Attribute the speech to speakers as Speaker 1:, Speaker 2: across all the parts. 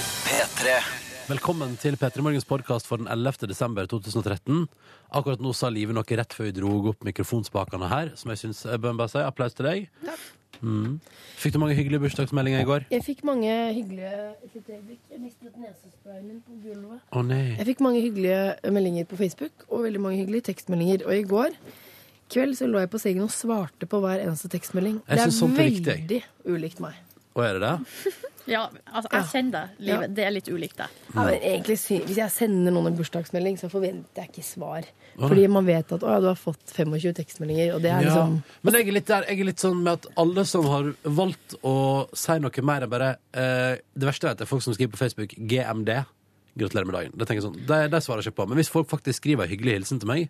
Speaker 1: P3.
Speaker 2: Velkommen til P3 Morgens podkast for den 11. desember 2013. Akkurat nå sa Live noe rett før vi dro opp mikrofonspakene her, som jeg syns jeg bør bare si. Applaus til deg. Mm. Fikk du mange hyggelige bursdagsmeldinger i går?
Speaker 3: Jeg fikk mange hyggelige Et lite øyeblikk. Jeg mistet nesesprayen min på gulvet.
Speaker 2: Å nei.
Speaker 3: Jeg fikk mange hyggelige meldinger på Facebook, og veldig mange hyggelige tekstmeldinger. Og i går kveld så lå jeg på sengen og svarte på hver eneste tekstmelding.
Speaker 2: Jeg synes sånt er
Speaker 3: veldig
Speaker 2: viktig.
Speaker 3: ulikt meg.
Speaker 2: Å, er det det?
Speaker 4: Ja, altså, jeg kjenner det. Livet, det er litt ulikt deg.
Speaker 3: Ja, men egentlig, sy- hvis jeg sender noen en bursdagsmelding, så forventer jeg ikke svar.
Speaker 2: Å,
Speaker 3: Fordi man vet at å, ja, du har fått 25 tekstmeldinger, og det er
Speaker 2: Ja.
Speaker 3: liksom
Speaker 2: Men jeg er, litt der, jeg er litt sånn med at alle som har valgt å si noe mer enn bare eh, Det verste jeg vet, er folk som skriver på Facebook GMD. Gratulerer med dagen. Det tenker jeg sånn, det, det svarer jeg ikke på. Men hvis folk faktisk skriver en hyggelig hilsen til meg,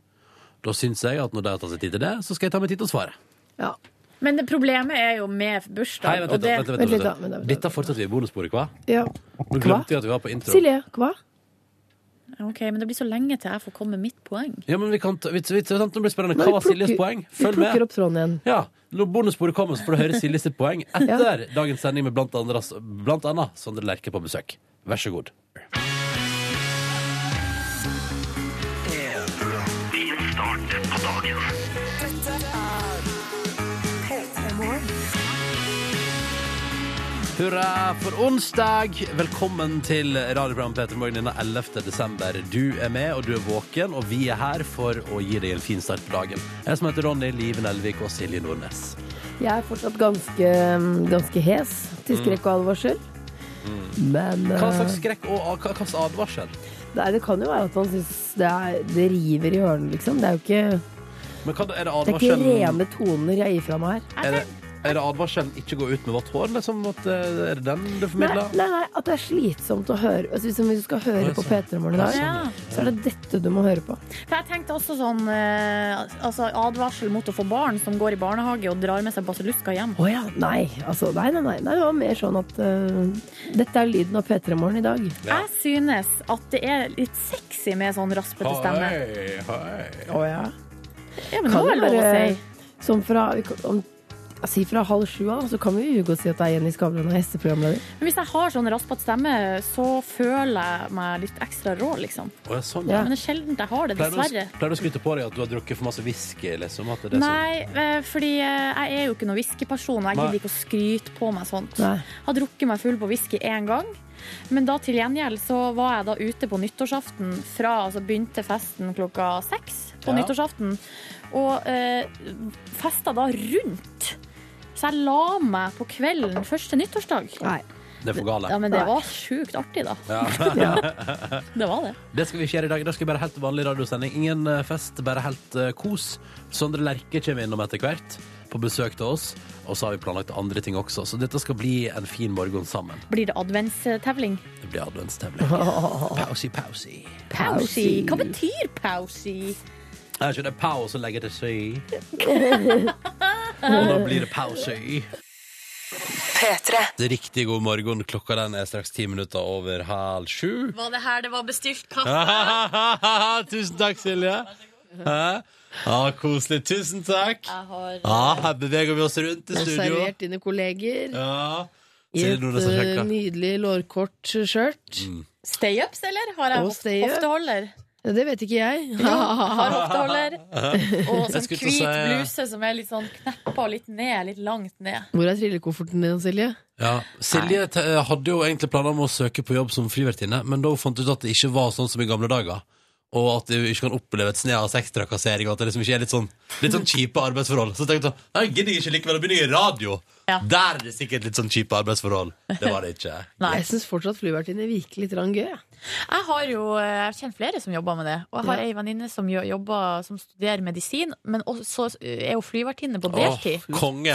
Speaker 2: da syns jeg at når de har tatt seg tid til det, så skal jeg ta meg tid til å svare.
Speaker 3: Ja.
Speaker 4: Men det problemet er jo med
Speaker 2: Hei,
Speaker 4: bursdag,
Speaker 2: vent
Speaker 4: og
Speaker 2: litt,
Speaker 4: det
Speaker 2: vent litt,
Speaker 3: Vent
Speaker 2: vent
Speaker 3: litt,
Speaker 2: litt.
Speaker 3: da, vent litt, vent
Speaker 2: Dette fortsetter vi i bonussporet, hva?
Speaker 3: ja.
Speaker 2: Nå
Speaker 3: Hva?
Speaker 2: glemte vi at vi var på intro.
Speaker 3: Silje, hva?
Speaker 4: Ok, men det blir så lenge til jeg får komme med mitt poeng.
Speaker 2: Ja, men vi kan ta, vi, vi, sant, Nå blir det spennende.
Speaker 3: Nei,
Speaker 2: Hva var
Speaker 3: vi plukker-
Speaker 2: Siljes poeng?
Speaker 3: Vi
Speaker 2: Følg
Speaker 3: plukker
Speaker 2: med.
Speaker 3: opp tråden igjen.
Speaker 2: Ja, Når bonussporet kommer, så får du høre Silje sitt poeng etter dagens sending med blant andre, blant annet Sondre Lerche på besøk. Vær så god. Hurra for onsdag! Velkommen til radioprogrammet Peter Morgen denne 11. desember. Du er med, og du er våken, og vi er her for å gi deg en fin start på dagen. Jeg som heter Ronny, Liven Elvik og Silje Nordnes.
Speaker 3: Jeg er fortsatt ganske, mm, ganske hes til skrekk og advarsel. Men eh,
Speaker 2: Hva slags skrekk og hva- hva slags advarsel?
Speaker 3: nei, det kan jo være at man syns det, er- det river i ørene, liksom. Det er jo ikke,
Speaker 2: Men hva, er det
Speaker 3: det er ikke
Speaker 2: advarselen
Speaker 3: rene toner jeg gir fra meg her.
Speaker 2: er det, er det advarselen ikke gå ut med vått hår? Liksom, at, eh, er det den du
Speaker 3: Nei,
Speaker 2: formidler?
Speaker 3: nei, nei, at det er slitsomt å høre. Altså, hvis- hvis du skal høre
Speaker 2: Oi,
Speaker 3: på
Speaker 2: sånn.
Speaker 3: P3 Morgen i dag,
Speaker 4: Ja.
Speaker 3: så er det dette du må høre på.
Speaker 4: For jeg tenkte også sånn eh, altså advarsel mot å få barn som går i barnehage og drar med seg basilluska hjem.
Speaker 3: Å ja, nei. Altså, nei, nei, nei. nei. Det var mer sånn at eh, dette er lyden av P3 Morgen i dag.
Speaker 2: Ja.
Speaker 4: Jeg synes at det er litt sexy med sånn raspete stemme.
Speaker 2: eh, hei.
Speaker 3: Å ja.
Speaker 4: Ja, men
Speaker 3: Kan
Speaker 4: nå er det lov å
Speaker 3: være-
Speaker 4: si.
Speaker 3: Sånn fra, vi kan- om, si fra halv sju av, så kan vi jo godt si at det er Jenny Skavlan og hesteprogramleder.
Speaker 4: Men hvis jeg har sånn raspete stemme, så føler jeg meg litt ekstra rå, liksom.
Speaker 2: Å, ja, sånn,
Speaker 3: Ja.
Speaker 2: ja.
Speaker 4: Men det er sjelden jeg har det,
Speaker 2: Pleier du,
Speaker 4: dessverre.
Speaker 2: å- pleier du å skryte på deg at du har drukket for masse whisky? Liksom, at det er det som-
Speaker 4: Nei, eh, fordi eh, jeg er jo ikke noen whiskyperson. og Jeg
Speaker 2: Nei.
Speaker 4: gidder ikke å skryte på meg sånt.
Speaker 3: Nei.
Speaker 4: Har drukket meg full på whisky én gang. Men da til gjengjeld så var jeg da ute på nyttårsaften fra altså begynte festen klokka seks på
Speaker 2: Ja.
Speaker 4: nyttårsaften. Og eh, festa da rundt. Så jeg la meg på kvelden første nyttårsdag.
Speaker 3: Nei.
Speaker 2: Det er for gale.
Speaker 4: Ja, men det
Speaker 3: Nei.
Speaker 4: var sjukt artig, da.
Speaker 3: Ja.
Speaker 4: Det var det.
Speaker 2: Det skal vi ikke gjøre i dag. Da skal vi bare helt vanlig radiosending. Ingen eh, fest, bare helt eh, kos. Sondre Lerche kommer innom etter hvert på besøk til oss. Og så har vi planlagt andre ting også, så dette skal bli en fin morgen sammen.
Speaker 4: Blir det adventstevling?
Speaker 2: Det blir adventstevling. Pausi, pausi.
Speaker 4: Pausi. Hva betyr pausi?
Speaker 2: Jeg har ikke det pau som legger til sy. Og da blir det pausi. Det er Riktig god morgen. Klokka den er straks ti minutter over halv sju.
Speaker 4: Var det her det var bestilt kaffe?
Speaker 2: Tusen takk, Silje. Hæ? Ja, koselig. Tusen takk.
Speaker 4: Jeg har
Speaker 2: Ja, her beveger vi oss rundt i studio.
Speaker 3: Servert dine kolleger
Speaker 2: Ja.
Speaker 3: i
Speaker 2: Silje
Speaker 3: et
Speaker 2: Nordnes har
Speaker 3: eh,
Speaker 2: sjekka.
Speaker 3: nydelig lårkort skjørt.
Speaker 2: Mm.
Speaker 4: Stay-ups, eller? Har
Speaker 3: Å,
Speaker 4: jeg hof-
Speaker 3: stay-up.
Speaker 4: hofteholder?
Speaker 3: Ja, Det vet ikke jeg.
Speaker 4: Jo, har hofteholder. Og
Speaker 2: Jeg
Speaker 4: sånn
Speaker 2: skulle til å
Speaker 4: hvit
Speaker 2: si, ja.
Speaker 4: bluse som er litt sånn kneppa litt ned, litt langt ned.
Speaker 3: Hvor er trillekofferten din, Silje?
Speaker 2: Ja. Silje te- hadde jo egentlig planer om å søke på jobb som frivertinne, men da hun fant ut at det ikke var sånn som i gamle dager. Og at du ikke kan oppleve et snev av sextrakassering. og At det liksom ikke er litt sånn Litt sånn kjipe arbeidsforhold. Så tenkte hun nei, gidder jeg ikke likevel å begynne i radio.
Speaker 4: Ja.
Speaker 2: Der er det sikkert litt sånn kjipe arbeidsforhold. Det var det ikke.
Speaker 4: Nei.
Speaker 3: Jeg syns fortsatt flyvertinne virker litt rann gøy. jeg.
Speaker 4: Jeg har jo eh, jeg kjenner flere som jobber med det. Og jeg har
Speaker 3: Ja.
Speaker 4: ei venninne som jo- jobber, som studerer medisin, men også er jo flyvertinne på
Speaker 2: Åh,
Speaker 4: deltid.
Speaker 2: konge.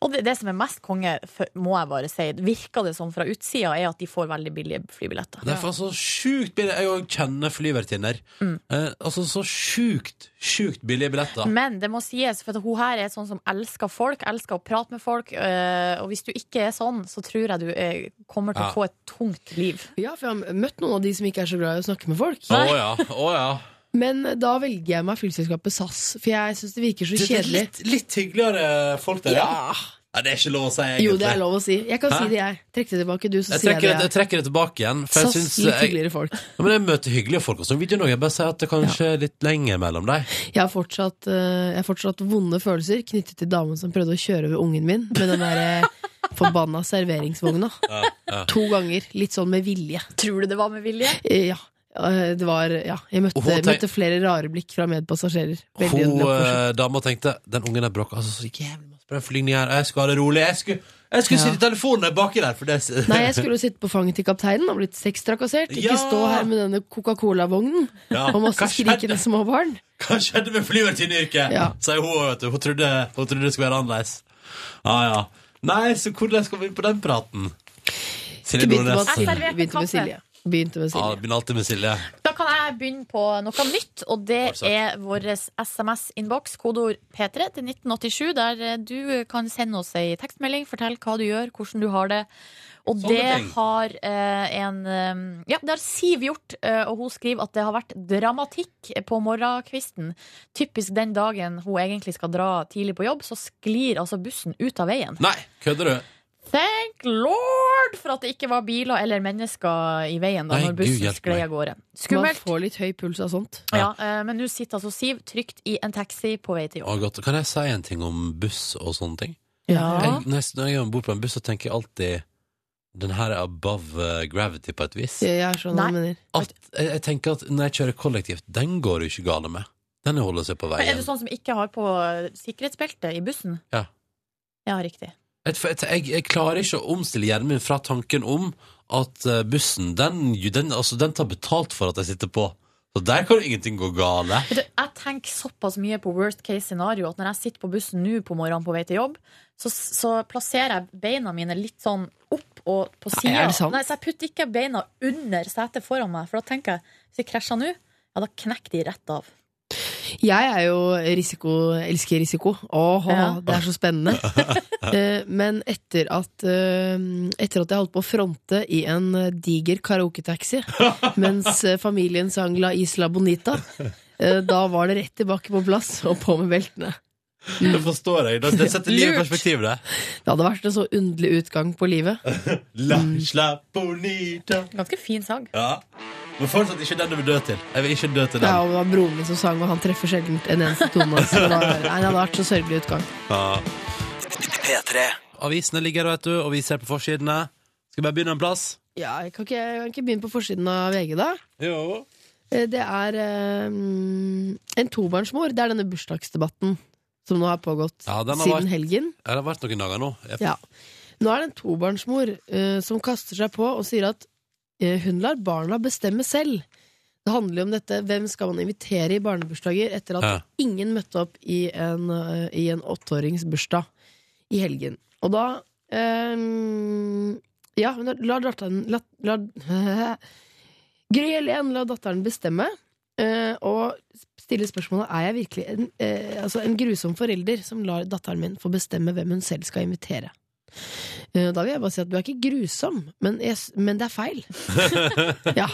Speaker 4: Og det, det som er mest konge, f- må jeg bare si, virker det som fra utsida, er at de får veldig billige flybilletter.
Speaker 2: Det er faen så sjukt billig. Jeg òg kjenner flyvertinner.
Speaker 4: Mm.
Speaker 2: Eh, altså så sjukt, sjukt billige billetter.
Speaker 4: Men det må sies, for at hun her er sånn som elsker folk, elsker å prate med folk. øh, Og hvis du ikke er sånn, så tror jeg du øh, kommer til
Speaker 2: Ja.
Speaker 4: å få et tungt liv.
Speaker 3: Ja, for jeg har møtt noen av de som ikke er så glad i å snakke med folk.
Speaker 2: Å ja. å ja.
Speaker 3: Men da velger jeg meg flyselskapet SAS, for jeg syns det virker så
Speaker 2: Det er
Speaker 3: kjedelig.
Speaker 2: litt, litt hyggeligere folk der, ja.
Speaker 3: Ja,
Speaker 2: Nei, det er ikke lov å si, egentlig.
Speaker 3: Jo, det er lov å si. Jeg kan
Speaker 2: Hæ?
Speaker 3: si det, jeg. Trekk det tilbake, du, så
Speaker 2: Jeg
Speaker 3: sier
Speaker 2: trekker,
Speaker 3: jeg
Speaker 2: det, jeg
Speaker 3: det.
Speaker 2: trekker det tilbake igjen. For
Speaker 3: jeg.
Speaker 2: jeg eh, syns
Speaker 3: Sass litt
Speaker 2: jeg,
Speaker 3: hyggeligere folk.
Speaker 2: ja, men jeg møter hyggelige folk også. Video Norge, jeg bare sier at det kanskje er litt lenger mellom dem.
Speaker 3: Jeg har, fortsatt, eh, jeg har fortsatt vonde følelser knyttet til damen som prøvde å kjøre over ungen min med den der eh, forbanna serveringsvogna. To ganger. Litt sånn med vilje.
Speaker 4: Tror du det var med vilje?
Speaker 3: Eh, Ja. Eh, Det var Ja. Jeg møtte,
Speaker 2: Og hun tenk-
Speaker 3: møtte flere rare blikk fra medpassasjerer. Veldig
Speaker 2: Hun
Speaker 3: underlig oppførsel.
Speaker 2: eh, dama tenkte den ungen der bråker altså, så jævlig masse på den flygningen her. Jeg skal ha det rolig. Jeg skulle, jeg skulle
Speaker 3: Ja.
Speaker 2: sitte i telefonen der baki der. For det,
Speaker 3: Nei, jeg skulle jo sitte på fanget til kapteinen og blitt sextrakassert. Ikke
Speaker 2: Ja!
Speaker 3: stå her med denne Coca-Cola-vognen
Speaker 2: ja.
Speaker 3: og masse
Speaker 2: Hva skjedde-
Speaker 3: skrikende små barn.
Speaker 2: Hva skjedde med flyvertinneyrket?
Speaker 3: Ja.
Speaker 2: Sier hun, vet du. Hun trodde, hun trodde det skulle være annerledes. Ja, ja. Nei, så hvordan skal vi inn på den praten? Silje
Speaker 3: Begynte med,
Speaker 2: Nordnes.
Speaker 3: at
Speaker 2: Ja,
Speaker 3: Silje, begynte med Silje. Begynte med Silje.
Speaker 2: det begynner alltid med Silje.
Speaker 4: Da kan jeg begynne på noe nytt, og det
Speaker 2: Absolutt.
Speaker 4: er vår SMS-innboks, kodeord P3 til 1987, der eh, du kan sende oss ei tekstmelding, fortell hva du gjør, hvordan du har det. Og
Speaker 2: Sånne
Speaker 4: det
Speaker 2: ting.
Speaker 4: har eh, en eh, Ja, det har Siv gjort, eh, og hun skriver at det har vært dramatikk på morgenkvisten. Typisk den dagen hun egentlig skal dra tidlig på jobb, så sklir altså bussen ut av veien.
Speaker 2: Nei, kødder du?
Speaker 4: Thank lord for at det ikke var biler eller mennesker i veien da
Speaker 2: Nei,
Speaker 4: når
Speaker 2: Gud
Speaker 4: bussen
Speaker 2: hjelpe
Speaker 4: sklei
Speaker 2: meg.
Speaker 4: av gårde.
Speaker 3: Man
Speaker 4: Skummelt.
Speaker 3: får litt høy puls av sånt.
Speaker 4: Ja, eh, men nå sitter altså Siv trygt i en taxi på vei til jobb.
Speaker 2: Å, godt. Kan jeg si en ting om buss og sånne ting?
Speaker 4: Ja.
Speaker 2: Jeg, når jeg- når jeg er om bord på en buss, så tenker jeg alltid den her er above eh, gravity på et vis.
Speaker 3: Jeg er sånn
Speaker 4: Nei.
Speaker 3: jeg mener.
Speaker 2: At, jeg, jeg tenker at når jeg kjører kollektivt, den går det jo ikke gale med. Den holder seg på
Speaker 4: Er du
Speaker 2: veien.
Speaker 4: sånn som ikke har på sikkerhetsbeltet i bussen?
Speaker 2: Ja.
Speaker 4: Ja, riktig.
Speaker 2: Jeg, jeg, jeg klarer ikke å omstille hjernen min fra tanken om at eh, bussen, den, den, altså, den tar betalt for at jeg sitter på. Så der kan jo ingenting gå gale.
Speaker 4: Vet du, jeg tenker såpass mye på worst case scenario at når jeg sitter på bussen nå på morgenen på vei til jobb, så, så plasserer jeg beina mine litt sånn opp og på sida.
Speaker 3: er det sant?
Speaker 4: Nei, så jeg putter ikke beina under setet foran meg, for da tenker jeg hvis jeg krasjer nå, ja, da knekker de rett av.
Speaker 3: Jeg er jo risiko, elsker risiko. Åh,
Speaker 4: Ja.
Speaker 3: det er så spennende. Eh, Men etter at, eh, etter at jeg holdt på å fronte i en eh, diger karaoketaxi mens eh, familien sang La Isla Bonita, eh, da var det rett tilbake på plass og på med beltene.
Speaker 2: Det forstår jeg. Det, det setter livet i
Speaker 4: Lurt.
Speaker 2: perspektiv, det.
Speaker 3: Det hadde vært en så underlig utgang på livet.
Speaker 2: La,
Speaker 4: Mm.
Speaker 2: sla, bonita.
Speaker 4: Ganske fin sang.
Speaker 2: Ja. Men fortsatt ikke den du vil dø til. Jeg vil ikke dø til den.
Speaker 3: Ja, og det var broren min som sang, og han treffer sjelden en eneste tone. Så da, nei, det hadde vært så sørgelig utgang.
Speaker 2: Avisene ligger der, vet du, og vi ser på forsidene. Skal vi bare begynne en plass?
Speaker 3: Ja, jeg kan ikke, jeg kan ikke begynne på forsiden av VG, da.
Speaker 2: Jo.
Speaker 3: Eh, Det er eh, en tobarnsmor. Det er denne bursdagsdebatten som nå har pågått
Speaker 2: Ja, den har
Speaker 3: siden
Speaker 2: vært-
Speaker 3: helgen.
Speaker 2: Det har vært noen dager nå. Jeg-
Speaker 3: Ja. Nå er det en tobarnsmor eh, som kaster seg på og sier at eh, hun lar barna bestemme selv. Det handler jo om dette, hvem skal man invitere i barnebursdager etter at
Speaker 2: Ja.
Speaker 3: ingen møtte opp i en, eh, i en åtteårings bursdag i helgen. Og da eh, Ja, hun lar datteren la, la, Gry Helen lar datteren bestemme. eh, og stiller spørsmålet er jeg virkelig en, eh, altså en grusom forelder som lar datteren min få bestemme hvem hun selv skal invitere. Eh, Da vil jeg bare si at du er ikke grusom, men, jeg, s- men det er feil. ja,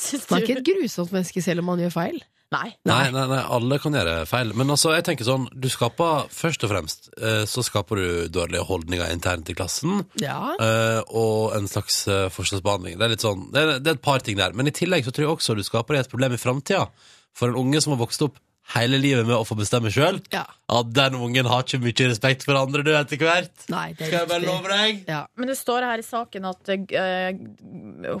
Speaker 4: Syns
Speaker 3: Man er ikke
Speaker 4: du?
Speaker 3: et grusomt menneske selv om man gjør feil.
Speaker 4: Nei.
Speaker 2: Nei, nei, nei, alle kan gjøre feil. Men altså, jeg tenker sånn, du skaper først og fremst eh, så skaper du dårlige holdninger internt i klassen.
Speaker 3: Ja,
Speaker 2: eh, og en slags eh, forskjellsbehandling. Det er litt sånn, det er, det er et par ting der. Men i tillegg så tror jeg også du skaper deg et problem i framtida. For en unge som har vokst opp hele livet med å få bestemme sjøl,
Speaker 3: ja.
Speaker 2: at den ungen har ikke mye respekt for andre, du, etter hvert.
Speaker 3: Nei, det
Speaker 2: Skal
Speaker 3: er
Speaker 2: jeg bare
Speaker 3: riktig.
Speaker 2: love deg?
Speaker 3: Ja.
Speaker 4: Men det står her i saken at eh,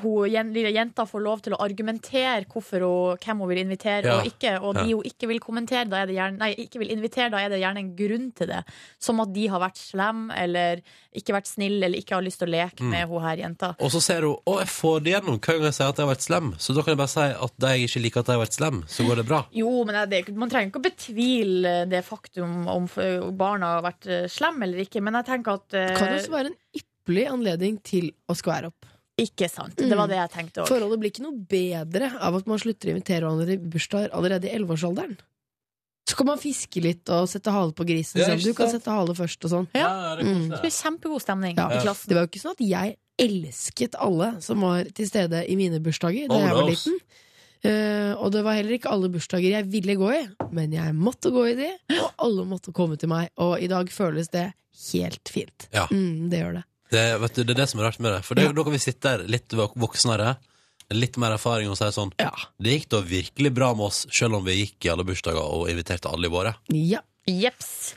Speaker 4: hun, jen, lille jenta får lov til å argumentere hvorfor hun, hvem hun vil invitere
Speaker 2: Ja.
Speaker 4: og ikke. Og de
Speaker 2: Ja.
Speaker 4: hun ikke vil kommentere, da er det gjerne, nei, ikke vil invitere, da er det gjerne en grunn til det. Som at de har vært slem eller ikke vært snill eller ikke har lyst til å leke
Speaker 2: Mm.
Speaker 4: med hun her jenta.
Speaker 2: Og så ser hun å, jeg får det gjennom hver gang jeg sier at jeg har vært slem. Så da kan jeg bare si at da jeg ikke liker at jeg har vært slem, så går det bra.
Speaker 4: Jo, men det, er ikke- Man trenger ikke å betvile det faktum om f- barna har vært eh, slem eller ikke, men jeg tenker at eh,
Speaker 3: Det kan også være en ypperlig anledning til å skvære opp.
Speaker 4: eh, Ikke sant. Det var det jeg tenkte òg.
Speaker 3: Forholdet blir ikke noe bedre av at man slutter å invitere hverandre i bursdager allerede i 11-årsalderen. Så kan man fiske litt og sette hale på grisen.
Speaker 2: Ja,
Speaker 3: selv.
Speaker 2: ikke
Speaker 3: Du kan
Speaker 2: sant?
Speaker 3: sette hale først og sånn.
Speaker 4: Ja.
Speaker 2: det er koselig.
Speaker 4: Det blir kjempegod stemning
Speaker 3: Ja.
Speaker 4: i klassen.
Speaker 3: Det var jo ikke sånn at jeg elsket alle som var til stede i mine bursdager da
Speaker 2: Oh,
Speaker 3: jeg var
Speaker 2: no.
Speaker 3: liten. Eh, og det var heller ikke alle bursdager jeg ville gå i, men jeg måtte gå i de, og alle måtte komme til meg. Og i dag føles det helt fint.
Speaker 2: Ja.
Speaker 3: Mm, det gjør det.
Speaker 2: Det, vet du, det er det som er rart med det. For det,
Speaker 3: Ja.
Speaker 2: da kan vi sitte der litt vok- voksnere, litt mer erfaring, og si sånn
Speaker 3: Ja.
Speaker 2: Det gikk da virkelig bra med oss, selv om vi gikk i alle bursdager og inviterte alle i våre.
Speaker 3: ja.
Speaker 4: Jeps.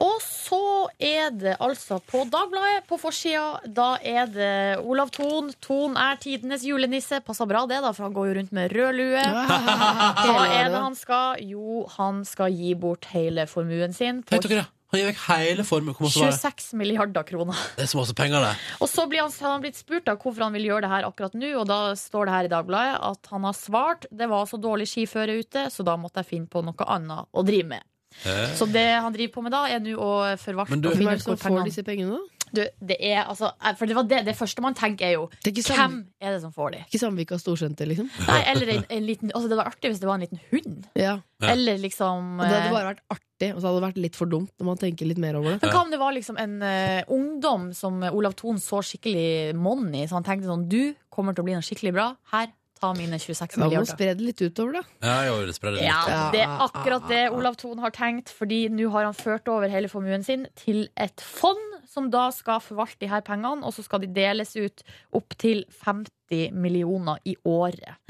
Speaker 4: Og så er det altså på Dagbladet, på forsida, da er det Olav Thon. Thon er tidenes julenisse. Passer bra det, da, for han går jo rundt med rød lue. Hva er det han skal? Jo, han skal gi bort hele formuen sin på
Speaker 2: Tenk dere det! Han gir vekk hele formuen. hvor masse var det?
Speaker 4: 26 milliarder kroner.
Speaker 2: Det er så masse penger, det.
Speaker 4: Og så blir han, har han blitt spurt da, hvorfor han vil gjøre det her akkurat nå, og da står det her i Dagbladet at han har svart det var så dårlig skiføre ute, så da måtte jeg finne på noe annet å drive med.
Speaker 2: Eh,
Speaker 4: Så det han driver på med da, er nå å forvalte
Speaker 2: Men du-
Speaker 4: og
Speaker 3: Hvem
Speaker 4: finne
Speaker 3: er det
Speaker 4: ut hvor
Speaker 3: som får
Speaker 4: pengene
Speaker 3: disse pengene, da?
Speaker 4: du, det, er, altså, eh, for det, var det, det første man tenker, er jo
Speaker 3: Det er ikke,
Speaker 4: hvem
Speaker 3: sam
Speaker 4: er det som får de?
Speaker 3: ikke Samvika storsenter, liksom?
Speaker 4: Nei, eller en, en liten, altså, det var artig hvis det var en liten hund.
Speaker 3: Ja.
Speaker 2: Ja.
Speaker 4: Eller liksom
Speaker 3: Og det hadde
Speaker 4: eh,
Speaker 3: bare vært artig, og så hadde det vært litt for dumt når man tenker litt mer over det.
Speaker 4: Men hva om det var liksom en eh, ungdom som Olav Thon så skikkelig monn i, så han tenkte sånn Du kommer til å bli noe skikkelig bra. Her, ta mine 26
Speaker 3: Da må man
Speaker 4: milliarder.
Speaker 3: spre det litt utover, da.
Speaker 2: Ja, jeg vil spre det litt.
Speaker 4: Ja,
Speaker 3: Ja,
Speaker 4: det er
Speaker 3: ja,
Speaker 4: akkurat det
Speaker 3: ja, ja.
Speaker 4: Olav Thon har tenkt, fordi nå har han ført over hele formuen sin til et fond, som da skal forvalte de her pengene, og så skal de deles ut opp til 50 millioner i året.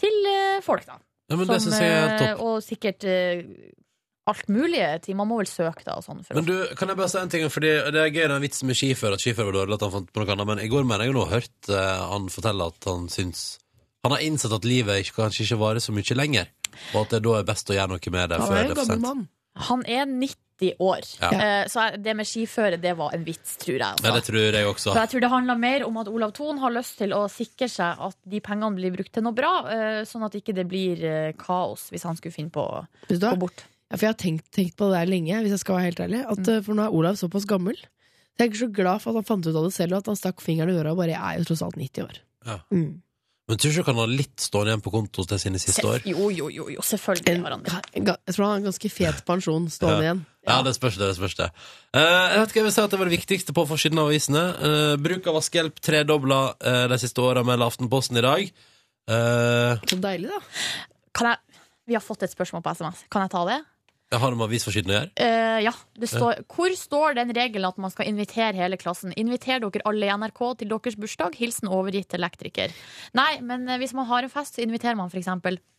Speaker 4: Til eh, folk, da.
Speaker 2: Ja, men det
Speaker 4: Som,
Speaker 2: synes jeg er
Speaker 4: eh,
Speaker 2: topp.
Speaker 4: Og sikkert eh, alt mulig til. Man må vel søke, da, og sånn. for å
Speaker 2: Men du, kan jeg bare si en ting, fordi det er gøy den vitsen med skifører, at skifører var dårlig, at han fant på noe annet, men i går mener jeg jo nå hørt eh, han fortelle at han syns Han har innsett at livet ikke, kanskje ikke varer så mye lenger, og at det da er best å gjøre noe med det
Speaker 3: Han
Speaker 2: før
Speaker 3: er
Speaker 2: det er
Speaker 3: jo en
Speaker 2: for
Speaker 3: gammel
Speaker 2: sent.
Speaker 3: mann.
Speaker 4: Han er 90 år,
Speaker 2: Ja.
Speaker 4: Eh, så jeg- det med skiføre det var en vits, tror jeg.
Speaker 2: Ja, det
Speaker 4: Altså.
Speaker 2: tror jeg også.
Speaker 4: For jeg tror det handler mer om at Olav Thon har lyst til å sikre seg at de pengene blir brukt til noe bra, eh, sånn at ikke det blir eh, kaos hvis han skulle finne på å
Speaker 3: Vet du hva?
Speaker 4: gå bort.
Speaker 3: Ja, for jeg har tenkt, tenkt på det der lenge, hvis jeg skal være helt ærlig. At,
Speaker 4: Mm.
Speaker 3: eh, For nå er Olav såpass gammel. Så jeg er ikke så glad for at han fant ut av det selv, og at han stakk fingeren i øra og bare Jeg er jo tross alt 90 år.
Speaker 2: Ja.
Speaker 3: Mm.
Speaker 2: Men tror du ikke han har litt stående igjen på konto hos det sine siste år?
Speaker 4: Jo, jo, jo, jo selvfølgelig
Speaker 3: En,
Speaker 4: har han det.
Speaker 3: ga- jeg tror han har en ganske fet pensjon stående igjen.
Speaker 2: Ja, det spørs det. det spørs det. Eh, jeg vet ikke, jeg vil si at det var det viktigste på forsiden av avisene. Eh, bruk av vaskehjelp tredobla eh, de siste åra, melder Aftenposten i dag. Eh,
Speaker 3: Så deilig, da.
Speaker 4: Kan jeg, vi har fått et spørsmål på SMS. Kan jeg ta det?
Speaker 2: jeg har det med avisforsiden å gjøre.
Speaker 4: Eh, ja, det står, Hvor står den regelen at man skal invitere hele klassen? Inviter dere alle i NRK til deres bursdag? Hilsen overgitt elektriker. Nei, men eh, hvis man har en fest, så inviterer man f.eks.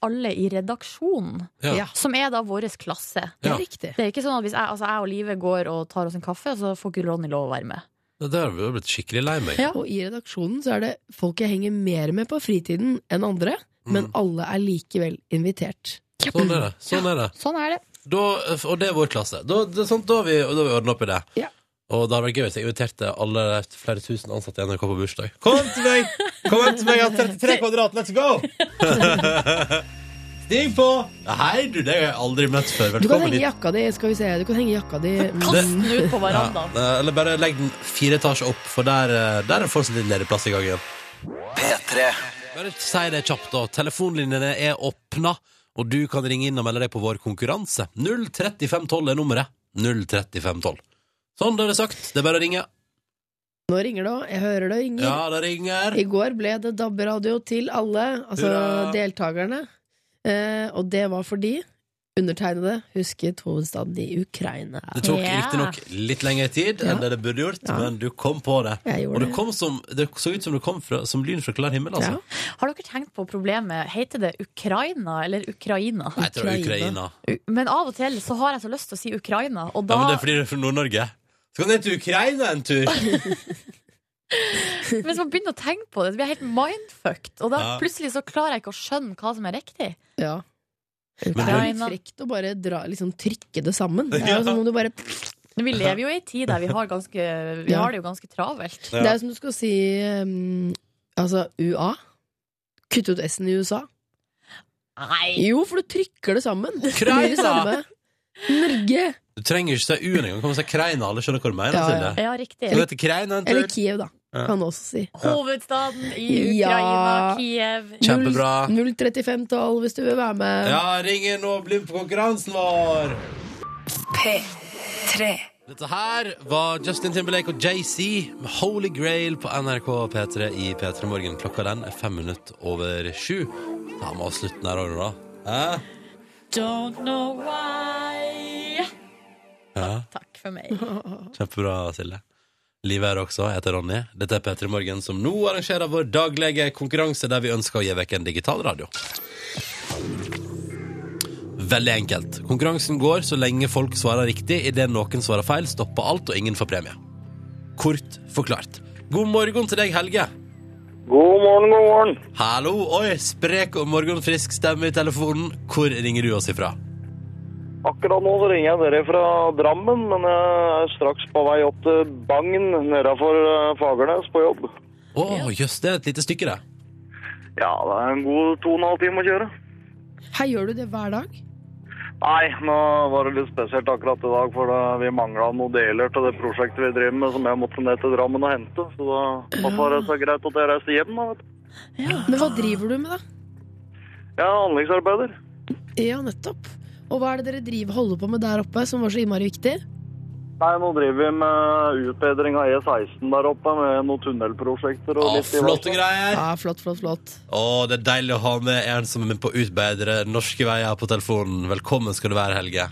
Speaker 4: alle i redaksjonen,
Speaker 2: Ja.
Speaker 3: Ja.
Speaker 4: som er da vår klasse.
Speaker 3: Det
Speaker 2: Ja.
Speaker 3: er riktig.
Speaker 4: Det er ikke sånn at hvis jeg, altså jeg og Live går og tar oss en kaffe, så får ikke Ronny lov å være med.
Speaker 2: Det der har jeg blitt skikkelig lei meg.
Speaker 4: Ja.
Speaker 3: Og i redaksjonen så er det folk jeg henger mer med på fritiden enn andre, men
Speaker 2: Mm.
Speaker 3: alle er likevel invitert.
Speaker 2: Sånn er det. sånn er det.
Speaker 4: Sånn er det.
Speaker 2: Da, og det er vår klasse. Da, det er sånn, da har vi, da har vi ordna opp i det.
Speaker 3: Ja.
Speaker 2: Og det hadde vært gøy hvis jeg inviterte alle de flere tusen ansatte i NRK på bursdag. Kom til meg! Kom hjem til meg, jeg har 33 kvadrat, let's go! Stig på! Hei, du, det har jeg aldri møtt før.
Speaker 3: Du kan
Speaker 2: Velkommen
Speaker 3: henge
Speaker 2: hit.
Speaker 3: jakka di, skal vi se. Du kan henge jakka di
Speaker 4: Kast den ut på
Speaker 2: Ja,
Speaker 4: verandaen.
Speaker 2: eh, eller bare legg den fire etasjer opp, for der, eh, der er det fortsatt litt ledig plass i gangen. Bare si det kjapt, da. Telefonlinjene er åpna, og du kan ringe inn og melde deg på vår konkurranse. 03512 er nummeret. 03512. Sånn, det er det sagt. Det er bare å ringe.
Speaker 3: Nå ringer det òg. Jeg hører det ringer.
Speaker 2: Ja, det ringer.
Speaker 3: I går ble det DAB-radio til alle, altså
Speaker 2: Hurra!
Speaker 3: deltakerne. Eh, og det var fordi undertegnede husket hovedstaden i Ukraina.
Speaker 2: Det tok
Speaker 4: Ja.
Speaker 2: riktignok litt lengre tid enn det det burde gjort,
Speaker 3: Ja.
Speaker 2: men du kom på det.
Speaker 3: Jeg
Speaker 2: Og
Speaker 3: gjorde
Speaker 2: det,
Speaker 3: det.
Speaker 2: kom som, det så ut som det kom fra, som lyn fra klar himmel, altså.
Speaker 3: Ja.
Speaker 4: Har dere tenkt på problemet? Heter det Ukraina eller Ukraina?
Speaker 2: Nei, jeg tror det er Ukraina.
Speaker 4: U- Men av og til så har jeg så lyst til å si Ukraina, og
Speaker 2: Ja,
Speaker 4: da
Speaker 2: men det er fordi det er fra Nord-Norge. Så kan det hete Ukraina en tur.
Speaker 4: Hvis man begynner å tenke på det, så blir jeg helt mindfucked. Og da
Speaker 2: Ja.
Speaker 4: plutselig så klarer jeg ikke å skjønne hva som er riktig.
Speaker 3: Ja.
Speaker 2: Men
Speaker 3: Det er litt frekt å bare dra, liksom, trykke det sammen. Det er jo som om du bare
Speaker 4: Vi lever jo i ei tid der vi har, ganske, vi
Speaker 3: Ja.
Speaker 4: har det jo ganske travelt.
Speaker 2: Ja.
Speaker 3: Det er som du skal si um, Altså UA. Kutte ut S-en i USA.
Speaker 4: Nei!
Speaker 3: Jo, for du trykker det sammen. Det blir
Speaker 2: Ukraina!
Speaker 3: det samme. Norge!
Speaker 2: Du trenger ikke si U-en engang. Kan man si Kreina? Alle skjønner hva du mener.
Speaker 3: Ja,
Speaker 2: Silje.
Speaker 3: ja.
Speaker 4: Ja, riktig.
Speaker 2: Kan det hete Kreina en tur?
Speaker 3: Eller Kiev, da.
Speaker 2: Ja.
Speaker 3: Kan også si.
Speaker 4: Hovedstaden i
Speaker 3: Ja.
Speaker 4: Ukraina, Kiev.
Speaker 2: Kjempebra.
Speaker 3: 03512 hvis du vil være med.
Speaker 2: Ja, ring inn og bli med på konkurransen vår! Dette her var Justin Timberlake og JC med Holy Grail på NRK P3 i P3 Morgen. Klokka den er fem minutter over sju. Da må vi slutte den her, da. Hæ?
Speaker 4: Don't know why.
Speaker 2: Ja,
Speaker 4: Takk for meg.
Speaker 2: Kjempebra, Silje. Livet her også. Jeg heter Ronny. Dette er P3 Morgen, som nå arrangerer vår daglige konkurranse der vi ønsker å gi vekk en digital radio. Veldig enkelt. Konkurransen går så lenge folk svarer riktig. Idet noen svarer feil, stopper alt, og ingen får premie. Kort forklart. God morgen til deg, Helge.
Speaker 1: God morgen, god morgen.
Speaker 2: Hallo, oi, sprek og morgenfrisk stemme i telefonen. Hvor ringer du oss ifra?
Speaker 1: Akkurat nå så ringer jeg dere fra Drammen, men jeg er straks på vei opp til Bagn nedafor eh, Fagernes på jobb.
Speaker 2: Å, jøss, det er et lite stykke, det.
Speaker 1: Ja, det er en god to og en halv time å kjøre.
Speaker 3: Her gjør du det hver dag?
Speaker 1: Nei, nå var det litt spesielt akkurat i dag, for eh, vi mangla noen deler til det prosjektet vi driver med, som jeg måtte ned til Drammen og hente. Så da da var det så greit at jeg reiste hjem, da, vet du.
Speaker 3: Men hva driver du med, da?
Speaker 1: Jeg er anleggsarbeider.
Speaker 3: Ja, nettopp. Og hva er det dere driver holder på med der oppe, som var så innmari viktig?
Speaker 1: Nei, nå driver vi med utbedring av E16 der oppe, med noen tunnelprosjekter og
Speaker 2: Å,
Speaker 1: litt
Speaker 2: flotte greier.
Speaker 3: Ja, flott, flott, flott.
Speaker 2: Å, det er deilig å ha med en som er med på å utbedre norske veier på telefonen. Velkommen skal du være, Helge.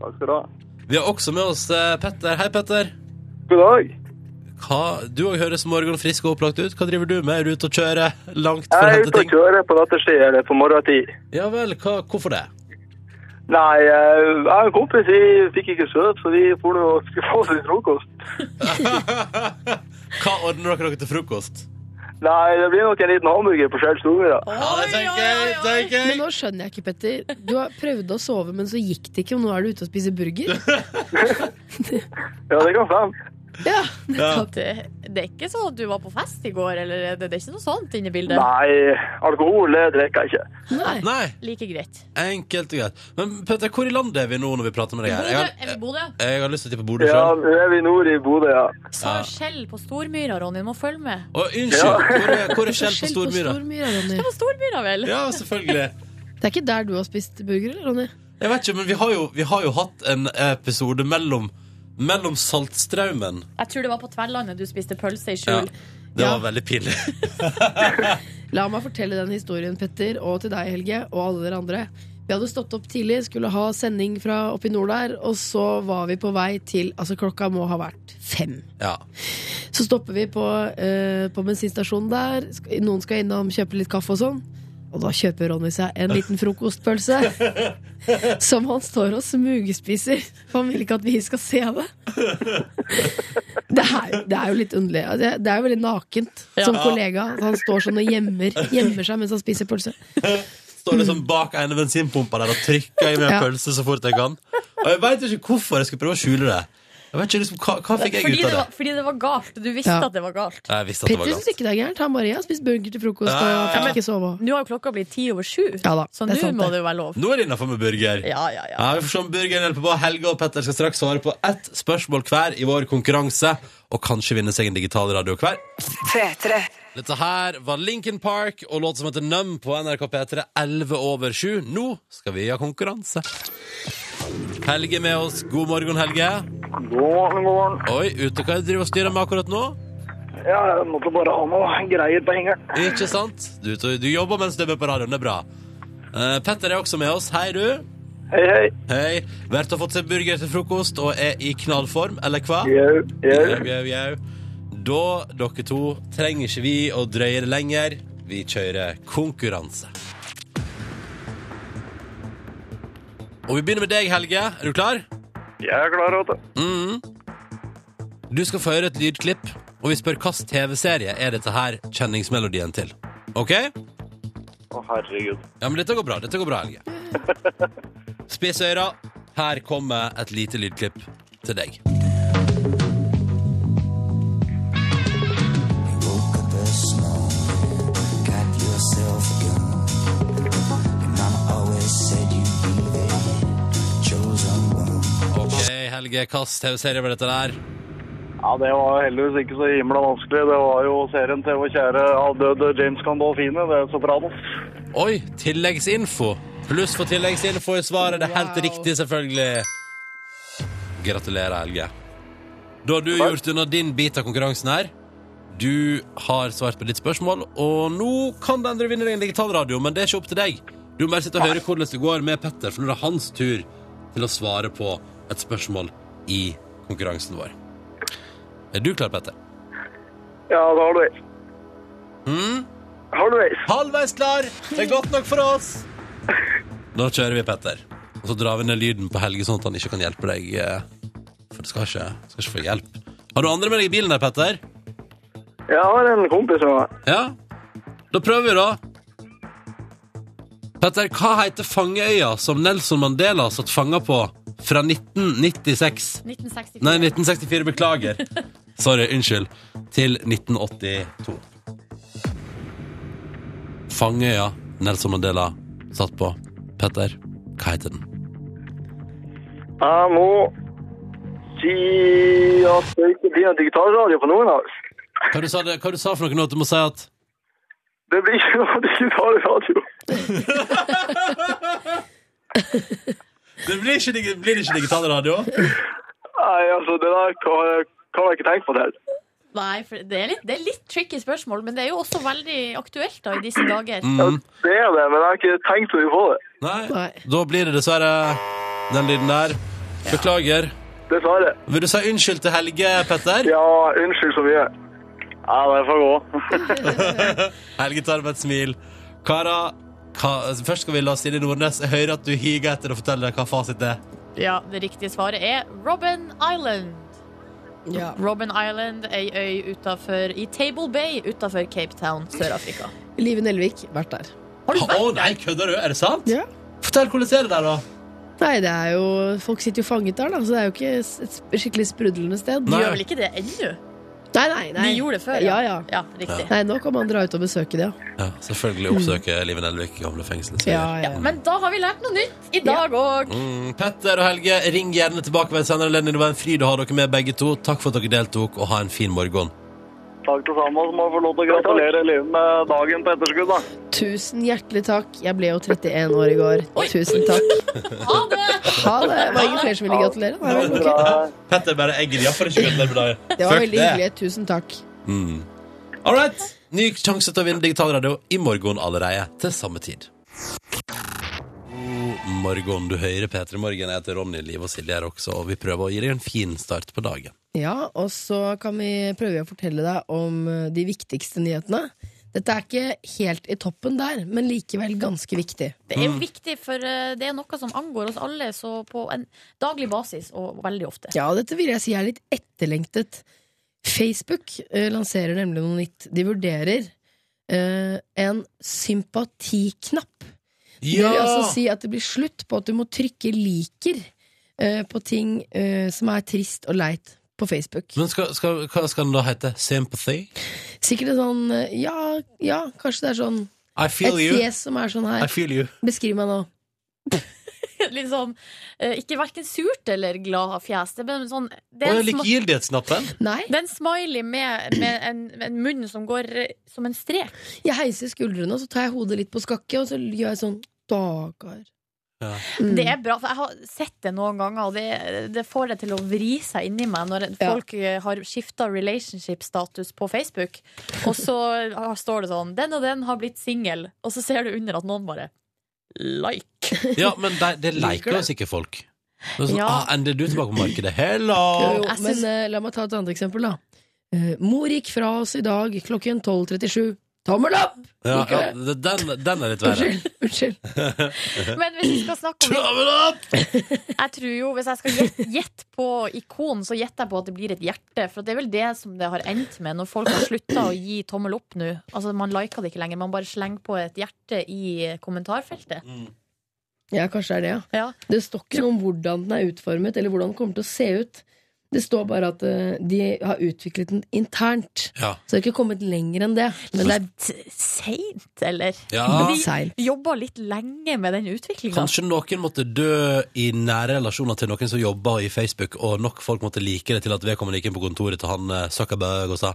Speaker 1: Takk skal du ha.
Speaker 2: Vi har også med oss eh, Petter. Hei, Petter.
Speaker 1: God dag.
Speaker 2: Hva, du òg høres morgenfrisk og opplagt ut. Hva driver du med? Er du ute og kjører langt for å
Speaker 1: Jeg er
Speaker 2: hente
Speaker 1: ute og
Speaker 2: ting?
Speaker 1: kjører på dette stedet på morgentid.
Speaker 2: Ja vel, hva, hvorfor det?
Speaker 1: Nei, eh, jeg og en kompis vi fikk ikke søt, så vi for nå og skulle få oss litt frokost.
Speaker 2: Hva ordner dere dere til frokost?
Speaker 1: Nei, det blir nok en liten hamburger på Skjell Stove, da.
Speaker 2: Ja, det
Speaker 4: Oi,
Speaker 2: tenker
Speaker 4: oi,
Speaker 2: jeg!
Speaker 4: oi.
Speaker 2: tenker
Speaker 3: Men
Speaker 2: jeg.
Speaker 3: nå skjønner jeg ikke, Petter. Du har prøvd å sove, men så gikk det ikke, og nå er du ute og spiser burger?
Speaker 1: Ja, det kan stemme.
Speaker 3: Ja,
Speaker 2: Ja.
Speaker 4: At det, det er ikke sånn at du var på fest i går, eller er det, det er ikke noe sånt inne i bildet.
Speaker 1: Nei, alkohol det drikker jeg ikke.
Speaker 3: Nei.
Speaker 2: Nei,
Speaker 4: Like greit.
Speaker 2: enkelt og greit. Men Petter, hvor i landet er vi nå når vi prater med deg her? Jeg
Speaker 4: Bodø, er vi
Speaker 2: har,
Speaker 4: i Bodø?
Speaker 2: jeg har lyst til å tippe Bodø
Speaker 1: Ja,
Speaker 2: sjøl.
Speaker 1: nå er vi nord i Bodø, ja.
Speaker 4: Sa
Speaker 2: Ja.
Speaker 4: Skjell på Stormyra, Ronny. Du må følge med.
Speaker 2: Å, unnskyld! Hvor er, hvor er Skjell på
Speaker 3: Forskjell
Speaker 2: Stormyra?
Speaker 3: Ronny.
Speaker 4: Det var Stormyra, vel?
Speaker 2: Ja, selvfølgelig.
Speaker 3: Det er ikke der du har spist burger, eller, Ronny?
Speaker 2: Jeg vet ikke, men vi har jo, vi har jo hatt en episode mellom, mellom Saltstraumen.
Speaker 4: Jeg tror det var på Tverlandet du spiste pølse i skjul.
Speaker 2: Det
Speaker 3: Ja.
Speaker 2: var veldig pinlig.
Speaker 3: La meg fortelle den historien, Petter, og til deg, Helge, og alle dere andre. Vi hadde stått opp tidlig, skulle ha sending fra oppe i nord der, og så var vi på vei til Altså, klokka må ha vært fem.
Speaker 2: Ja.
Speaker 3: Så stopper vi på, eh, på bensinstasjonen der. Sk- Noen skal innom, kjøpe litt kaffe og sånn. Og da kjøper Ronny seg en liten frokostpølse. som han står og smugspiser. For han vil ikke at vi skal se det. Det er, det er jo litt underlig. Altså, Det er jo veldig nakent som
Speaker 2: Ja.
Speaker 3: kollega. Han står sånn og gjemmer, gjemmer seg mens han spiser pølse.
Speaker 2: Står liksom bak ene bensinpumpa der og trykker i meg
Speaker 3: Ja.
Speaker 2: pølse så fort jeg kan. Og jeg veit ikke hvorfor jeg skulle prøve å skjule det. Jeg vet ikke liksom, hva, hva fikk jeg
Speaker 4: Fordi
Speaker 2: ut
Speaker 4: det,
Speaker 2: av det?
Speaker 4: var, fordi det var galt. Du visste
Speaker 3: Ja.
Speaker 4: at det var galt.
Speaker 2: Jeg visste at det
Speaker 3: Petter
Speaker 2: var
Speaker 3: syns
Speaker 2: galt.
Speaker 3: ikke det er gærent. Han bare jeg har spist burger til frokost
Speaker 2: Ja, ja,
Speaker 3: og
Speaker 2: ja.
Speaker 3: fikk ikke sove.
Speaker 4: Nå har jo klokka blitt ti over sju,
Speaker 3: Ja da,
Speaker 4: så
Speaker 3: det
Speaker 4: nå
Speaker 3: er sant
Speaker 4: må
Speaker 3: det.
Speaker 4: det jo være lov.
Speaker 2: Nå er det innafor med burger.
Speaker 4: Ja, ja, ja.
Speaker 2: Ja, vi får se om burgeren hjelper på. Helge og Petter skal straks svare på ett spørsmål hver i vår konkurranse, og kanskje vinne seg en digital radio hver. Dette her var Linkin Park og låt som heter Numb på NRK P3 11 over 7. Nå skal vi ha konkurranse. Helge er med oss. God morgen, Helge.
Speaker 1: God morgen, god morgen.
Speaker 2: Oi, ute hva er det du driver og styrer med akkurat nå?
Speaker 1: Ja, jeg måtte bare ha noe greier på hengeren.
Speaker 2: Ikke sant? Du, du, du jobber mens du er med på radioen, det er bra. Eh, Petter er også med oss. Hei, du.
Speaker 1: Hei, hei.
Speaker 2: Hei. Vært og fått seg burger til frokost og er i knallform, eller hva?
Speaker 1: Jau, jau.
Speaker 2: Jau, jau, jau. Da, dere to, trenger ikke vi å drøye det lenger. Vi kjører konkurranse. Og vi begynner med deg, Helge. Er du klar?
Speaker 1: Jeg er klar, vet du.
Speaker 2: Du skal få høre et lydklipp, og vi spør hvilken TV-serie er dette her kjenningsmelodien til. OK?
Speaker 1: Å, herregud.
Speaker 2: Ja, men dette går bra. Dette går bra, Helge. Spiss øra. Her kommer et lite lydklipp til deg. OK, Helge, hvilken TV-serie var dette der?
Speaker 1: Ja, det var heldigvis ikke så himla vanskelig. Det var jo serien til vår kjære avdøde James Gandolfine, det er Sopranos.
Speaker 2: Oi, tilleggsinfo. Pluss for tilleggsinfo i svaret. Det er helt
Speaker 3: Wow.
Speaker 2: riktig, selvfølgelig. Gratulerer, Helge. Da har du gjort unna din bit av konkurransen her. Du har svart på ditt spørsmål, og nå kan den andre vinne deg en digital radio, men det er ikke opp til deg. Du må bare sitte og høre hvordan det går med Petter, for nå er det hans tur til å svare på et spørsmål i konkurransen vår. Er du klar, Petter?
Speaker 1: Ja, det har du veis.
Speaker 2: Mm?
Speaker 1: Har du veis.
Speaker 2: Halvveis klar! Det er godt nok for oss! Da kjører vi, Petter. Og så drar vi ned lyden på Helge, sånn at han ikke kan hjelpe deg. eh, For du skal ikke, skal ikke få hjelp. Har du andre med deg i bilen der, Petter?
Speaker 1: Jeg har en kompis med meg.
Speaker 2: Ja. Da prøver vi, da. Petter, hva heter fangeøya som Nelson Mandela satt fanga på fra 1996
Speaker 4: 1964.
Speaker 2: Nei, 1964, beklager. Sorry, unnskyld. Til 1982. Fangeøya Nelson Mandela satt på. Petter, hva heter den?
Speaker 1: Jeg må si at det ikke blir en digitalradio på noen av oss.
Speaker 2: Hva du sa, det, hva du sa for noe nå? at Du må si at
Speaker 1: Det blir ikke noe digitalradio.
Speaker 2: Det blir ikke, dig- blir det ikke digital radio?
Speaker 1: Nei, altså, det der kan jeg, kan jeg ikke tenke på det her.
Speaker 4: Nei, for det er, litt, det er litt tricky spørsmål, men det er jo også veldig aktuelt da, i disse dager.
Speaker 2: Mm.
Speaker 1: Det er det, men jeg har ikke tenkt å få det.
Speaker 2: Nei.
Speaker 3: Nei.
Speaker 2: Da blir det dessverre den lyden der. Beklager.
Speaker 1: Dessverre.
Speaker 2: Vil du si unnskyld til Helge, Petter?
Speaker 1: Ja, unnskyld så mye. Ja, det får gå.
Speaker 2: Helge tar med et smil. Kara, hva, først skal vi la Silje Nordnes Jeg hører at du higer etter å fortelle deg hva fasit er.
Speaker 4: Ja, Det riktige svaret er Robben Island.
Speaker 3: Ja.
Speaker 4: Robben Island, ei øy utenfor, i Table Bay utafor Cape Town, Sør-Afrika.
Speaker 3: Live Nelvik, vært der.
Speaker 4: Har du
Speaker 2: Å nei, kødder du? Er det sant?
Speaker 3: Ja.
Speaker 2: Fortell hvordan det er det der, da.
Speaker 3: Nei, det er jo Folk sitter jo fanget der, da, så det er jo ikke s- et sp- skikkelig sprudlende sted.
Speaker 2: Nei.
Speaker 4: Gjør vel ikke det ennå?
Speaker 3: Nei, nei, nei.
Speaker 4: De gjorde det før,
Speaker 3: Ja, ja.
Speaker 4: Ja, riktig.
Speaker 3: Nei, nå kan man dra ut og besøke det, ja.
Speaker 2: Ja, selvfølgelig oppsøker Liven Elvik gamle fengselet.
Speaker 3: ja,
Speaker 2: sier.
Speaker 3: ja, ja.
Speaker 4: Men da har vi lært noe nytt i dag òg.
Speaker 2: Mm, Petter og Helge, ring gjerne tilbake ved en senere anledning. Det var en fryd å ha dere med, begge to. Takk for at dere deltok, og ha en fin morgen.
Speaker 1: Takk til sammen, så må jeg få lov til å gratulere Liv med dagen på etterskudd, da.
Speaker 3: Tusen hjertelig takk. Jeg ble jo 31 år i går. Tusen takk.
Speaker 4: Ha det!
Speaker 3: Ha det. Det var ingen flere som ville gratulere. Nei, vel, ok.
Speaker 2: Petter bare egger iallfall ikke gratulerer med dagen.
Speaker 3: Det var
Speaker 2: Fuck
Speaker 3: veldig hyggelig. Tusen takk.
Speaker 2: Mm. All right. Ny sjanse til å vinne digitalradio i morgen allerede til samme tid. God morgen, du hører P3 Morgen. Jeg heter Ronny Liv og Silje her også, og vi prøver å gi deg en fin start på dagen.
Speaker 3: Ja, og så kan vi prøve å fortelle deg om eh, de viktigste nyhetene. Dette er ikke helt i toppen der, men likevel ganske viktig.
Speaker 4: Det
Speaker 2: Mm.
Speaker 4: er jo viktig, for eh, det er noe som angår oss alle så på en daglig basis, og veldig ofte.
Speaker 3: Ja, og dette vil jeg si er litt etterlengtet. Facebook eh, lanserer nemlig noe nytt. De vurderer eh, en sympatiknapp. Det vil altså si at det blir slutt på at du må trykke liker eh, på ting eh, som er trist og leit på Facebook.
Speaker 2: Men skal, skal, hva skal den da hete? Sympathy?
Speaker 3: Sikkert en sånn eh, ja, ja, kanskje det er sånn
Speaker 2: I
Speaker 3: et
Speaker 2: feel you.
Speaker 3: fjes som er sånn
Speaker 2: I
Speaker 3: her.
Speaker 2: feel you.
Speaker 3: Beskriv meg nå.
Speaker 4: Litt sånn, eh, ikke verken surt eller glad av fjes. Det, er bare sånn,
Speaker 2: Og
Speaker 4: det, er
Speaker 2: jeg
Speaker 4: en sma-
Speaker 2: liker gyldighetsknappen.
Speaker 3: Nei,
Speaker 4: det er en smiley med, med en, en munn som går eh, som en strek.
Speaker 3: jeg heiser skuldrene, og så tar jeg hodet litt på skakke, og så gjør jeg sånn dagar.
Speaker 2: Ja.
Speaker 3: Mm.
Speaker 4: Det er bra, for jeg har sett det noen ganger, og det, det får det til å vri seg inni meg når
Speaker 3: Ja.
Speaker 4: folk eh, har skifta relationship-status på Facebook, og så har- står det sånn 'Den og den har blitt singel', og så ser du under at noen bare Like.
Speaker 2: Ja, men det, det
Speaker 3: Liker
Speaker 2: leker jo
Speaker 3: det.
Speaker 2: sikkert folk. Det er sånn,
Speaker 4: Ja.
Speaker 2: ah, Endelig er du tilbake på markedet.
Speaker 3: Jo,
Speaker 2: Hello!
Speaker 3: jo,
Speaker 4: Jeg
Speaker 3: men
Speaker 4: syns-
Speaker 3: eh, la meg ta et annet eksempel, da. Eh, mor gikk fra oss i dag klokken 12.37. Tommel opp!
Speaker 2: Ja,
Speaker 3: liker
Speaker 2: ja, den, den er litt verre.
Speaker 3: Unnskyld. unnskyld
Speaker 4: Men hvis vi skal snakke om
Speaker 2: Tommel opp!
Speaker 4: Jeg tror jo, Hvis jeg skal gjette gjett på ikon, så gjetter jeg på at det blir et hjerte. For det er vel det som det har endt med, når folk har slutta å gi tommel opp nå. Altså, Man liker det ikke lenger. Man bare slenger på et hjerte i kommentarfeltet.
Speaker 2: Mm.
Speaker 3: Ja, kanskje det er det, ja.
Speaker 4: Ja.
Speaker 3: Det står ikke noe om hvordan den er utformet, eller hvordan den kommer til å se ut. Det står bare at eh, de har utviklet den internt.
Speaker 2: Ja.
Speaker 3: Så det er ikke kommet lenger enn det. Men det er
Speaker 4: Litt seint, eller?
Speaker 2: Ja.
Speaker 3: litt
Speaker 4: Vi-
Speaker 3: seigt.
Speaker 4: Jobba litt lenge med den utviklinga.
Speaker 2: Kanskje noen måtte dø i nære relasjoner til noen som jobba i Facebook, og nok folk måtte like det til at vedkommende gikk inn på kontoret til han eh, Zuckerberg og sa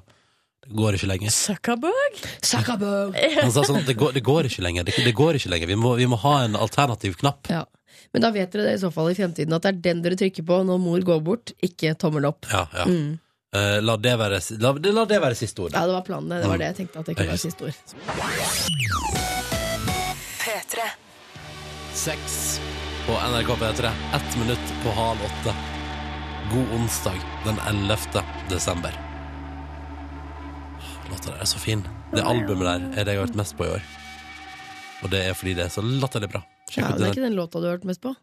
Speaker 2: det går ikke lenger.
Speaker 4: Zuckerberg?
Speaker 3: Zuckerberg!
Speaker 2: Han sa sånn, det går, det går ikke lenger, det, det går ikke lenger. Vi må, vi må ha en alternativ knapp.
Speaker 3: Ja. Men da vet dere det i så fall i fremtiden, at det er den dere trykker på når mor går bort, ikke tommel opp.
Speaker 2: Ja, ja.
Speaker 3: Mm.
Speaker 2: Eh, la, det være, si- la, la det være siste ord.
Speaker 3: Ja, det var planen, det. Det var det jeg tenkte at det kunne være siste ord.
Speaker 2: Seks på NRK P3. Ett minutt på halv åtte. God onsdag den 11. desember. Låta der er så fin. Det albumet der er det jeg har hørt mest på i år. Og det er fordi det er så latterlig bra. Sjekk
Speaker 3: Ja,
Speaker 2: ut
Speaker 3: det er
Speaker 2: den.
Speaker 3: ikke den låta du har hørt mest på?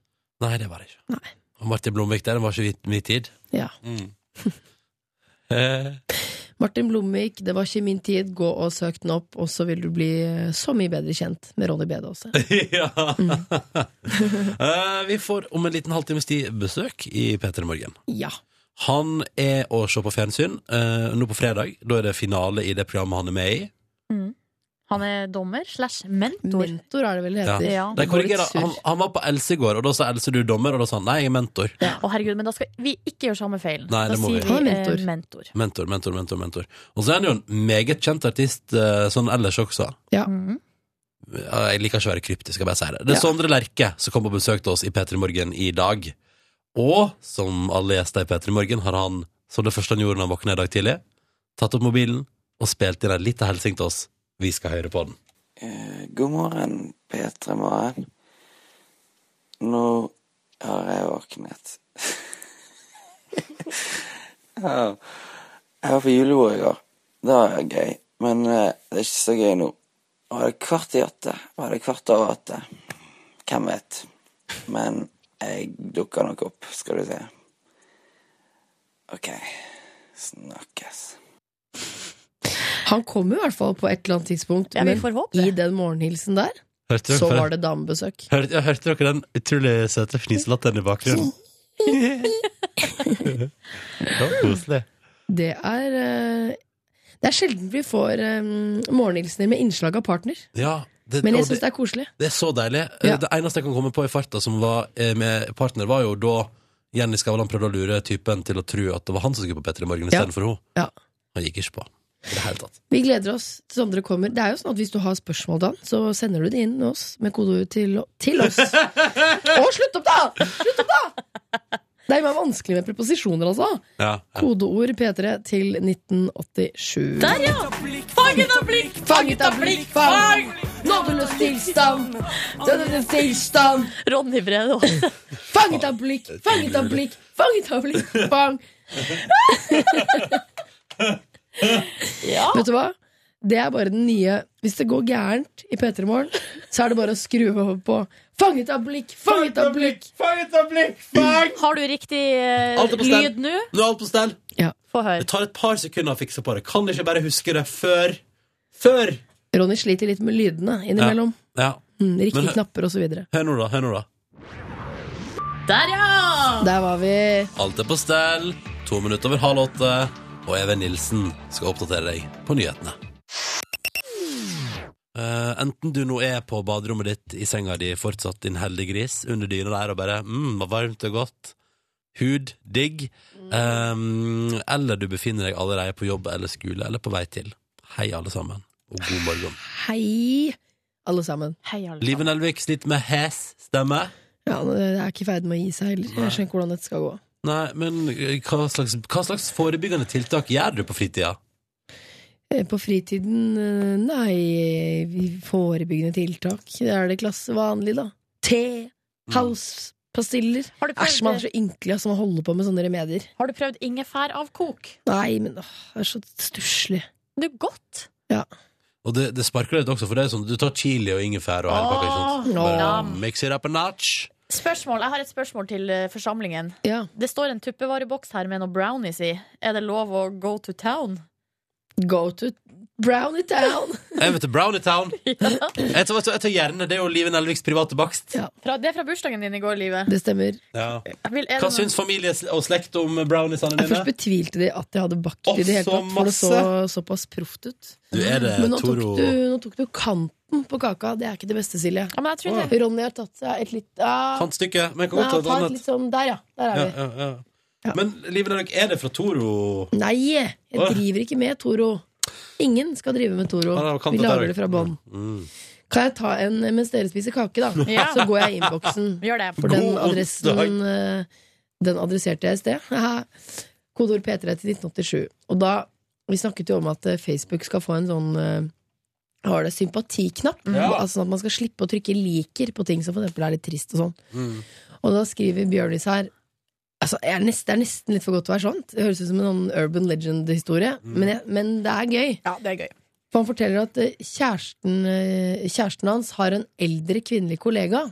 Speaker 2: Nei, det var det ikke.
Speaker 3: Nei.
Speaker 2: Og Martin Blomvik der, det var ikke hvit- min tid.
Speaker 3: Ja.
Speaker 2: Eh,
Speaker 3: Martin Blomvik, det var ikke min tid, gå og søk den opp, og så vil du bli eh, så mye bedre kjent med Ronny Bede også.
Speaker 2: ja.
Speaker 3: Mm.
Speaker 2: Eh, vi får om en liten halvtimes tid besøk i P3 Morgen.
Speaker 3: Ja.
Speaker 2: Han er å se på fjernsyn eh, nå på fredag. Da er det finale i det programmet han er med i.
Speaker 4: Han er dommer slash mentor.
Speaker 3: Mentor er det vel det heter.
Speaker 4: Ja.
Speaker 2: Nei,
Speaker 3: Det går
Speaker 2: korrigerer.
Speaker 3: litt surr.
Speaker 2: Han, han var på Else i går, og da sa Else du er dommer, og da sa han nei, jeg er mentor.
Speaker 4: Å, herregud, men da skal vi ikke gjøre samme feilen.
Speaker 2: Nei,
Speaker 4: da
Speaker 2: det må vi
Speaker 4: sier
Speaker 3: ikke. Han
Speaker 4: vi
Speaker 3: er
Speaker 4: eh,
Speaker 3: mentor.
Speaker 4: mentor.
Speaker 2: Mentor, mentor, mentor. mentor Og så er han jo en meget kjent artist eh, sånn ellers også.
Speaker 3: Ja.
Speaker 4: Mhm.
Speaker 2: Ja, Jeg liker ikke å være kryptisk, jeg bare sier det. Det er
Speaker 3: Ja.
Speaker 2: Sondre Lerche som kom og besøkte oss i P3 Morgen i dag. Og som alle gjester i P3 Morgen har han, som det første han gjorde når han våkna i dag tidlig, tatt opp mobilen og spilt inn en liten hilsen til oss. Vi skal høre på den.
Speaker 5: Eh, God morgen, P3 Morgen. Nå har jeg våknet. ja. Jeg var på julebord i går. Det var gøy. Men eh, det er ikke så gøy nå. Var det kvart i åtte? Var det kvart over åtte? Hvem vet. Men jeg dukker nok opp, skal du se. OK. Snakkes.
Speaker 3: Han kom jo i hvert fall på et eller annet tidspunkt,
Speaker 4: Ja, vi
Speaker 3: men
Speaker 4: får håpe
Speaker 3: i
Speaker 4: det.
Speaker 3: den morgenhilsen der,
Speaker 2: Hørte dere
Speaker 3: så
Speaker 2: for-
Speaker 3: var det damebesøk.
Speaker 2: Hørte, ja, hørte dere den utrolig søte fniselatteren i bakgrunnen? det var koselig.
Speaker 3: Det er eh, Det er sjelden vi får eh, morgenhilsener med innslag av partner,
Speaker 2: Ja, det,
Speaker 3: men jeg
Speaker 2: og
Speaker 3: syns det er koselig.
Speaker 2: det er så deilig. Eh,
Speaker 3: Ja.
Speaker 2: Det eneste jeg kan komme på i farta som var eh, med partner, var jo da Jenny Skavlan prøvde å lure typen til å tro at det var han som skulle på P3 Morgen
Speaker 3: Ja.
Speaker 2: istedenfor hun.
Speaker 3: Ja.
Speaker 2: Han gikk ikke på. I det hele tatt.
Speaker 3: Vi gleder oss til Sondre kommer. Det er jo sånn at Hvis du har spørsmål, Dan, så sender du det inn med oss med kodeord til, til oss. Å, slutt opp, da! Slutt opp, da! Det er jo bare vanskelig med preposisjoner, altså.
Speaker 2: Ja, ja.
Speaker 3: Kodeord P3 til 1987.
Speaker 4: Der, ja! Fanget av blikk!
Speaker 3: Fanget av blikk, fang! Nådeløs tilstand! Nådeløs tilstand!
Speaker 4: Ronny Brede
Speaker 3: Fanget av blikk, fanget av blikk, fanget av blikk, fang!
Speaker 4: Ja.
Speaker 3: Vet du hva? Det er bare den nye Hvis det går gærent i P3 Morgen, så er det bare å skru over på Fanget av blikk, fanget av blikk!
Speaker 4: Har du riktig eh,
Speaker 2: Alt er på stell.
Speaker 4: lyd nå?
Speaker 2: Nå er alt på stell.
Speaker 4: Få
Speaker 2: Det
Speaker 4: høre.
Speaker 2: tar et par sekunder å fikse på det. Kan ikke bare huske det før Før!
Speaker 3: Ronny sliter litt med lydene innimellom.
Speaker 2: Ja.
Speaker 3: Mm,
Speaker 2: Men-
Speaker 3: riktige knapper osv.
Speaker 2: Hør nå, da. Hør nå, da.
Speaker 4: Der, ja!
Speaker 3: Der var vi.
Speaker 2: Alt er på stell. To minutter over halv åtte. Og Even Nilsen skal oppdatere deg på nyhetene. Eh, enten du nå er på baderommet ditt i senga di fortsatt din heldige gris under dyna der og bare mm, var varmt og godt, hud, digg, Eh, eller du befinner deg allerede på jobb eller skole eller på vei til. Hei, alle sammen, og god morgen.
Speaker 3: Hei, alle sammen.
Speaker 4: Hei, alle sammen.
Speaker 2: Live Nelvik sliter med hes stemme.
Speaker 3: Ja, Det er ikke i ferd med å gi seg heller.
Speaker 2: Nei.
Speaker 3: Jeg skjønner ikke hvordan dette skal gå.
Speaker 2: Nei, men eh, hva slags, hva slags forebyggende tiltak gjør du på fritida?
Speaker 3: Eh, På fritiden, eh, nei vi- Forebyggende tiltak. Det er det klasse vanlig, da. Te, halspastiller.
Speaker 4: Har du
Speaker 3: Æsj, man er
Speaker 4: prøvd,
Speaker 3: så ynkelig som holder på med sånne remedier.
Speaker 4: har du prøvd ingefæravkok?
Speaker 3: Nei, men åh, det er så stusslig.
Speaker 4: Det er godt.
Speaker 2: Og det, det sparker litt også, for det er sånn du tar chili og ingefær og hele pakka. ikke sant?
Speaker 3: Åh,
Speaker 2: Bare
Speaker 4: jam.
Speaker 2: Mix it up a notch.
Speaker 4: Spørsmål, Jeg har et spørsmål til eh, forsamlingen.
Speaker 3: Ja.
Speaker 4: Det står en tuppevareboks her med noe brownies i. Er det lov å go to town?
Speaker 3: Go to brownie town!
Speaker 2: Jeg vet det, Brownie Town. Jeg tar, jeg tar gjerne det er jo Live Nelviks private bakst.
Speaker 3: Ja,
Speaker 4: Fra, det er fra bursdagen din i går, Live.
Speaker 3: det stemmer.
Speaker 2: Ja.
Speaker 4: Vil, er det
Speaker 2: Hva
Speaker 4: noe-
Speaker 2: syns familie og slekt om browniesene
Speaker 3: Jeg først
Speaker 2: dine?
Speaker 3: betvilte de at jeg hadde bakt
Speaker 2: Åh,
Speaker 3: i det hele
Speaker 2: så
Speaker 3: tatt, for det så såpass proft ut.
Speaker 2: Du er det,
Speaker 3: Men nå tok,
Speaker 2: Toro.
Speaker 3: du, nå tok du kanten på kaka. Det er ikke det beste, Silje.
Speaker 4: ja, men jeg tror det.
Speaker 3: Ronny har tatt seg et litt ah,
Speaker 2: Fant stykket, men jeg kan
Speaker 3: Nei,
Speaker 2: godt ta
Speaker 3: ta
Speaker 2: et
Speaker 3: et litt
Speaker 2: annet.
Speaker 3: sånn Der, ja. Der er
Speaker 2: Ja,
Speaker 3: vi.
Speaker 2: ja, ja.
Speaker 3: Ja.
Speaker 2: Men Live Nelvik, er det fra Toro?
Speaker 3: Nei, jeg
Speaker 2: Åh.
Speaker 3: driver ikke med Toro. Ingen skal drive med Toro.
Speaker 2: Ah, det var kant
Speaker 3: Vi
Speaker 2: der
Speaker 3: lager
Speaker 2: også.
Speaker 3: det fra bånn.
Speaker 2: Mm.
Speaker 3: Kan jeg ta en mens dere spiser kake, da?
Speaker 4: Ja.
Speaker 3: Så går jeg i innboksen.
Speaker 4: Gjør det.
Speaker 3: For den
Speaker 2: God
Speaker 3: adressen eh, Den adresserte jeg i sted. Haha. Kodeord P3 til 1987. Og da Vi snakket jo om at eh, Facebook skal få en sånn eh, hva var det, sympatiknapp.
Speaker 2: Mm. Ja.
Speaker 3: Altså sånn at man skal slippe å trykke liker på ting som for eksempel er litt trist og sånn.
Speaker 2: Mm.
Speaker 3: Og da skriver Bjørnis her Altså, jeg er nesten, det er nesten litt for godt til å være sant. Det høres ut som en sånn urban legend-historie,
Speaker 2: Mm.
Speaker 3: men, jeg- men det er gøy.
Speaker 6: Ja, det er gøy.
Speaker 3: For han forteller at eh, kjæresten, eh, kjæresten hans har en eldre kvinnelig kollega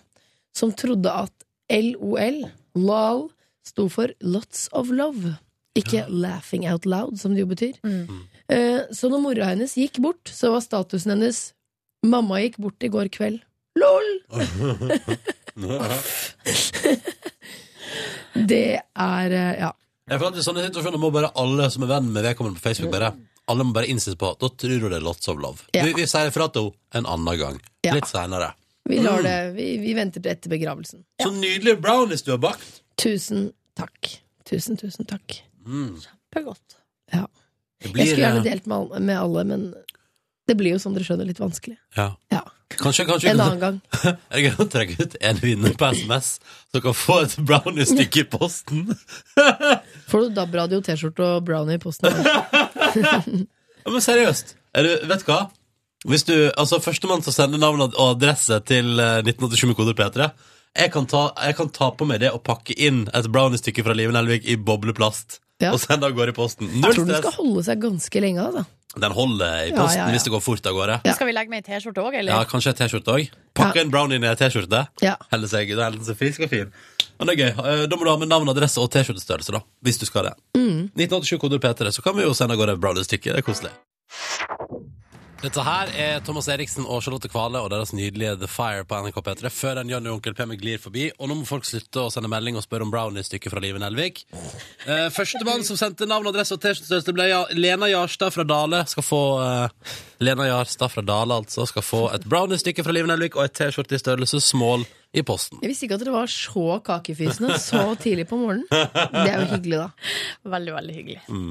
Speaker 3: som trodde at LOL, LOL, sto for Lots of Love. Ikke Laughing Out Loud, som det jo betyr.
Speaker 4: Mm.
Speaker 3: Eh, Så når mora hennes gikk bort, så var statusen hennes Mamma gikk bort i går kveld. LOL! Det er eh, Ja.
Speaker 2: Jeg føler at I sånne situasjoner må bare alle som er venn med vedkommende på Facebook, bare Alle må bare innse på Da tror du det er lots of love.
Speaker 3: Ja.
Speaker 2: Vi, vi sier fra til henne en annen gang.
Speaker 3: Ja.
Speaker 2: Litt seinere.
Speaker 3: Vi lar det Vi, vi venter til etter begravelsen.
Speaker 2: Så nydelig brownies du har bakt!
Speaker 3: Tusen takk. Tusen, tusen takk.
Speaker 2: Mm.
Speaker 4: Kjempegodt.
Speaker 2: Det
Speaker 3: Jeg
Speaker 2: blir
Speaker 3: skulle gjerne
Speaker 2: eh,
Speaker 3: delt med alle, med alle, men det blir jo som dere skjønner litt vanskelig.
Speaker 2: ja.
Speaker 3: Ja.
Speaker 2: Kanskje, kanskje vi
Speaker 3: En
Speaker 2: kan,
Speaker 3: annen gang.
Speaker 2: jeg kan trekke ut en vinner på SMS, så kan få et brownie-stykke i posten.
Speaker 3: Får du DAB-radio, T-skjorte og brownie i posten?
Speaker 2: Ja, men seriøst. Er du, vet du hva? Hvis du, altså Førstemann til å sende navn og adresse til eh, 1987 med koder P3 jeg kan, ta, jeg kan ta på meg det og pakke inn et brownie-stykke fra Liven Elvik i bobleplast.
Speaker 3: Ja.
Speaker 2: Og sende av gårde i posten.
Speaker 3: Jeg
Speaker 2: Null
Speaker 3: tror den skal
Speaker 2: stress.
Speaker 3: holde seg ganske lenge, altså.
Speaker 2: Den holder i
Speaker 3: Ja,
Speaker 2: posten
Speaker 3: ja, ja.
Speaker 2: hvis det går fort av gårde.
Speaker 4: Skal vi legge med ei T-skjorte òg,
Speaker 2: Ja,
Speaker 4: eller?
Speaker 2: Kanskje ei T-skjorte òg. Pakke
Speaker 3: Ja.
Speaker 2: en brownie ned i ei T-skjorte.
Speaker 3: Ja.
Speaker 2: Helle seg, da er den så frisk og fin. Men det er gøy. Eh, Da må du ha med navn, adresse og T-skjortestørrelse, da. Hvis du skal det.
Speaker 3: Mm.
Speaker 2: 1987 koder P3, E, så kan vi jo sende av gårde et brownie-stykke. Det er koselig. Dette her er Thomas Eriksen og Charlotte Kvale og deres nydelige The Fire på NRK P3. Før den Johnny og Onkel P med glir forbi. Og nå må folk slutte å sende melding og spørre om brownie-stykket fra Liven Elvik. Eh, Førstemann som sendte navn, adresse og T-skjortestørrelse, ble ja Lena Jarstad fra Dale. Skal få eh, Lena Jarstad fra Dale, altså. Skal få et brownie-stykke fra Liven Elvik og et T-skjorte i størrelse small i posten.
Speaker 3: Jeg visste ikke at dere var så kakefysende så tidlig på morgenen. Det er jo hyggelig, da.
Speaker 4: Veldig, veldig hyggelig.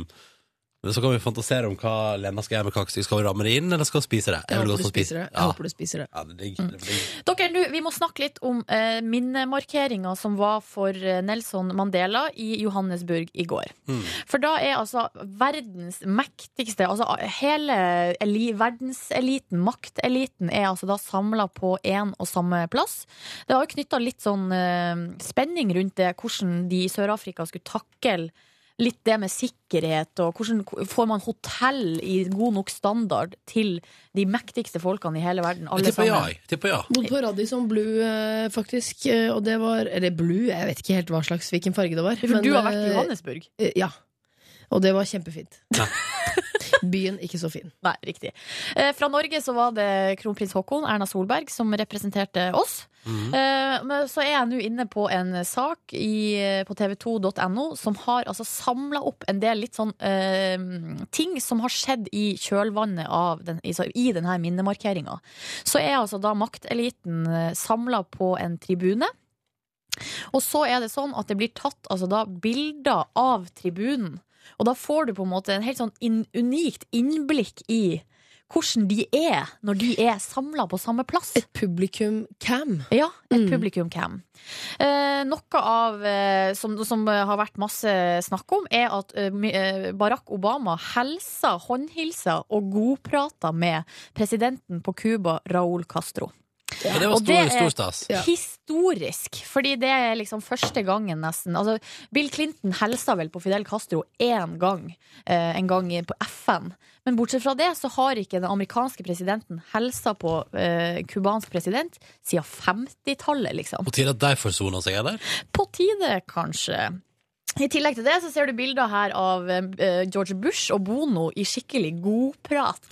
Speaker 2: Men så kan vi fantasere om hva Lena skal gjøre med kakestykket. Skal hun ramme det inn, eller skal hun spise det? vil
Speaker 3: Jeg håper
Speaker 2: godt
Speaker 3: du
Speaker 2: få spise-
Speaker 3: spiser det. Jeg
Speaker 2: Ja.
Speaker 3: håper du spiser det.
Speaker 2: Ja, det er digg. Det er digg.
Speaker 4: Dere, nå, Vi må snakke litt om eh, minnemarkeringa som var for eh, Nelson Mandela i Johannesburg i går.
Speaker 2: Mm.
Speaker 4: For da er altså verdens mektigste altså Hele eli, verdenseliten, makteliten, er altså da samla på én og samme plass. Det har jo knytta litt sånn eh, spenning rundt det, hvordan de i Sør-Afrika skulle takle litt det med sikkerhet, og hvordan får man hotell i god nok standard til de mektigste folkene i hele verden?
Speaker 2: Jeg
Speaker 4: alle
Speaker 2: tipper ja.
Speaker 4: sammen.
Speaker 2: jeg. Tipper ja.
Speaker 3: Bodde på Radisson Blue, eh, faktisk, eh, og det var Eller Blue, jeg vet ikke helt hva slags, hvilken farge det var.
Speaker 4: For du har vært i
Speaker 3: eh,
Speaker 4: Johannesburg?
Speaker 3: eh, Ja. Og det var kjempefint. Byen ikke så fin.
Speaker 4: Nei, riktig. Eh, fra Norge så var det kronprins Haakon, Erna Solberg, som representerte oss. Eh, men så er jeg nå inne på en sak i, på tv2.no som har altså samla opp en del litt sånn eh, ting som har skjedd i kjølvannet av den, i, så, i denne minnemarkeringa. Så er altså da makteliten samla på en tribune. Og så er det sånn at det blir tatt altså da, bilder av tribunen. Og da får du på en måte en helt sånn inn- unikt innblikk i hvordan de er når de er samla på samme plass.
Speaker 3: Et publikum-cam.
Speaker 4: Ja, et
Speaker 3: Mm.
Speaker 4: publikum cam. Eh, noe av eh, som, som har vært masse snakk om, er at eh, my- eh, Barack Obama helsa, håndhilsa og godprata med presidenten på Cuba, Raúl Castro.
Speaker 2: Men det var
Speaker 4: Og
Speaker 2: stor,
Speaker 4: det er-
Speaker 2: stor stas.
Speaker 3: Ja.
Speaker 4: Historisk, fordi det er liksom første gangen nesten. Altså, Bill Clinton helsa vel på Fidel Castro én gang, eh, en gang i- på FN. Men bortsett fra det så har ikke den amerikanske presidenten helsa på eh, cubansk president siden 50-tallet, liksom.
Speaker 2: På tide at de forsoner seg, eller?
Speaker 4: På tide, kanskje. I tillegg til det så ser du bilder her av eh, George Bush og Bono i skikkelig godprat.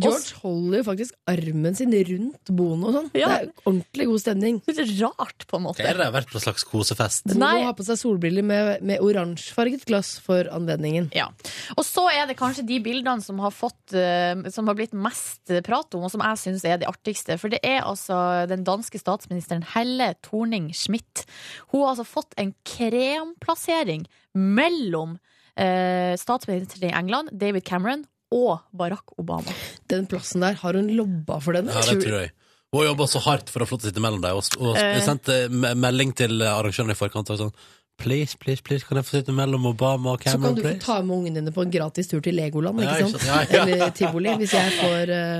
Speaker 3: George holder jo faktisk armen sin rundt Bono og sånn.
Speaker 4: Ja.
Speaker 3: Det er ordentlig god stemning.
Speaker 4: Det er litt rart, på en måte.
Speaker 2: Dere har vært på en slags kosefest.
Speaker 3: Bono
Speaker 4: Nei.
Speaker 3: har på seg solbriller med, med oransjefarget glass for anledningen.
Speaker 4: Ja. Og så er det kanskje de bildene som har, fått, eh, som har blitt mest prat om, og som jeg syns er de artigste. For det er altså den danske statsministeren Helle Thorning-Schmidt. Hun har altså fått en kremplassering mellom eh, statsministeren i England, David Cameron, og Barack Obama.
Speaker 3: Den plassen der, har hun lobba for den?
Speaker 2: Ja, det tror jeg. Hun jobba så hardt for å få lov til å sitte mellom dem, og, og
Speaker 4: Eh.
Speaker 2: sendte me- melding til arrangøren i forkant og sånn Please, please, please, kan jeg få sitte mellom Obama og
Speaker 3: Så kan
Speaker 2: Cameron,
Speaker 3: du få
Speaker 2: please?
Speaker 3: ta med ungene dine på en gratis tur til Legoland,
Speaker 2: Ja,
Speaker 3: ikke
Speaker 2: ikke
Speaker 3: sant?
Speaker 2: sant? Ja, ja.
Speaker 3: Eller Tivoli, hvis jeg får eh,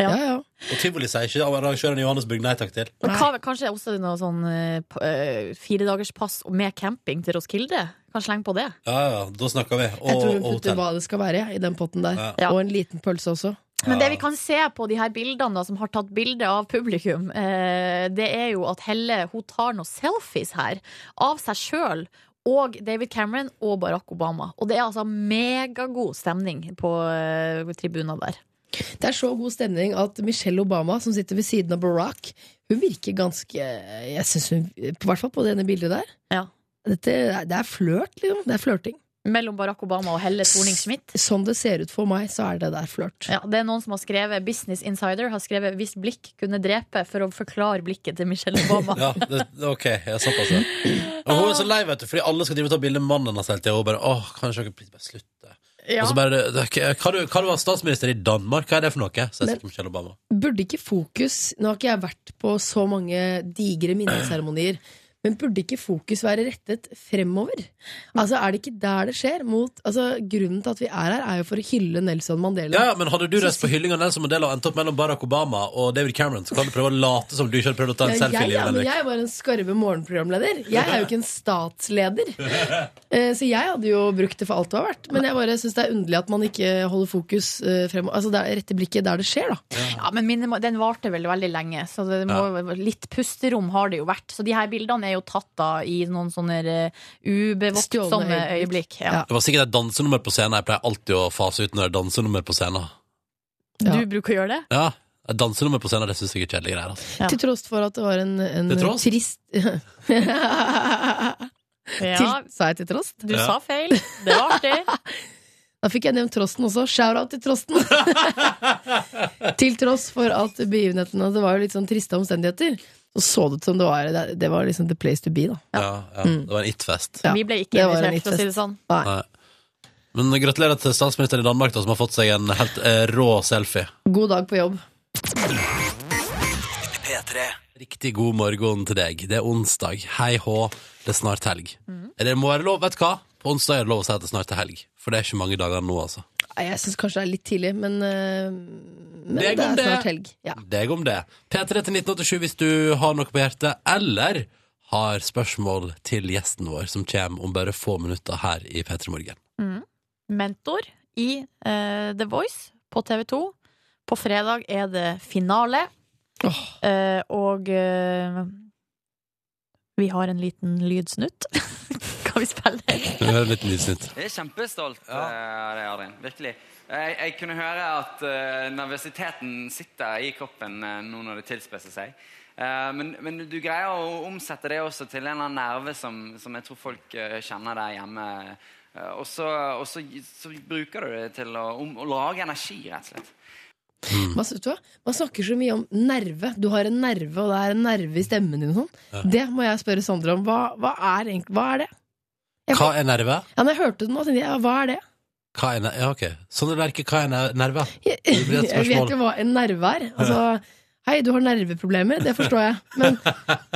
Speaker 4: Ja.
Speaker 3: Ja, ja.
Speaker 2: Og tivoli sier ikke arrangøren i Johannesburg nei takk til.
Speaker 4: Og hva, kanskje også noe sånn eh, p- eh, firedagerspass med camping til Roskilde? Kan slenge på det.
Speaker 2: Ja, ja, da snakker vi.
Speaker 3: Jeg
Speaker 2: Og,
Speaker 3: tror hun
Speaker 2: og
Speaker 3: putter
Speaker 2: hotell.
Speaker 3: hva det skal være ja, i den potten der.
Speaker 4: Ja.
Speaker 3: Og en liten pølse også.
Speaker 2: Ja.
Speaker 4: Men det vi kan se på de her bildene da, som har tatt bilde av publikum, eh, det er jo at Helle hun tar noen selfies her av seg sjøl. Og David Cameron og Barack Obama. Og det er altså megagod stemning på eh, tribunen der.
Speaker 3: Det er så god stemning at Michelle Obama, som sitter ved siden av Barack, hun virker ganske Jeg synes hun, I hvert fall på det ene bildet der.
Speaker 4: Ja.
Speaker 3: Dette, det er flørt, liksom. Det er flørting.
Speaker 4: Mellom Barack Obama og Helle Thorning-Schmidt.
Speaker 3: Som det ser ut for meg, så er det der flørt.
Speaker 4: Ja, det er noen som har skrevet Business Insider har skrevet 'Hvis blikk kunne drepe' for å forklare blikket til Michelle Obama.
Speaker 2: Ja, det, OK. Jeg såpass, ja. Og hun er så lei, vet du, fordi alle skal drive og ta bilde med mannen hennes hele tida. Og hun bare åh, kan ikke dere please bare slutte?
Speaker 4: Ja.
Speaker 2: Og så bare det, det, Hva du, hva du var statsminister i Danmark? Hva er det for noe? Så jeg
Speaker 3: Men-
Speaker 2: sier Michelle Obama.
Speaker 3: Burde ikke fokus Nå har ikke jeg vært på så mange digre minneseremonier, men burde ikke fokus være rettet fremover? Altså, Er det ikke der det skjer? Mot, altså, grunnen til at vi er her, er jo for å hylle Nelson Mandela.
Speaker 2: Ja, ja, men hadde du reist på hyllinga av Nelson Mandela og endt opp mellom Barack Obama og David Cameron, så kan du prøve å late som du ikke hadde prøvd å ta en
Speaker 3: Ja,
Speaker 2: selfie.
Speaker 3: jeg,
Speaker 2: i
Speaker 3: ja,
Speaker 2: livet,
Speaker 3: men
Speaker 2: Henrik.
Speaker 3: jeg var en skarve morgenprogramleder. Jeg er jo ikke en statsleder. Eh, Så jeg hadde jo brukt det for alt det var verdt. Men jeg bare syns det er underlig at man ikke holder fokus eh, fremover. Altså det er rette blikket der det skjer, da.
Speaker 4: Ja, men minne, den varte vel veldig lenge, så det må, litt pusterom har det jo vært. Så de her bildene er jo tatt da i noen sånne eh, ubevoktsomme
Speaker 3: Stjålne
Speaker 4: øyeblikk.
Speaker 3: øyeblikk.
Speaker 4: Ja.
Speaker 3: Ja.
Speaker 2: Det var sikkert et dansenummer på scenen. Jeg pleier alltid å fase ut når det er dansenummer på scenen.
Speaker 3: Ja.
Speaker 4: Du bruker å gjøre det?
Speaker 2: Ja, et dansenummer på scenen, det syns jeg er kjedelige greier. Altså.
Speaker 4: Ja.
Speaker 3: Til tross for at det var en, en
Speaker 2: Til tross?
Speaker 3: trist til,
Speaker 4: Ja,
Speaker 3: Sa jeg til trost?
Speaker 4: du
Speaker 2: Ja.
Speaker 4: sa feil. Det var artig.
Speaker 3: Da fikk jeg nevnt Trosten også. Shout-out til Trosten! til tross for at begivenhetene Det var jo litt sånn triste omstendigheter. Så så det ut som det var Det, det var liksom the place to be, da.
Speaker 2: Ja. Ja,
Speaker 3: Mm.
Speaker 2: Det var en it-fest.
Speaker 3: Ja,
Speaker 4: Vi ble ikke
Speaker 3: det var en
Speaker 4: invitert, for å si det sånn.
Speaker 2: Nei. Men gratulerer til statsministeren i Danmark, da, som har fått seg en helt eh, rå selfie.
Speaker 3: God dag på jobb.
Speaker 2: Riktig god morgen til deg. Det er onsdag. Hei hå, det er snart helg. Er det må være lov, vet du hva? På onsdag er det lov å si at det snart er helg. For det er ikke mange dager nå, altså.
Speaker 3: Nei, Jeg syns kanskje det er litt tidlig, men, eh, men
Speaker 2: Det
Speaker 3: det,
Speaker 2: er
Speaker 3: er
Speaker 2: god, det.
Speaker 3: snart helg. Ja.
Speaker 2: Deg om det. P3 til 1987 hvis du har noe på hjertet, eller har spørsmål til gjesten vår, som kommer om bare få minutter her i P3 Morgen.
Speaker 4: Mentor i eh, The Voice på TV2. På fredag er det finale, eh, og eh, vi har en liten lydsnutt. Kan vi spille den?
Speaker 2: Vi hører litt nysnitt.
Speaker 6: Jeg er kjempestolt eh, av deg, Adrian. Virkelig. Jeg, jeg kunne høre at eh, nervøsiteten sitter i kroppen eh, nå når det tilspisser seg. Eh, men, men du greier å omsette det også til en eller annen nerve som, som jeg tror folk eh, kjenner der hjemme. Eh, og så, og så, så bruker du det til å, om, å lage energi, rett og slett.
Speaker 2: Mm.
Speaker 3: Man, vet du hva? Man snakker så mye om nerve. Du har en nerve, og det er en nerve i stemmen din. og Sånn. Det må jeg spørre Sondre om. Hva, hva, er, egentlig, hva er det?
Speaker 2: Hva er nerve?
Speaker 3: Ja, når jeg hørte det nå, tenkte jeg ja, hva er det?
Speaker 2: Hva er nerve? Ja, ok. Sånn er det ikke. Hva er ner- nerve?
Speaker 3: Jeg,
Speaker 2: Det blir et
Speaker 3: jeg vet
Speaker 2: spørsmål.
Speaker 3: jo hva en nerve er. Altså, hei, du har nerveproblemer, det forstår jeg. Men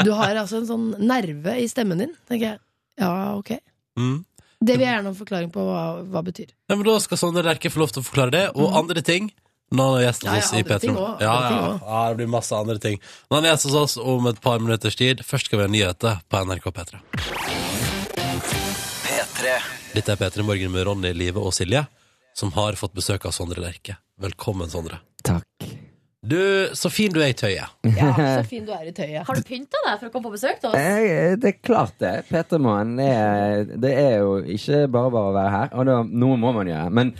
Speaker 3: du har altså en sånn nerve i stemmen din, tenker jeg. Ja, ok.
Speaker 2: Mm.
Speaker 3: Det vil jeg gjerne ha en forklaring på hva, hva betyr.
Speaker 2: Ja, men Da skal Sondre Lerche få lov til å forklare det, og andre ting. Når han er gjest hos
Speaker 3: Mhm.
Speaker 2: oss i
Speaker 3: Ja, ja, andre ting
Speaker 2: P3.
Speaker 3: også,
Speaker 2: Ja,
Speaker 3: andre
Speaker 2: ja,
Speaker 3: ting
Speaker 2: ja, det blir masse andre ting. Når han er gjest hos oss om et par minutters tid, først skal vi ha nyheter på NRK P3. Dette er P3 Morgen med Ronny, Live og Silje, som har fått besøk av Sondre Lerche. Velkommen, Sondre.
Speaker 7: Takk.
Speaker 2: Du, så fin du er i tøyet.
Speaker 3: Ja, så fin du er i tøyet.
Speaker 4: Har du pynta deg for å komme på besøk til oss?
Speaker 7: Eh, Det er klart det. Petermann er Det er jo ikke bare bare å være her. Og da, noe må man gjøre. Men,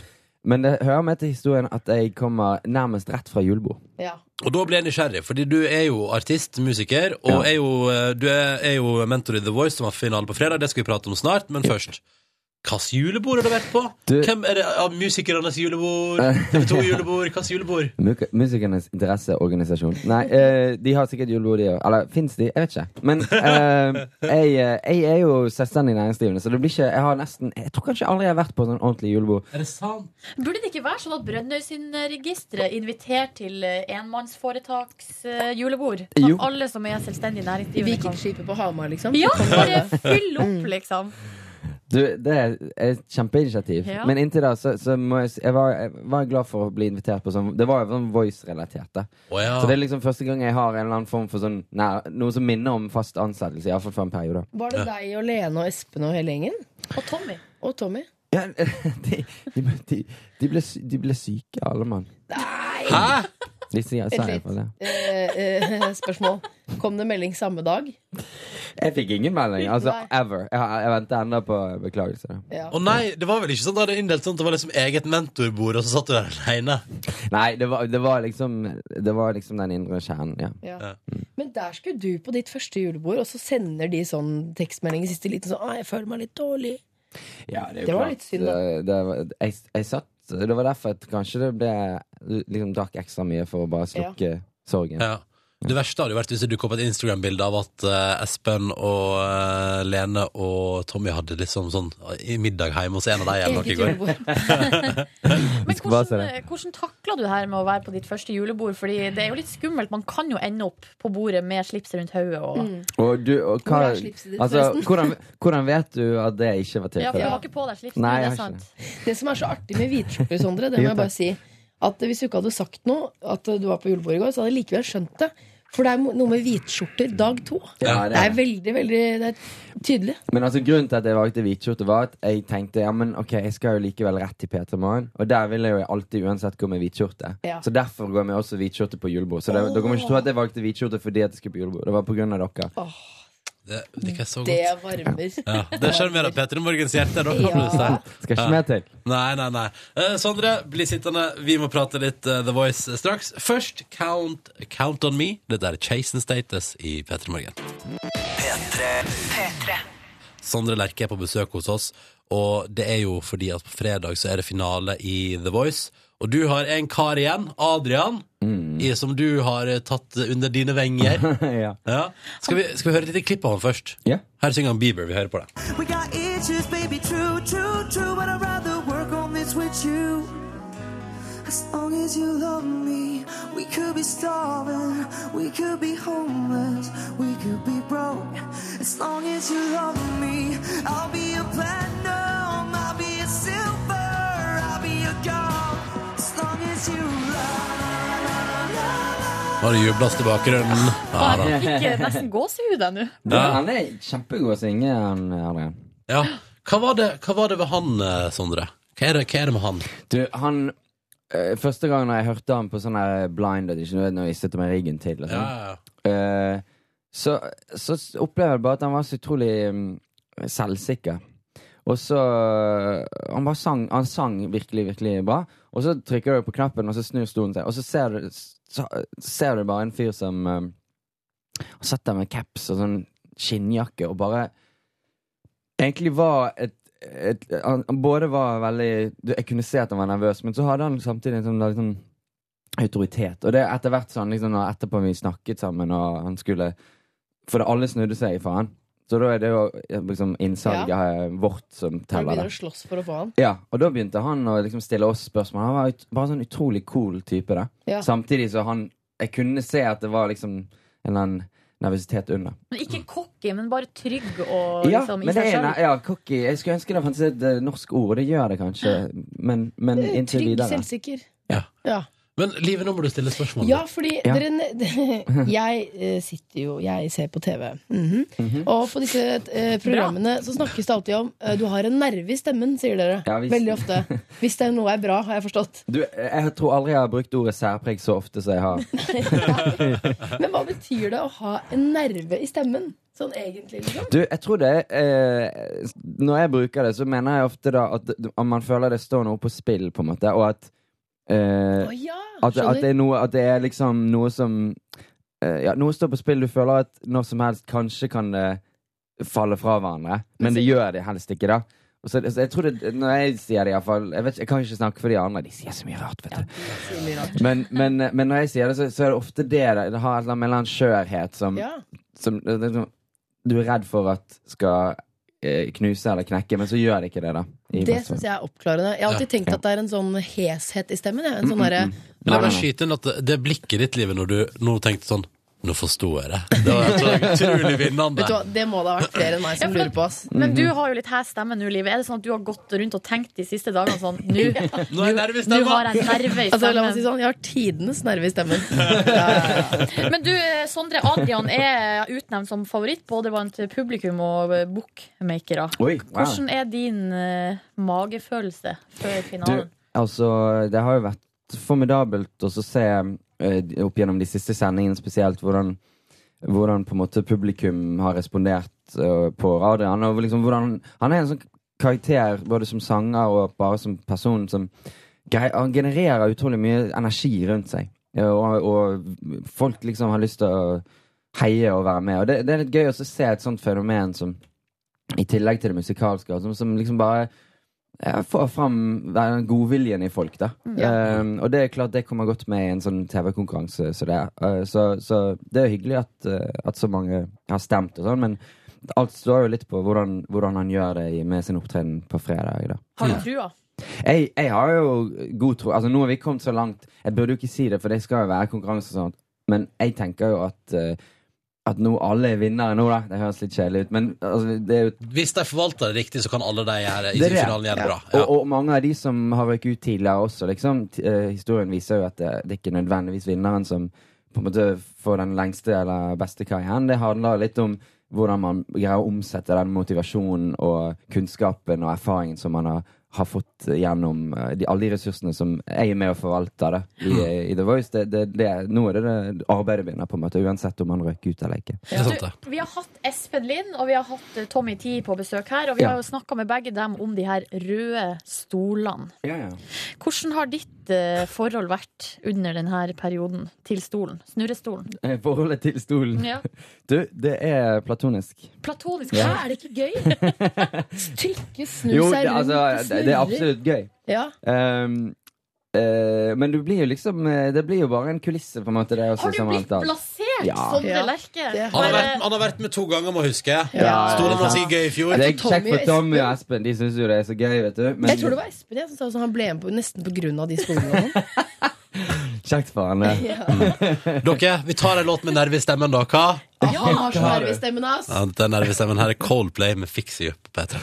Speaker 7: men det hører med til historien at jeg kommer nærmest rett fra julebord.
Speaker 3: Ja.
Speaker 2: Og da blir jeg nysgjerrig, fordi du er jo artist, musiker, og
Speaker 7: Ja.
Speaker 2: er jo, eh, du er, er jo mentor i The Voice, som har finale på fredag. Det skal vi prate om snart, men først. Hvilket julebord har du vært på?
Speaker 7: Du- Eh.
Speaker 2: Hvem er det av musikernes julebord? TV2-julebord? Hvilket julebord?
Speaker 7: Muk- Musikernes interesseorganisasjon. Nei, eh, de har sikkert julebord, de òg. Eller fins de? Jeg vet ikke. Men eh, jeg, eh, jeg er jo selvstendig næringsdrivende, så det blir ikke Jeg har nesten Jeg tror kanskje aldri jeg har vært på sånn ordentlig julebord.
Speaker 2: Er det sant?
Speaker 4: Burde det ikke være sånn at Brønnøysundregisteret inviterer til eh, enmannsforetaks eh, julebord? Så
Speaker 7: Jo.
Speaker 4: alle som er selvstendig næringsdrivende kan
Speaker 3: Vikingskipet på Hamar, liksom?
Speaker 4: Ja, bare fyll opp, liksom.
Speaker 7: Du, det er et kjempeinitiativ.
Speaker 4: Ja.
Speaker 7: Men inntil da så, så må jeg, si- jeg, var, jeg var glad for å bli invitert på sånn Det var jo sånn voice-relatert. da
Speaker 2: Å ja.
Speaker 7: Så det er liksom første gang jeg har en eller annen form for sånn nei, noe som minner om fast ansettelse. Iallfall for en periode.
Speaker 3: Var det deg og Lene og Espen og hele gjengen?
Speaker 4: Og Tommy.
Speaker 3: Og Tommy?
Speaker 7: Ja, de, de, de, de, ble, sy- de ble syke, alle mann.
Speaker 2: Hæ?
Speaker 7: Litt sier
Speaker 3: Vent
Speaker 7: jeg for det.
Speaker 3: litt. Eh, eh, spørsmål. Kom det melding samme dag?
Speaker 7: Jeg fikk ingen melding. Altså,
Speaker 3: Nei.
Speaker 7: ever. Jeg, jeg venter ennå på beklagelse.
Speaker 3: Ja.
Speaker 2: Å nei, det var vel ikke sånn da det er inndelt sånn at det var liksom eget mentorbord, og så satt du der alene.
Speaker 7: Nei, det var, det var liksom Det var liksom den indre kjernen, ja.
Speaker 3: Ja.
Speaker 2: Ja.
Speaker 3: Men der skulle du på ditt første julebord, og så sender de sånn tekstmelding i siste liten sånn «Ah, 'Jeg føler meg litt dårlig'.
Speaker 7: det,
Speaker 3: jo Det var klart, litt synd, da.
Speaker 7: Det, var, jeg, jeg satt Det var derfor at kanskje det ble Liksom drakk ekstra mye for å bare slukke sorgen.
Speaker 2: Ja. Det verste hadde jo vært hvis det dukket opp et Instagram-bilde av at eh, Espen og eh, Lene og Tommy hadde liksom sånn eh, i middag hjemme hos en av dem eller noe i
Speaker 3: Eget
Speaker 2: går.
Speaker 3: julebord.
Speaker 4: Men
Speaker 7: skal bare se
Speaker 4: hvordan, eh, hvordan takla du det her med å være på ditt første julebord? Fordi det er jo litt skummelt. Man kan jo ende opp på bordet med slips rundt hodet og
Speaker 7: Og du og
Speaker 3: Hvor
Speaker 7: hva,
Speaker 3: er slipset ditt,
Speaker 7: altså,
Speaker 3: forresten?
Speaker 7: hvordan, hvordan vet du at det ikke
Speaker 4: Ja, for
Speaker 7: var
Speaker 4: du har
Speaker 7: tilfellet?
Speaker 4: ikke på deg slips.
Speaker 7: Nei,
Speaker 4: Nei, det
Speaker 7: jeg
Speaker 4: er
Speaker 7: har ikke
Speaker 4: sant.
Speaker 3: Det som er så artig med hvitskjorte, Sondre, det må jeg bare si, at hvis du ikke hadde sagt noe, at du var på julebord i går, så hadde jeg likevel skjønt det. For det er noe med hvitskjorter dag to.
Speaker 7: Ja,
Speaker 3: Det er veldig, veldig det er tydelig.
Speaker 7: Men altså grunnen til at jeg valgte hvitskjorte, var at jeg tenkte ja, men ok, jeg skal jo likevel rett til Peter Morgen. Og der vil jeg jo alltid uansett gå med hvitskjorte.
Speaker 3: Ja.
Speaker 7: Så derfor går jeg med også hvitskjorte på julebord. Så det, dere må ikke tro at jeg valgte hvitskjorte fordi at jeg skulle på julebord. Det var på grunn av dere.
Speaker 2: Det liker jeg så
Speaker 3: Det
Speaker 2: godt.
Speaker 3: varmer.
Speaker 2: Ja, det sjarmerer Peter Morgens hjerte. Da, kan du si.
Speaker 3: Ja.
Speaker 7: Skal
Speaker 2: Ja.
Speaker 7: ikke mer til.
Speaker 2: Nei, nei, nei. Eh, Sondre, bli sittende. Vi må prate litt eh, The Voice straks. Først Count, count On Me. Dette er Chase and Status i P3 Morgen. Sondre Lerche er på besøk hos oss, og det er jo fordi at på fredag så er det finale i The Voice. Og du har en kar igjen, Adrian, i, som du har eh, tatt under dine venger.
Speaker 7: Mm. ja.
Speaker 2: Ja. Skal, vi, skal vi høre et lite klipp av han først?
Speaker 7: Ja.
Speaker 2: Her synger han Bieber. Vi hører på det.
Speaker 8: We got issues, baby, true, true, true, but I'd rather work on this with you. As long as you love me, we could be starving, we could be homeless, we could be broke. As long as you love me, I'll be a platinum, I'll be a silver, I'll be a gold. As long as you love me.
Speaker 2: Bare jubles til bakgrunnen. Ja,
Speaker 7: Ah.
Speaker 2: da.
Speaker 4: Jeg fikk nesten gåsehud jeg nå.
Speaker 2: Ja.
Speaker 7: Han er kjempegod å synge, han Adrian.
Speaker 2: Ja. Hva var det, hva var det ved han, eh, Sondre? Hva er det, hva er det med han?
Speaker 7: Du, han eh, Første gang når jeg hørte han på sånn her blind audition, du vet, når jeg støtte meg ryggen til og sånn, eh, så, så s- opplever jeg bare at han var så utrolig mm, selvsikker. Og så eh, han, bare sang, han sang virkelig, virkelig bra. Og så trykker du på knappen, og så snur stolen seg, og så ser du, så, ser du bare en fyr som eh, Han satt der med caps og sånn skinnjakke og bare Egentlig var et, et han, han både var veldig du, Jeg kunne se at han var nervøs, men så hadde han samtidig en sånn, da, liksom, autoritet. Og det er etter hvert sånn liksom, når etterpå vi snakket sammen, og han skulle For det alle snudde seg for han. Så da er det jo liksom innsalget eh, vårt som
Speaker 3: Han
Speaker 7: teller.
Speaker 3: begynner
Speaker 7: det.
Speaker 3: å slåss for å få han.
Speaker 7: Ja, og da begynte han å liksom stille oss spørsmål. Han var ut, bare sånn utrolig cool type. da
Speaker 3: Ja.
Speaker 7: Samtidig så han Jeg kunne se at det var liksom en eller annen nervøsitet under.
Speaker 4: Men Ikke cocky, men bare trygg og
Speaker 7: ja,
Speaker 4: liksom, i
Speaker 7: men det
Speaker 4: seg
Speaker 7: er,
Speaker 4: sjøl.
Speaker 7: ne- ja, cocky. Jeg skulle ønske det fantes et eh, norsk ord, og det gjør det kanskje, men, men Mm, inntil
Speaker 3: Eh, Trygg,
Speaker 7: videre.
Speaker 3: selvsikker.
Speaker 2: Ja.
Speaker 3: Ja.
Speaker 2: Men Live, nå må du stille spørsmål.
Speaker 3: Ja, fordi
Speaker 7: Ja.
Speaker 3: dere ne- Jeg eh, sitter jo Jeg ser på TV. Mhm. Og på disse eh, programmene så snakkes det alltid om eh, Du har en nerve i stemmen, sier dere.
Speaker 7: Ja, hvis-
Speaker 3: Veldig ofte. Hvis det er noe er bra, har jeg forstått.
Speaker 7: Du, jeg tror aldri jeg har brukt ordet særpreg så ofte som jeg har.
Speaker 3: Men hva betyr det å ha en nerve i stemmen? Sånn egentlig, liksom.
Speaker 7: Du, jeg tror det eh, Når jeg bruker det, så mener jeg ofte da at, at man føler det står noe på spill, på en måte, og at eh,
Speaker 3: Å ja!
Speaker 7: At, at,
Speaker 3: Skjønner.
Speaker 7: det er noe, at det er liksom noe som eh, Ja, noe står på spill. Du føler at når som helst kanskje kan det falle fra hverandre, men det gjør det helst ikke, da. Og så, så jeg tror det, Når jeg sier det, iallfall jeg, vet ikke- jeg kan ikke snakke for de andre. De sier så mye rart, vet du. Men, men, eh, men når jeg sier det, så, så er det ofte det. da. Det har et eller annet- en eller annen skjørhet som,
Speaker 3: Ja.
Speaker 7: som det er sånn- du er redd for at skal eh, knuse eller knekke, men så gjør det ikke det, da. I
Speaker 3: Det
Speaker 7: beste fall.
Speaker 3: syns jeg er oppklarende. Jeg har alltid tenkt at det er en sånn heshet i stemmen. jeg. En sånn derre
Speaker 2: Men
Speaker 7: Nei,
Speaker 2: jeg
Speaker 7: nei,
Speaker 2: bare
Speaker 7: nei.
Speaker 2: skyter inn at det, det blikket ditt, Live, når du nå tenkte sånn Nå forsto jeg det. Det var så utrolig vinnende.
Speaker 3: Vet du hva, Det må det ha vært flere enn meg som
Speaker 4: Ja, for-
Speaker 3: lurer på. ass
Speaker 4: Men
Speaker 2: Mhm.
Speaker 4: du har jo litt her stemme nå, Liv. Er det sånn at du har gått rundt og tenkt de siste dagene sånn Nå
Speaker 2: Nå er jeg nervøs i
Speaker 4: nå
Speaker 2: stemmen.
Speaker 4: har jeg nerve i
Speaker 3: Altså, la meg si
Speaker 4: stemmen.
Speaker 3: sånn, Jeg har tidenes nerve i stemmen. Ja, ja, ja.
Speaker 4: Men du, eh, Sondre Adrian er utnevnt som favoritt både blant publikum og eh, bookmakere.
Speaker 7: Oi, wow.
Speaker 4: Hvordan er din eh, magefølelse før
Speaker 7: Du,
Speaker 4: finalen?
Speaker 7: altså, det har jo vært formidabelt å så se eh, opp gjennom de siste sendingene spesielt hvordan, hvordan på en måte publikum har respondert eh, på Adrian. Og liksom hvordan, han er en sånn karakter både som sanger og bare som person som grei, han genererer utrolig mye energi rundt seg. Ja, Og, og folk liksom har lyst til å heie og være med. Og det, det er litt gøy også å se et sånt fenomen som i tillegg til det musikalske, som, som liksom bare ja, få eh, fram den godviljen i folk, da. Ehm, og det er klart det kommer godt med i en sånn TV-konkurranse som det er. Eh, så, så det er hyggelig at, eh, at så mange har stemt og sånn, men alt står jo litt på hvordan, hvordan han gjør det i- med sin opptreden på fredag. da
Speaker 4: Har du trua?
Speaker 7: jeg, jeg har jo god tro. Altså, nå har vi kommet så langt. Jeg burde jo ikke si det, for det skal jo være konkurranse og sånt. Men jeg tenker jo at eh, At nå alle er vinnere nå, da. Det høres litt kjedelig ut, men altså, det er jo
Speaker 2: Hvis de forvalter det riktig, så kan alle de gjøre i
Speaker 7: Det er det.
Speaker 2: finalen gjøre det bra.
Speaker 7: og, og mange av de som har røyket ut tidligere også, liksom, t- eh, historien viser jo at det, det er ikke nødvendigvis vinneren som på en måte får den lengste eller beste karrieren. Det handler litt om hvordan man greier å omsette den motivasjonen og kunnskapen og erfaringen som man har, har fått gjennom eh, de, alle de ressursene som jeg er med og forvalter da, i, i The Voice. Det, det, det, nå er det, det arbeidet begynner, på en måte, uansett om man røyker ut eller ikke.
Speaker 2: Det er sant, det.
Speaker 4: Du, vi har hatt Espen Lind og vi har hatt eh, Tommy Tee på besøk her. Og vi
Speaker 7: Ja.
Speaker 4: har jo snakka med begge dem om de her røde stolene. Hvordan har ditt eh, forhold vært under denne perioden til stolen? Snurrestolen?
Speaker 7: Eh, Forholdet til stolen.
Speaker 4: Ja.
Speaker 7: Du, det er platonisk.
Speaker 4: Platonisk?
Speaker 7: Ja.
Speaker 4: Hæ, er det ikke gøy?
Speaker 3: Trykke, snu
Speaker 7: Jo,
Speaker 3: seg
Speaker 7: det,
Speaker 3: rundt,
Speaker 7: altså, det, det er
Speaker 3: snurrer.
Speaker 7: absolutt gøy.
Speaker 3: Ja.
Speaker 7: Ehm, eh, men du blir jo liksom eh, Det blir jo bare en kulisse, på en måte. Det er også,
Speaker 4: Har du
Speaker 7: som
Speaker 4: blitt
Speaker 7: alt annet.
Speaker 4: plassert,
Speaker 7: Ja.
Speaker 4: Sondre
Speaker 3: Ja.
Speaker 4: Lerche?
Speaker 3: Det har
Speaker 2: Han har,
Speaker 4: Bare-
Speaker 2: vært, han har vært med to ganger, må jeg huske.
Speaker 7: Ja,
Speaker 2: Stolen var
Speaker 7: sant.
Speaker 2: sikkert gøy i
Speaker 7: Ja,
Speaker 2: fjor.
Speaker 7: Det er
Speaker 3: For Tommy
Speaker 7: kjekt for
Speaker 3: og
Speaker 7: Tommy og
Speaker 3: Espen.
Speaker 7: Espen. De syns jo det er så gøy, vet du. Men
Speaker 3: Jeg tror det var Espen jeg som sa sånn, han ble med på, nesten på grunn av de skolene. og sånn.
Speaker 7: kjekt for han, det.
Speaker 2: Dere, vi tar en låt med nerve i stemmen, da. Hva?
Speaker 3: Ja, han har så nerve i stemmen, ass!
Speaker 2: Ja, den nerve i stemmen her er Coldplay med Fix You på P3.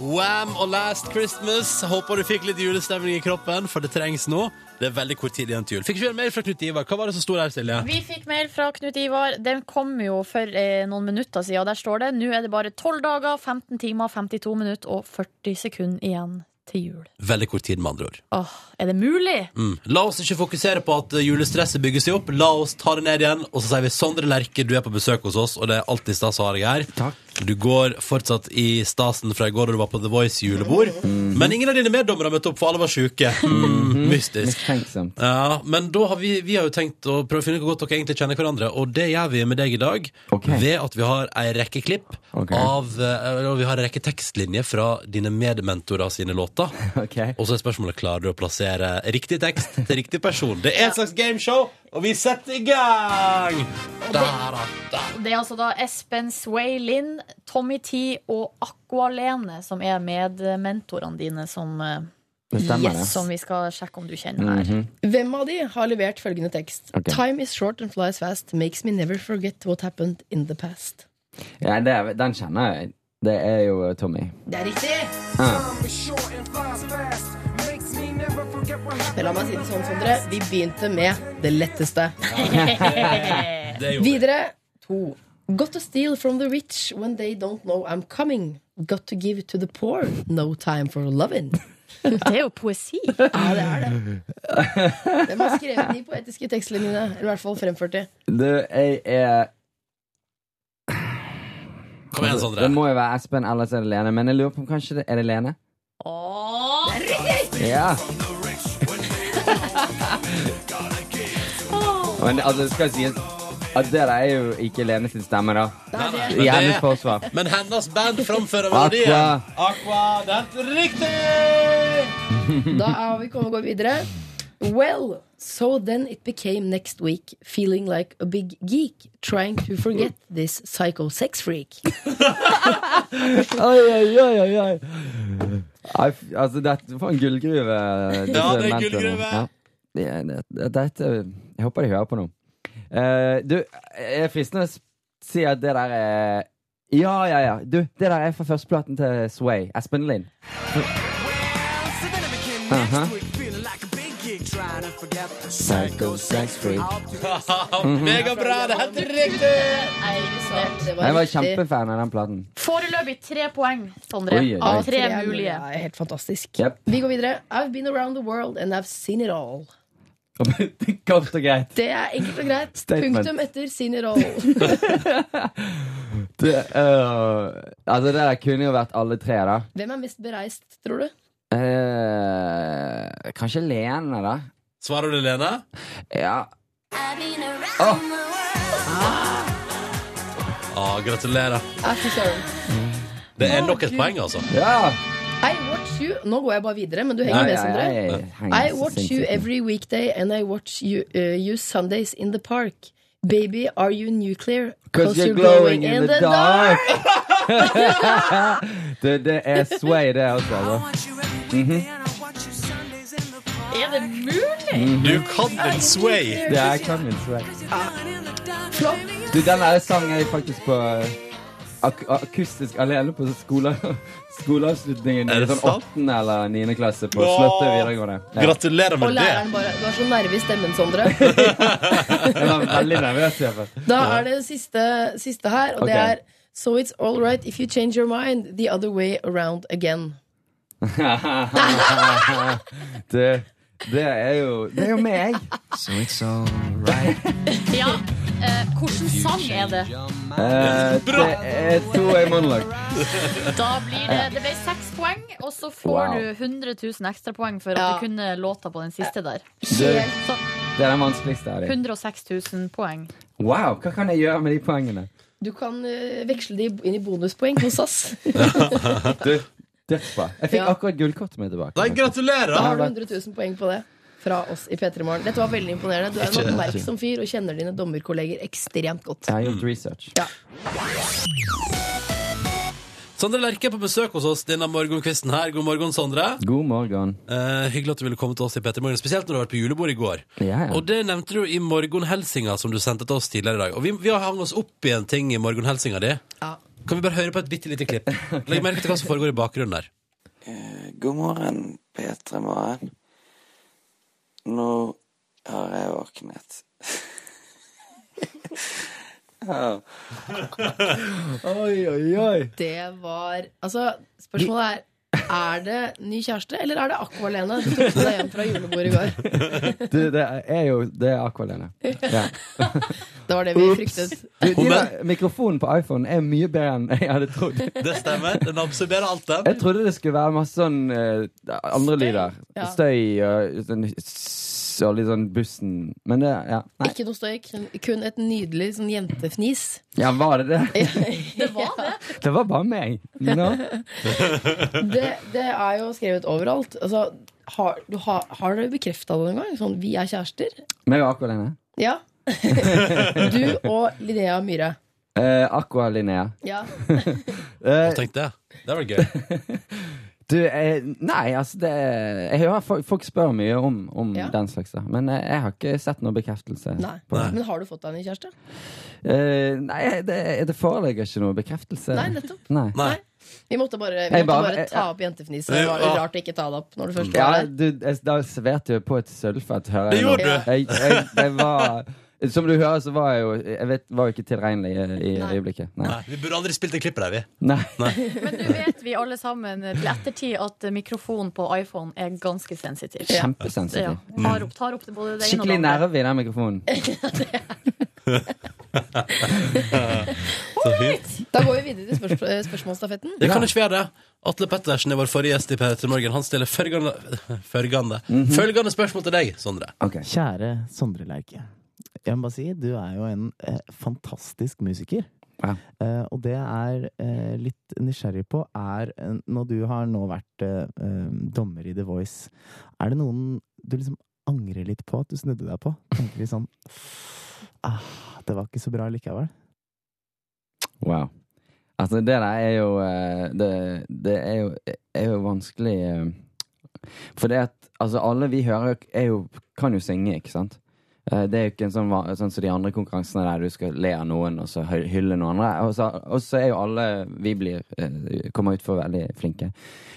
Speaker 2: Wham og Last Christmas. Håper du fikk litt julestemning i kroppen, for det trengs nå. Det er veldig kort tid igjen til jul. Fikk ikke en mail fra Knut Ivar. Hva var det som sto der, Silje?
Speaker 4: Vi fikk mail fra Knut Ivar. Den kom jo for eh, noen minutter siden. Der står det nå er det bare 12 dager, 15 timer, 52 minutter og 40 sekunder igjen til jul.
Speaker 2: Veldig kort tid, med andre ord.
Speaker 4: Åh, er det mulig?
Speaker 2: Mm. La oss ikke fokusere på at eh, julestresset bygger seg opp. La oss ta det ned igjen. Og så sier vi Sondre Lerche, du er på besøk hos oss, og det er alltid stas å ha deg her. Du går fortsatt i stasen fra i går da du var på The Voice julebord. Men ingen av dine meddommere møtte opp, for alle var sjuke. Mm, mystisk.
Speaker 7: Mistenksomt.
Speaker 2: Ja, men da har vi, vi har jo tenkt å prøve å finne ut hvor godt dere egentlig kjenner hverandre, og det gjør vi med deg i dag
Speaker 7: Ok.
Speaker 2: ved at vi har ei rekke klipp
Speaker 7: Ok.
Speaker 2: av eh, Eller vi har ei rekke tekstlinjer fra dine medmentorer sine låter.
Speaker 7: Ok.
Speaker 2: Og så er spørsmålet klarer du å plassere riktig tekst til riktig person. Det er et slags gameshow, og vi setter i gang! Da, da, da.
Speaker 4: Det er altså da Espen Sway Lind, Tommy T og Aqualene som er medmentorene dine som, eh,
Speaker 7: Det stemmer, det.
Speaker 4: som vi skal sjekke om du kjenner her.
Speaker 3: Hvem av de har levert følgende tekst?
Speaker 7: Ok.
Speaker 3: Time is short and flies fast. Makes me never forget what happened in the past.
Speaker 7: Ja, det er, den kjenner jeg. Det er jo eh, Tommy. Ah.
Speaker 3: Det er riktig! Men la meg si det sånn, Sondre. Vi begynte med det letteste.
Speaker 2: Det gjorde vi.
Speaker 3: Videre to. Got to steal from the rich when they don't know I'm coming. Got to give to the poor. No time for loving.
Speaker 4: Det er jo poesi. Eh,
Speaker 3: Ja, det er det. Hvem har skrevet de poetiske tekstlinjene? Eller i hvert fall fremført de.
Speaker 7: Du, jeg er
Speaker 2: Kom igjen,
Speaker 7: Det
Speaker 2: Sondre.
Speaker 7: må jo være Espen, ellers er det Lene. Men jeg lurer på om kanskje det er det Lene?
Speaker 4: Åh,
Speaker 7: Ja. Men det- altså, det skal sies at det der er jo ikke Lene sin stemme, da.
Speaker 2: Nei, nei,
Speaker 7: I
Speaker 2: men
Speaker 7: hennes
Speaker 2: det-
Speaker 7: forsvar.
Speaker 2: Men hennes band framfører
Speaker 7: Aqua.
Speaker 2: melodien. Aqua. Det er helt riktig!
Speaker 3: Da er vi kommet å gå videre. Well, so then it became next week feeling like a big geek trying to forget this psycho sex freak.
Speaker 7: Oi, oi, oi, oi, oi. Nei, f- Altså, dette var en gullgruve. disse
Speaker 2: det er en
Speaker 7: mentorene.
Speaker 2: gullgruve.
Speaker 7: Ja. det, det, det, dette, jeg håper de hører på nå. Eh, du, jeg er fristende å s- si at det der er Ja, ja, ja. Du, det der er fra førsteplaten til Sway. Espen Lind. Uh-huh. Psycho sex freak.
Speaker 2: Megabra! Det er helt riktig!
Speaker 4: Nei, ikke sant.
Speaker 3: Det
Speaker 7: Jeg var
Speaker 3: riktig.
Speaker 7: kjempefan av den platen.
Speaker 4: Foreløpig tre poeng, Sondre.
Speaker 7: Oi, oi, oi.
Speaker 4: Av tre
Speaker 3: Tre
Speaker 4: mulige.
Speaker 3: Ja, helt fantastisk.
Speaker 7: Yep.
Speaker 3: Vi går videre. I've been around the world and I've seen it all.
Speaker 7: Kort og greit.
Speaker 3: Det er enkelt og greit.
Speaker 7: Statement.
Speaker 3: Punktum etter seen it all.
Speaker 7: Det, øh, altså, det der kunne jo vært alle tre, da.
Speaker 3: Hvem er mest bereist, tror du?
Speaker 7: Eh, kanskje Lene, da?
Speaker 2: Svarer du, Lene?
Speaker 7: Ja.
Speaker 2: Ah, gratulerer.
Speaker 3: Ashley Søren.
Speaker 2: Det er nok et poeng, altså.
Speaker 7: ja.
Speaker 3: I watch you Nå går jeg bare videre, men du henger
Speaker 7: Nei,
Speaker 3: med,
Speaker 7: jeg-
Speaker 3: Sondre.
Speaker 7: jeg- jeg
Speaker 3: I
Speaker 7: henger så
Speaker 3: watch
Speaker 7: sinnssykt
Speaker 3: you
Speaker 7: med.
Speaker 3: every weekday and I watch you, uh, you Sundays in the park. Baby, are you nuclear?
Speaker 7: Cause you're glowing in the dark. det, det er sway, det også. Altså.
Speaker 4: Er det mulig?
Speaker 2: Du kan din sway.
Speaker 7: Det er Carmen Sway.
Speaker 3: Flott.
Speaker 7: Du, den der sangen er faktisk på eh, ak akustisk alene på skole skoleavslutningen
Speaker 2: Er
Speaker 7: i
Speaker 2: det
Speaker 7: sånn
Speaker 2: sant?
Speaker 7: åttende eller niende klasse på
Speaker 2: Nå.
Speaker 7: Slottet videregående. Ja.
Speaker 2: Gratulerer
Speaker 3: Og
Speaker 2: med det.
Speaker 3: læreren bare Du er så nerve i stemmen, Sondre.
Speaker 7: Jeg var veldig nervøs, i hvert fall.
Speaker 3: Da er det siste, siste her, og det
Speaker 7: Ok.
Speaker 3: er So it's all right if you change your mind the other way around again.
Speaker 7: Det, det er jo Det er jo meg.
Speaker 4: Ja. Eh, Hvilken sang er det?
Speaker 7: Eh, det er to i monolog.
Speaker 4: Da blir det, det ble seks poeng, og så får
Speaker 7: Wow.
Speaker 4: du 100 000 ekstrapoeng for at
Speaker 3: Ja.
Speaker 4: du kunne låta på den siste der.
Speaker 7: Det,
Speaker 4: Så
Speaker 7: det er den vanskeligste av dem.
Speaker 4: 106 000 poeng.
Speaker 7: Wow, hva kan jeg gjøre med de poengene?
Speaker 3: Du kan eh, veksle de inn i bonuspoeng hos SAS.
Speaker 7: Du, dødsbra. Jeg fikk
Speaker 3: Ja.
Speaker 7: akkurat gullkortet mitt tilbake.
Speaker 2: Nei,
Speaker 3: Da
Speaker 2: gratulerer!
Speaker 3: har du 100 000 poeng på det. Fra oss i P3 Morgen. Dette var veldig imponerende. Du er en oppmerksom fyr og kjenner dine dommerkolleger ekstremt godt.
Speaker 7: Jeg har gjort research.
Speaker 2: Sondre Lerche er på besøk hos oss denne morgenkvisten her. God morgen, Sondre.
Speaker 7: God morgen.
Speaker 2: Eh, hyggelig at du ville komme til oss i Petter Morgen, spesielt når du har vært på julebord i går.
Speaker 7: Ja, ja.
Speaker 2: Og det nevnte du i morgenhelsinga som du sendte til oss tidligere i dag. Og vi, vi har hang oss opp i en ting i morgenhelsinga di.
Speaker 3: Ja.
Speaker 2: Kan vi bare høre på et bitte lite klipp? Legg merke til hva som foregår i bakgrunnen der.
Speaker 5: God morgen, P3 Morgen. Nå har jeg våknet. ja.
Speaker 7: Oi, oi, oi.
Speaker 3: Det var Altså, spørsmålet er er det ny kjæreste, eller er det Aqua-Lene som tok med deg hjem fra julebordet i går?
Speaker 7: Du, det er jo Det er Aqualene. Ja.
Speaker 3: Det var det vi fryktet.
Speaker 7: Du, de
Speaker 2: Hun
Speaker 7: der, mikrofonen på iPhone er mye bedre enn jeg hadde trodd.
Speaker 2: Det stemmer. Den absorberer alt, den.
Speaker 7: Jeg trodde det skulle være masse sånn eh, andre lyder.
Speaker 3: ja.
Speaker 7: Støy og sånn s- og litt sånn bussen Men det Ja, Nei.
Speaker 3: Ikke noe støy, kun- kun et nydelig sånn jentefnis.
Speaker 7: ja var det det?
Speaker 4: Det var det.
Speaker 7: Det var bare meg. Nå?
Speaker 3: Det, det er jo skrevet overalt. Altså, har, du, har, har dere bekrefta det noen gang? Sånn 'vi er kjærester'?
Speaker 7: Meg og Aqualene.
Speaker 3: Ja. Du og Linnea Myhre.
Speaker 7: Uh, Aqua Linnea.
Speaker 3: Ja.
Speaker 7: Eh,
Speaker 2: Tenk det. Det var gøy.
Speaker 7: Du, eh, nei, altså det Jeg hører folk, folk spør mye om, om
Speaker 3: Ja.
Speaker 7: den slags, da. men eh, jeg har ikke sett noen bekreftelse.
Speaker 3: Nei.
Speaker 7: på det.
Speaker 3: Men har du fått deg en ny kjæreste?
Speaker 7: Eh, nei det, det foreligger ikke noen bekreftelse.
Speaker 3: Nei, nettopp.
Speaker 7: Nei.
Speaker 2: Nei.
Speaker 3: Vi måtte bare, vi
Speaker 7: Jeg
Speaker 3: måtte
Speaker 7: bare-
Speaker 3: bare ta
Speaker 7: jeg-
Speaker 3: opp jentefniset. Det var rart å ikke ta det opp når du først
Speaker 7: Ja,
Speaker 3: var der.
Speaker 7: du, jeg, da serverte jeg på et sølvfett, hører
Speaker 2: Det
Speaker 7: jeg nå.
Speaker 2: gjorde du.
Speaker 7: Jeg, jeg, jeg var, som du hører, så var jeg jo Jeg vet, var jo ikke tilregnelig i, i øyeblikket. Nei.
Speaker 2: Nei, vi burde aldri spilt det klippet der, vi.
Speaker 7: Nei.
Speaker 4: Men nå vet vi alle sammen til ettertid at mikrofonen på iPhone er ganske sensitiv. Ja.
Speaker 7: Kjempesensitiv.
Speaker 4: Tar opp, tar opp det både det ene og det
Speaker 7: Skikkelig
Speaker 4: andre.
Speaker 7: nerve i den mikrofonen.
Speaker 2: Så fint.
Speaker 3: Da går vi videre til spørsmål, eh, spørsmålsstafetten.
Speaker 2: Det kan ikke være det. Atle Pettersen er vår forrige gjest i P3 Morgen. Han stiller følgende, følgende, følgende spørsmål til deg, Sondre.
Speaker 7: Mhm. Ok.
Speaker 9: Kjære Sondre Lerche. Jeg må bare si, du er jo en eh, fantastisk musiker.
Speaker 7: Ja.
Speaker 9: Eh, og det jeg er eh, litt nysgjerrig på, er eh, når du har nå vært eh, eh, dommer i The Voice, er det noen du liksom angrer litt på at du snudde deg på? Tenker litt sånn ah, Det var ikke så bra likevel.
Speaker 7: Wow. Altså, det der er jo eh, Det, det er, jo, er jo vanskelig eh, For det at Altså, alle vi hører, er jo, kan jo synge, ikke sant? Eh, Det er jo ikke en sånn, va- sånn som de andre konkurransene der du skal le av noen og så hy- hylle noen andre. Og så, og så er jo alle vi blir, eh, kommer ut for veldig flinke.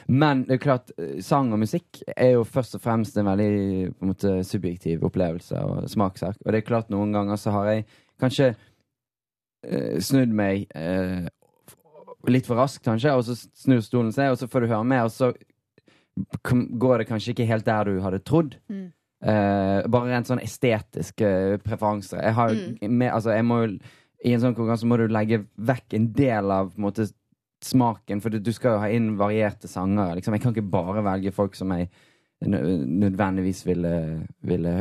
Speaker 7: Men det er klart, eh, sang og musikk er jo først og fremst en veldig på en måte, subjektiv opplevelse og smakssak. Og det er klart, noen ganger så har jeg kanskje eh, snudd meg eh, litt for raskt, kanskje, og så snur stolen seg, og så får du høre med, og så kom- går det kanskje ikke helt der du hadde trodd.
Speaker 4: Mm.
Speaker 7: Eh, bare rent sånn estetiske eh, preferanser. Jeg har jo med, altså jeg må jo I en sånn konkurranse må du legge vekk en del av på en måte, smaken, for du, du skal jo ha inn varierte sanger. Liksom. Jeg kan ikke bare velge folk som jeg nø- nødvendigvis ville, ville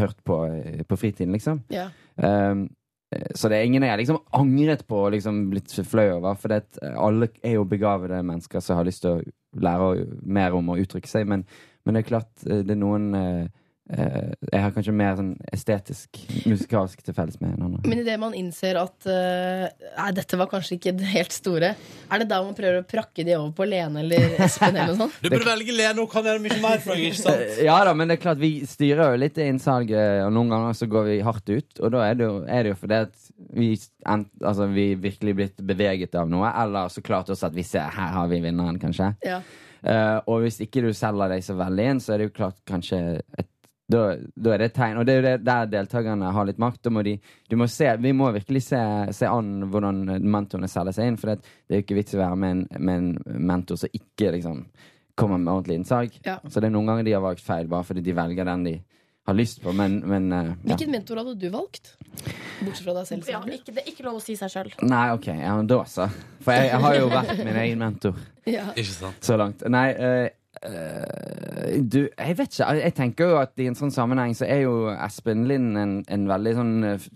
Speaker 7: hørt på eh, på fritiden, liksom.
Speaker 3: Ja.
Speaker 7: Um, eh, så det er ingen jeg liksom angret på og liksom blitt flau over. For det at eh, alle er jo begavede mennesker som har lyst til å lære å- mer om å uttrykke seg. Men, men det er klart eh, det er noen eh, eh, Jeg har kanskje mer sånn estetisk, musikalsk til felles med en andre.
Speaker 3: Men idet man innser at eh, Nei, dette var kanskje ikke det helt store, er det da man prøver å prakke de over på Lene eller Espen eller noe sånt?
Speaker 2: Du burde velge Lene, hun kan gjøre mye mer for deg, ikke sant?
Speaker 7: Eh, Ja da, men det er klart vi styrer jo litt det innsalget, og noen ganger så går vi hardt ut. Og da er det jo, er det jo fordi at vi, ent, altså, vi er virkelig blitt beveget av noe, eller så klart også at vi ser her har vi vinneren, kanskje.
Speaker 3: Ja.
Speaker 7: Eh, og hvis ikke du selger deg så veldig inn, så er det jo klart kanskje et da, da er det et tegn. Og det er jo det, der deltakerne har litt makt. Da må de, du må se, vi må virkelig se, se an hvordan mentorene selger seg inn. For det, det er jo ikke vits i å være med en, med en mentor som ikke liksom, kommer med ordentlig innsag.
Speaker 3: Ja.
Speaker 7: Så det er noen ganger de har valgt feil, bare fordi de velger den de har lyst på. Men, men eh, ja.
Speaker 3: Hvilken mentor hadde du valgt? Bortsett fra deg selv.
Speaker 4: Ja,
Speaker 3: selvfølgelig.
Speaker 4: ikke, det er ikke lov å si seg sjøl.
Speaker 7: Nei, OK. Ja, men da så. For jeg, jeg har jo vært min egen mentor.
Speaker 3: Ja.
Speaker 2: Ikke sant?
Speaker 7: Så langt. Nei, eh, eh, du, jeg vet ikke. Jeg tenker jo at i en sånn sammenheng så er jo Espen Lind en, en veldig sånn eh,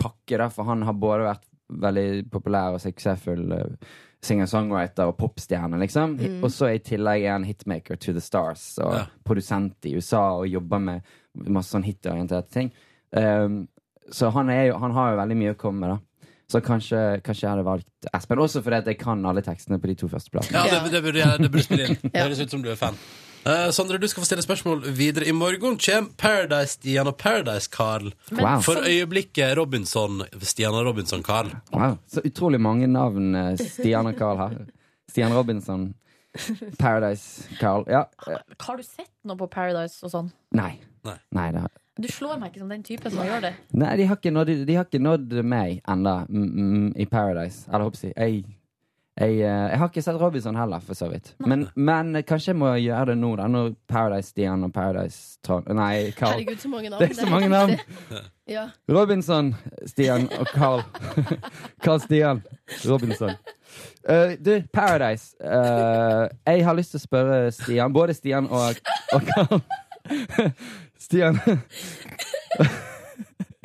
Speaker 7: pakke, da, for han har både vært veldig populær og suksessfull eh, singer-songwriter og popstjerne, liksom. Og så i tillegg er han hitmaker to the stars og
Speaker 2: Ja.
Speaker 7: produsent i USA og jobber med masse sånn hitorienterte ting. Um, så han, er jo, han har jo veldig mye å komme med, da. Så kanskje, kanskje jeg hadde valgt Espen. Også fordi at jeg kan alle tekstene på de to første platene.
Speaker 2: Ja, det, det, burde, jeg- det burde spille inn. Det høres ut som du er fan. Eh, Sondre, du skal få stille spørsmål videre. I morgen kommer Paradise-Stian og Paradise-Carl.
Speaker 7: Wow.
Speaker 2: For øyeblikket Robinson-Stian og Robinson-Carl.
Speaker 7: Wow, så utrolig mange navn eh, Stian og Carl har. Stian Robinson, Paradise Carl. Ja. eh,
Speaker 4: Har du sett noe på Paradise og sånn?
Speaker 7: Nei.
Speaker 2: Nei.
Speaker 7: det har.
Speaker 4: Du slår meg ikke som den typen som gjør det.
Speaker 7: Nei, de har ikke nådd, de har ikke nådd meg ennå mm, mm, i Paradise. Eller håper jeg jeg, jeg, eh, jeg har ikke sett Robinson heller, for så vidt. Men, men eh, kanskje jeg må gjøre det nå, da. Når Paradise Stian og Paradise Trond Nei, Carl.
Speaker 3: Herregud, så mange navn.
Speaker 7: Det er så mange navn.
Speaker 3: Ja.
Speaker 7: Robinson, Stian og Carl. Carl Stian Robinson. Eh, du, Paradise. Eh, jeg har lyst til å spørre Stian, både Stian og, og Carl Stian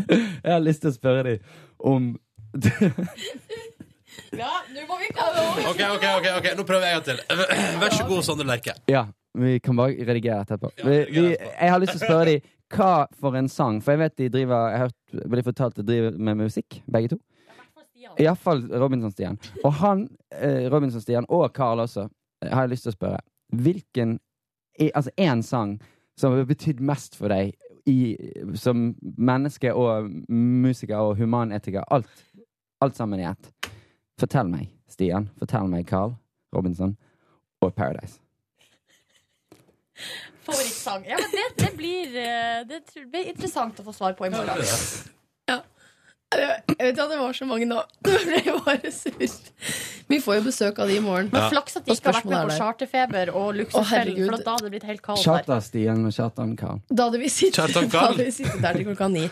Speaker 7: Jeg har lyst til å spørre dem om
Speaker 2: Ok, ok, ok, ok, nå prøver jeg en gang til. Vær så god, Sondre Lerche.
Speaker 7: Ja, vi kan bare redigere dette etterpå.
Speaker 2: Ja,
Speaker 7: Vi,
Speaker 2: redigere
Speaker 7: vi,
Speaker 2: etterpå.
Speaker 7: jeg har lyst til å spørre dem hva for en sang, for jeg vet de driver Jeg har hørt, ble fortalt de driver med musikk, begge to. Iallfall Robinson-Stian. Og han, eh, Robinson-Stian, og Carl også, eh, har jeg lyst til å spørre. Hvilken i- Altså én sang som har betydd mest for deg i, som menneske og musiker og humanetiker. Alt, alt sammen i ett. Fortell meg, Stian. Fortell meg, Carl Robinson. Og Paradise.
Speaker 4: Favorittsang. Ja, men det, det, blir, eh, det tror- det blir interessant å få svar på i morgen.
Speaker 3: Jeg vet ikke at det var så mange navn. Det ble bare surt. Vi får jo besøk av de i morgen.
Speaker 4: Men flaks at de
Speaker 3: Og
Speaker 4: ikke har vært med
Speaker 3: spørsmålet
Speaker 4: på
Speaker 3: er
Speaker 4: charterfeber og luksusfellen,
Speaker 3: herregud.
Speaker 4: for at da hadde det blitt helt kaos her.
Speaker 7: Charter-Stian og Charter-Carl.
Speaker 3: Da hadde vi sittet,
Speaker 2: Kjartan
Speaker 3: da
Speaker 2: Karl.
Speaker 3: hadde vi sittet der til klokka ni.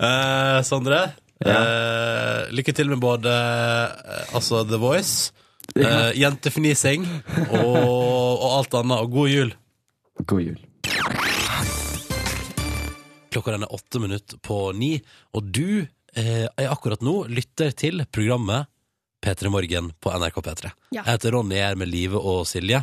Speaker 2: Eh, Sondre, eh, lykke til med både eh, altså The Voice, eh, jentefnising og, og alt annet. Og god jul.
Speaker 7: God jul.
Speaker 2: Klokka den er åtte minutter på ni, og du eh, er akkurat nå lytter til programmet P3 Morgen på NRK P3.
Speaker 3: Ja.
Speaker 2: Jeg heter Ronny, jeg er med Live og Silje.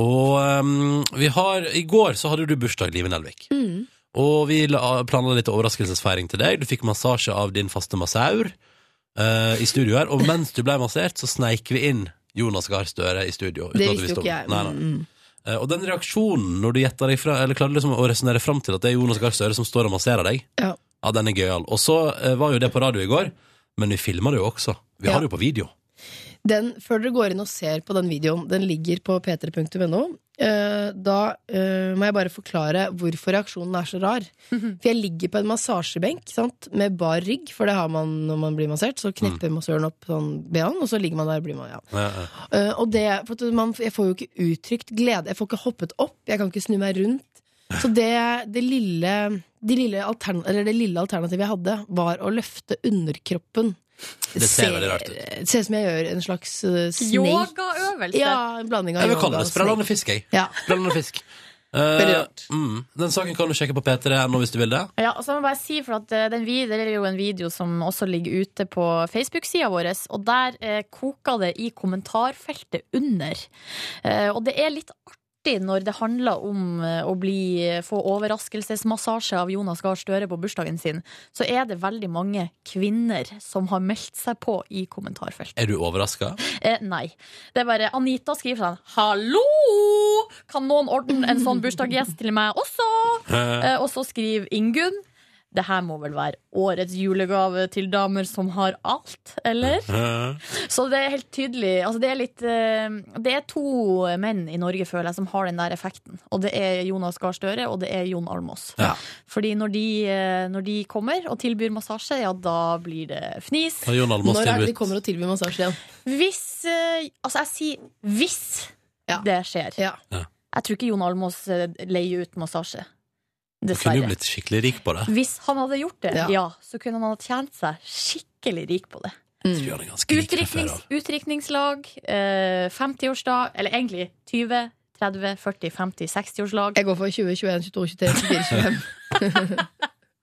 Speaker 2: Og ehm, vi har, i går så hadde du bursdag, Live Nelvik.
Speaker 3: Mm.
Speaker 2: Og vi la- planla litt overraskelsesfeiring til deg. Du fikk massasje av din faste massaur eh, i studio her. Og mens du ble massert, så sneik vi inn Jonas Gahr Støre i studio. uten
Speaker 3: Det
Speaker 2: at du
Speaker 3: visste jo
Speaker 2: om
Speaker 3: ikke jeg. Mm.
Speaker 2: Nei, nei. Eh, Og den reaksjonen når du gjetter deg fra, eller klarer liksom å resonnere fram til at det er Jonas Gahr Støre som står og masserer deg,
Speaker 3: Ja.
Speaker 2: den er gøyal. Og så eh, var jo det på radio i går, men vi filma det jo også. Vi
Speaker 3: Ja.
Speaker 2: har det jo på video.
Speaker 3: Den, før dere går inn og ser på den videoen, den ligger på p3.no. eh, Da eh, må jeg bare forklare hvorfor reaksjonen er så rar. For jeg ligger på en massasjebenk sant? med bar rygg, for det har man når man blir massert. Så knepper massøren opp sånn BH-en, og så ligger man der. og Blir man, ja.
Speaker 2: Ja,
Speaker 3: Eh, og det, for at man, jeg får jo ikke uttrykt glede. Jeg får ikke hoppet opp, jeg kan ikke snu meg rundt. Så det, det, lille, de lille altern, eller det lille alternativet jeg hadde, var å løfte underkroppen.
Speaker 2: Det ser veldig rart ut.
Speaker 3: Det ser ut som jeg gjør en slags uh, snake.
Speaker 4: Yogaøvelse.
Speaker 3: Ja, en blanding av
Speaker 2: Jeg vil
Speaker 3: yoga
Speaker 2: kalle det
Speaker 3: og snake.
Speaker 2: sprellende fisk, jeg.
Speaker 3: Ja.
Speaker 2: Sprellende fisk. Eh,
Speaker 3: Veldig rart.
Speaker 2: mm. Den saken kan du sjekke på p3.no hvis du vil det.
Speaker 4: Ja, og så må jeg bare si for at eh, den vid- Det er jo en video som også ligger ute på Facebook-sida vår, og der eh, koker det i kommentarfeltet under. Eh, og det er litt artig når det handler om eh, å bli, få overraskelsesmassasje av Jonas Gahr Støre på bursdagen sin, så er det veldig mange kvinner som har meldt seg på i kommentarfeltet.
Speaker 2: Er du overraska?
Speaker 4: Eh, nei. Det er bare Anita skriver sånn Hallo! Kan noen ordne en sånn bursdagsgjest til meg også? Eh, Og så skriver Ingunn det her må vel være årets julegave til damer som har alt, eller? Så det er helt tydelig. Altså det, er litt, eh, det er to menn i Norge, føler jeg, som har den der effekten. Og det er Jonas Gahr Støre, og det er Jon Almås.
Speaker 2: Ja.
Speaker 4: Fordi når de, eh, når de kommer og tilbyr massasje, ja, da blir det fnis.
Speaker 2: Har Jon Almaas
Speaker 3: Når er det de
Speaker 2: tilbudt
Speaker 3: kommer og tilbyr massasje igjen?
Speaker 4: Hvis eh, Altså, jeg sier hvis
Speaker 3: Ja.
Speaker 4: det skjer.
Speaker 3: Ja.
Speaker 4: Jeg tror ikke Jon Almås eh, leier ut massasje.
Speaker 2: Du kunne jo
Speaker 4: Dessverre.
Speaker 2: blitt skikkelig rik på det.
Speaker 3: Mm.
Speaker 4: Hvis han hadde gjort det,
Speaker 3: Ja.
Speaker 4: ja. så kunne han ha tjent seg skikkelig rik på det.
Speaker 2: Du gjør det ganske rik fra før
Speaker 4: Utdriknings,
Speaker 2: av.
Speaker 4: utdrikningslag, eh, 50-årsdag, eller egentlig 20, 30, 40, 50, 60-årslag.
Speaker 3: Jeg går for 20, 21, 22, 23, 24, 25.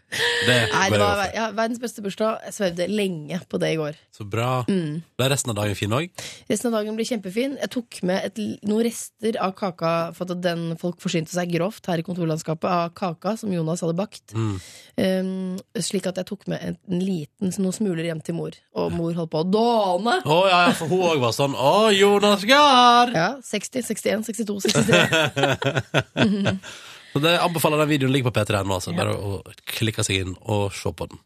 Speaker 2: Det går
Speaker 3: Nei, det
Speaker 2: jeg
Speaker 3: var
Speaker 2: over for.
Speaker 3: ja, verdens beste bursdag. Jeg svevde lenge på det i går.
Speaker 2: Så bra.
Speaker 3: Mm.
Speaker 2: Ble resten av dagen fin òg?
Speaker 3: Resten av dagen blir kjempefin. Jeg tok med et, l- noen rester av kaka, for at den folk forsynte seg grovt her i kontorlandskapet, av kaka som Jonas hadde bakt.
Speaker 2: Mm.
Speaker 3: Um, slik at jeg tok med en, en liten, så noen smuler hjem til mor. Og mor holdt på å dåne!
Speaker 2: Å ja, ja, for hun òg var sånn Å, Jonas Gahr!
Speaker 3: Ja, 60, 61, 62, 63.
Speaker 2: Så det anbefaler den videoen ligger på P3 nå, altså. Bare å å klikke seg inn og se på den.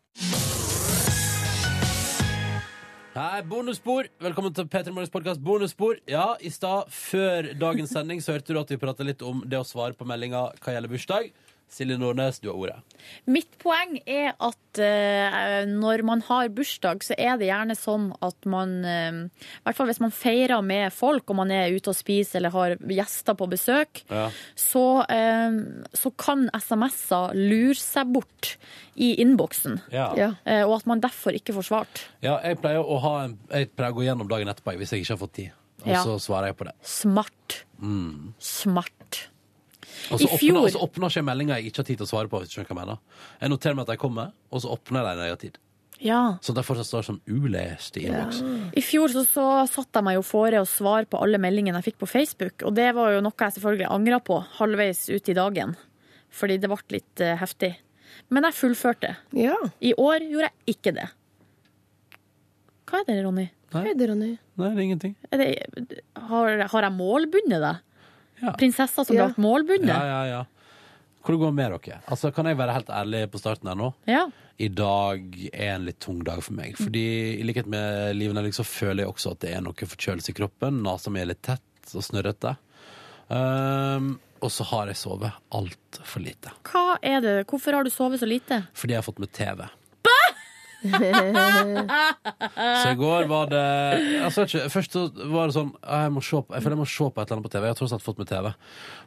Speaker 2: Hei, bonusspor. Velkommen til P3 Morgens podkast Bonusspor. Ja, i stad, før dagens sending, så hørte du at vi prata litt om det å svare på meldinga hva gjelder bursdag. Silje Nordnes, du har ordet.
Speaker 4: Mitt poeng er at eh, når man har bursdag, så er det gjerne sånn at man eh, I hvert fall hvis man feirer med folk, og man er ute og spiser eller har gjester på besøk, så, eh, så kan SMS-er lure seg bort i innboksen.
Speaker 2: Ja.
Speaker 3: Ja.
Speaker 4: Eh, og at man derfor ikke får svart.
Speaker 2: Ja, jeg pleier å, ha en, jeg pleier å gå gjennom dagen etterpå jeg, hvis jeg ikke har fått tid. Og
Speaker 4: Ja.
Speaker 2: så svarer jeg på det.
Speaker 4: Smart. Smart.
Speaker 2: Og
Speaker 4: I
Speaker 2: så åpner,
Speaker 4: fjor-
Speaker 2: og så åpner ikke jeg meldinger jeg ikke har tid til å svare på. Hvis du skjønner hva jeg mener. Jeg noterer meg at de kommer, og så åpner jeg dem når jeg har tid.
Speaker 4: Ja.
Speaker 2: Så det fortsatt står som ulest i innboks.
Speaker 4: I fjor så, så satte jeg meg jo fore å svare på alle meldingene jeg fikk på Facebook, og det var jo noe jeg selvfølgelig angra på halvveis ut i dagen, fordi det ble litt eh, heftig. Men jeg fullførte.
Speaker 3: Ja.
Speaker 4: I år gjorde jeg ikke det. Hva er det, Ronny?
Speaker 3: Hei, det, Ronny.
Speaker 2: Nei, det er ingenting.
Speaker 4: Er det, har, har jeg målbundet det?
Speaker 2: Ja.
Speaker 4: Prinsessa som
Speaker 3: Ja.
Speaker 4: ble målbundet?
Speaker 2: Ja, ja, ja. Hvor det går med dere? Altså, Kan jeg være helt ærlig på starten her nå?
Speaker 4: Ja.
Speaker 2: I dag er en litt tung dag for meg. Fordi i likhet med Liven Elvik så føler jeg også at det er noe forkjølelse i kroppen. Nesa mi er litt tett og snørrete. Um, og så har jeg sovet altfor lite.
Speaker 4: Hva er det? Hvorfor har du sovet så lite?
Speaker 2: Fordi jeg har fått med TV. så i går var det altså, vet ikke, Først så var det sånn «Ah, jeg, må se på, jeg føler jeg må se på et eller annet på TV. Jeg har tross alt fått med TV.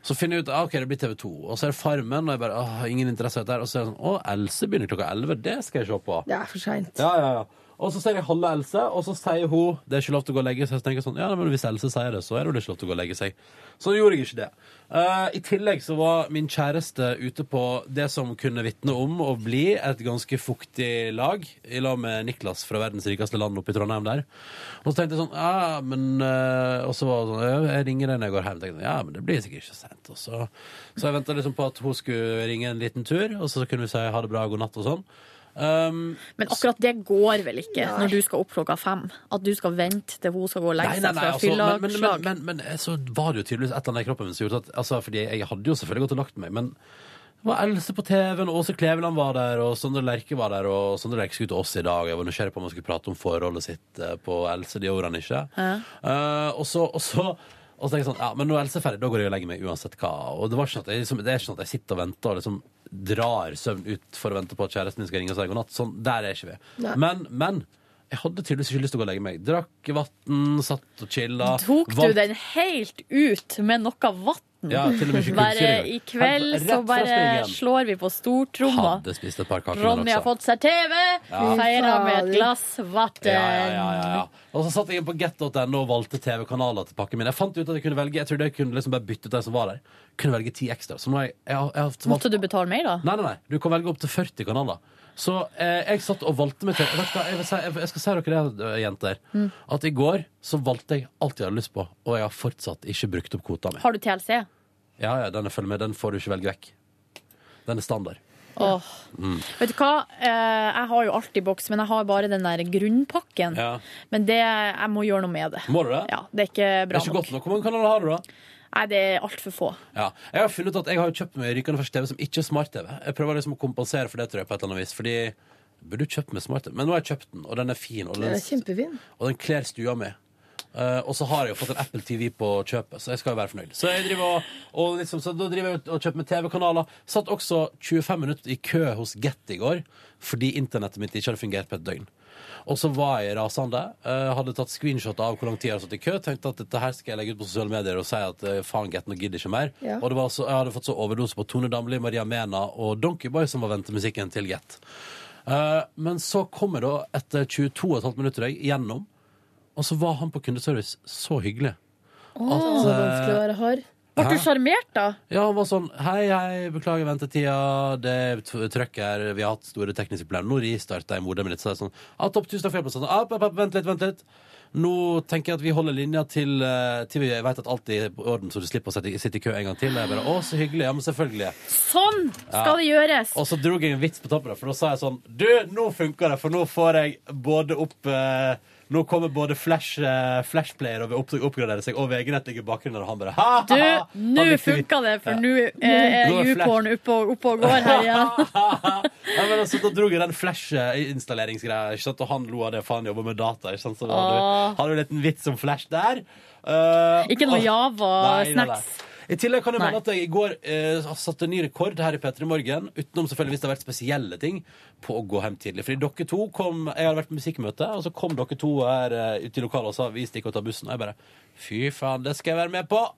Speaker 2: Så finner jeg ut ah, ok, det blir TV2. Og så er det Farmen, og jeg bare «Åh, ingen interesse av dette. her». Og så er det sånn Å, Else begynner klokka 11. Det skal jeg se på.
Speaker 3: Det er for seint.
Speaker 2: Ja, ja, ja. Og så ser jeg halve Else, og så sier hun det er ikke lov til å gå og legge seg. Så tenker jeg sånn, ja, nei, men Hvis Else sier det, så er det vel ikke lov til å gå og legge seg. Så gjorde jeg ikke det. Eh, I tillegg så var min kjæreste ute på det som kunne vitne om å bli et ganske fuktig lag, i lag med Niklas fra verdens rikeste land oppe i Trondheim der. Og så tenkte jeg sånn, ja, men eh, Og så var det sånn, «Ja, jeg ringer deg når jeg går hjem. Tenkte, jeg, ja, men det blir sikkert ikke så sent. Og så, så jeg venta liksom på at hun skulle ringe en liten tur, og så kunne vi si ha det bra, god natt og sånn. Um,
Speaker 4: Men akkurat det går vel ikke når du skal opp klokka fem? At du skal vente til hun skal gå og legge
Speaker 2: nei, nei,
Speaker 4: seg
Speaker 2: nei,
Speaker 4: fra
Speaker 2: altså, men, men, men,
Speaker 4: fyllaslag?
Speaker 2: men, men eh, så var det jo tydeligvis et eller annet i kroppen min som gjorde at altså, Fordi jeg hadde jo selvfølgelig gått og lagt meg, men det var Else på TV-en, og Åse Kleveland var der, og Sondre Lerche var der, og Sondre Lerche skulle til oss i dag. Jeg var nysgjerrig på om han skulle prate om forholdet sitt eh, på Else, det gjorde han ikke. Eh, og så, og så og så tenker jeg sånn, ja, men når Else er ferdig, da går jeg og legger meg uansett hva. Og det, var ikke sånn at jeg, liksom, det er ikke sånn at jeg sitter og venter og liksom drar søvn ut for å vente på at kjæresten min skal ringe og si god natt. Sånn, der er ikke vi. Men, men jeg hadde tydeligvis ikke lyst til å gå og legge meg. Drakk vann, satt og chilla.
Speaker 4: Tok du
Speaker 2: Valgte-
Speaker 4: den helt ut med noe vann?
Speaker 2: Ja, til og med ikke
Speaker 4: Bare
Speaker 2: kullsyre
Speaker 4: i
Speaker 2: engang.
Speaker 4: kveld
Speaker 2: Rett
Speaker 4: så
Speaker 2: fra
Speaker 4: bare
Speaker 2: springen.
Speaker 4: slår vi på stortromma.
Speaker 2: Hadde spist et par kaker. men
Speaker 4: Ronny har
Speaker 2: også.
Speaker 4: fått seg TV, feirer med et glass vann.
Speaker 2: ja, ja, ja, ja,
Speaker 4: Eh,
Speaker 2: ja. Og så satt jeg inn på get.no og valgte TV-kanaler til pakken min. Jeg fant ut at jeg kunne velge Jeg trodde jeg kunne liksom bare bytte ut de som var der. Kunne velge ti ekstra. Så nå har jeg, jeg, har- jeg har valgt
Speaker 4: Måtte du betale mer, da?
Speaker 2: Nei, nei, nei. Du kan velge opp til 40 kanaler. Så eh, jeg satt og valgte meg til Vet du hva, jeg, vil si, jeg, jeg skal si dere det, eh, jenter.
Speaker 4: Mm.
Speaker 2: At i går så valgte jeg alt jeg hadde lyst på, og jeg har fortsatt ikke brukt opp kvota mi.
Speaker 4: Har du TLC?
Speaker 2: Ja, ja, denne følger med. Den får du ikke velge vekk. Den er standard.
Speaker 4: Åh. Vet du hva? Eh, Jeg har jo alltid boks, men jeg har bare den der grunnpakken.
Speaker 2: Ja.
Speaker 4: Men det, jeg må gjøre noe med det.
Speaker 2: Må du det?
Speaker 4: Ja, Det er ikke
Speaker 2: Det
Speaker 4: bra
Speaker 2: er ikke
Speaker 4: nok.
Speaker 2: godt nok. Hvor mange kanaler har du, da?
Speaker 4: Nei, det er altfor få.
Speaker 2: Ja. Jeg har funnet ut at jeg har jo kjøpt meg rykende fersk TV som ikke er smart-TV. Jeg prøver liksom å kompensere for det, tror jeg, på et eller annet vis. Fordi burde du kjøpt meg smart-TV? Men nå har jeg kjøpt den, og den er fin, og
Speaker 3: Det
Speaker 2: den,
Speaker 3: er kjempefin.
Speaker 2: og den kler stua mi. Eh, og så har jeg jo fått en Apple TV på kjøpet, så jeg skal jo være fornøyd. Så, jeg driver og, og liksom, så da driver jeg og- og kjøper meg TV-kanaler. Satt også 25 minutter i kø hos Get i går fordi internettet mitt ikke hadde fungert på et døgn. Og så var jeg rasende. eh, hadde tatt screenshot av hvor lang tid jeg hadde stått i kø. Tenkte at dette her skal jeg legge ut på sosiale medier og si at eh, faen, Get, nå gidder jeg ikke mer.
Speaker 3: Ja.
Speaker 2: Og det var så, jeg hadde fått så overdose på Tone Damli, Maria Mena og Donkeyboy, som var ventemusikken til Get. Eh, men så kom jeg da, etter 22,5 minutter, jeg, gjennom. Og så var han på kundeservice så hyggelig.
Speaker 3: Så vanskelig å være hard.
Speaker 4: Ble
Speaker 2: Hæ?
Speaker 4: du sjarmert, da?
Speaker 2: Ja, han var sånn Hei, hei, beklager ventetida. Det er t- trøkk her. Vi har hatt store tekniske problemer. Nå restarta jeg modemet mitt. Så det er sånn ah, Topp, tusen takk for hjelpen. Sånn, «Ah, app, app, app, vent litt, vent litt. Nå tenker jeg at vi holder linja til, eh, til vi vet at alt er i orden, så du slipper å sette- sitte i kø en gang til. Jeg bare, å, så hyggelig. Ja, men selvfølgelig.
Speaker 4: Sånn skal det gjøres!
Speaker 2: Og så dro jeg en vits på toppen, der, for da sa jeg sånn Du, nå funker det, for nå får jeg både opp eh, Nå kommer både flash, eh, flashplayer og opp, oppgradere seg, og VG-nett ligger i bakgrunnen, og han bare ha, ha,
Speaker 4: Du,
Speaker 2: ha,
Speaker 4: nå
Speaker 2: han likte
Speaker 4: funka det,
Speaker 2: Ja.
Speaker 4: for nå eh,
Speaker 2: Nå er
Speaker 4: er
Speaker 2: det flash.
Speaker 4: YouPorn oppe og, oppe og går her igjen.
Speaker 2: Nei, men altså, da dro jeg den flash-installeringsgreia, ikke sant? og han lo av det, for han jobber med data. Ikke sant? Så da hadde vi-
Speaker 4: Åh.
Speaker 2: hadde vi en liten vits om flash der. Eh,
Speaker 4: Ikke noe
Speaker 2: og- Nei, nei,
Speaker 4: Java-snacks.
Speaker 2: nei. I tillegg kan jeg
Speaker 4: Nei.
Speaker 2: melde at jeg i går eh, satte en ny rekord her i P3 Morgen, utenom selvfølgelig hvis det har vært spesielle ting, på å gå hjem tidlig. Fordi dere to kom Jeg hadde vært på musikkmøte, og så kom dere to her eh, ut i lokalet og sa vi stikker og tar bussen. Og jeg bare fy faen, det skal jeg være med på!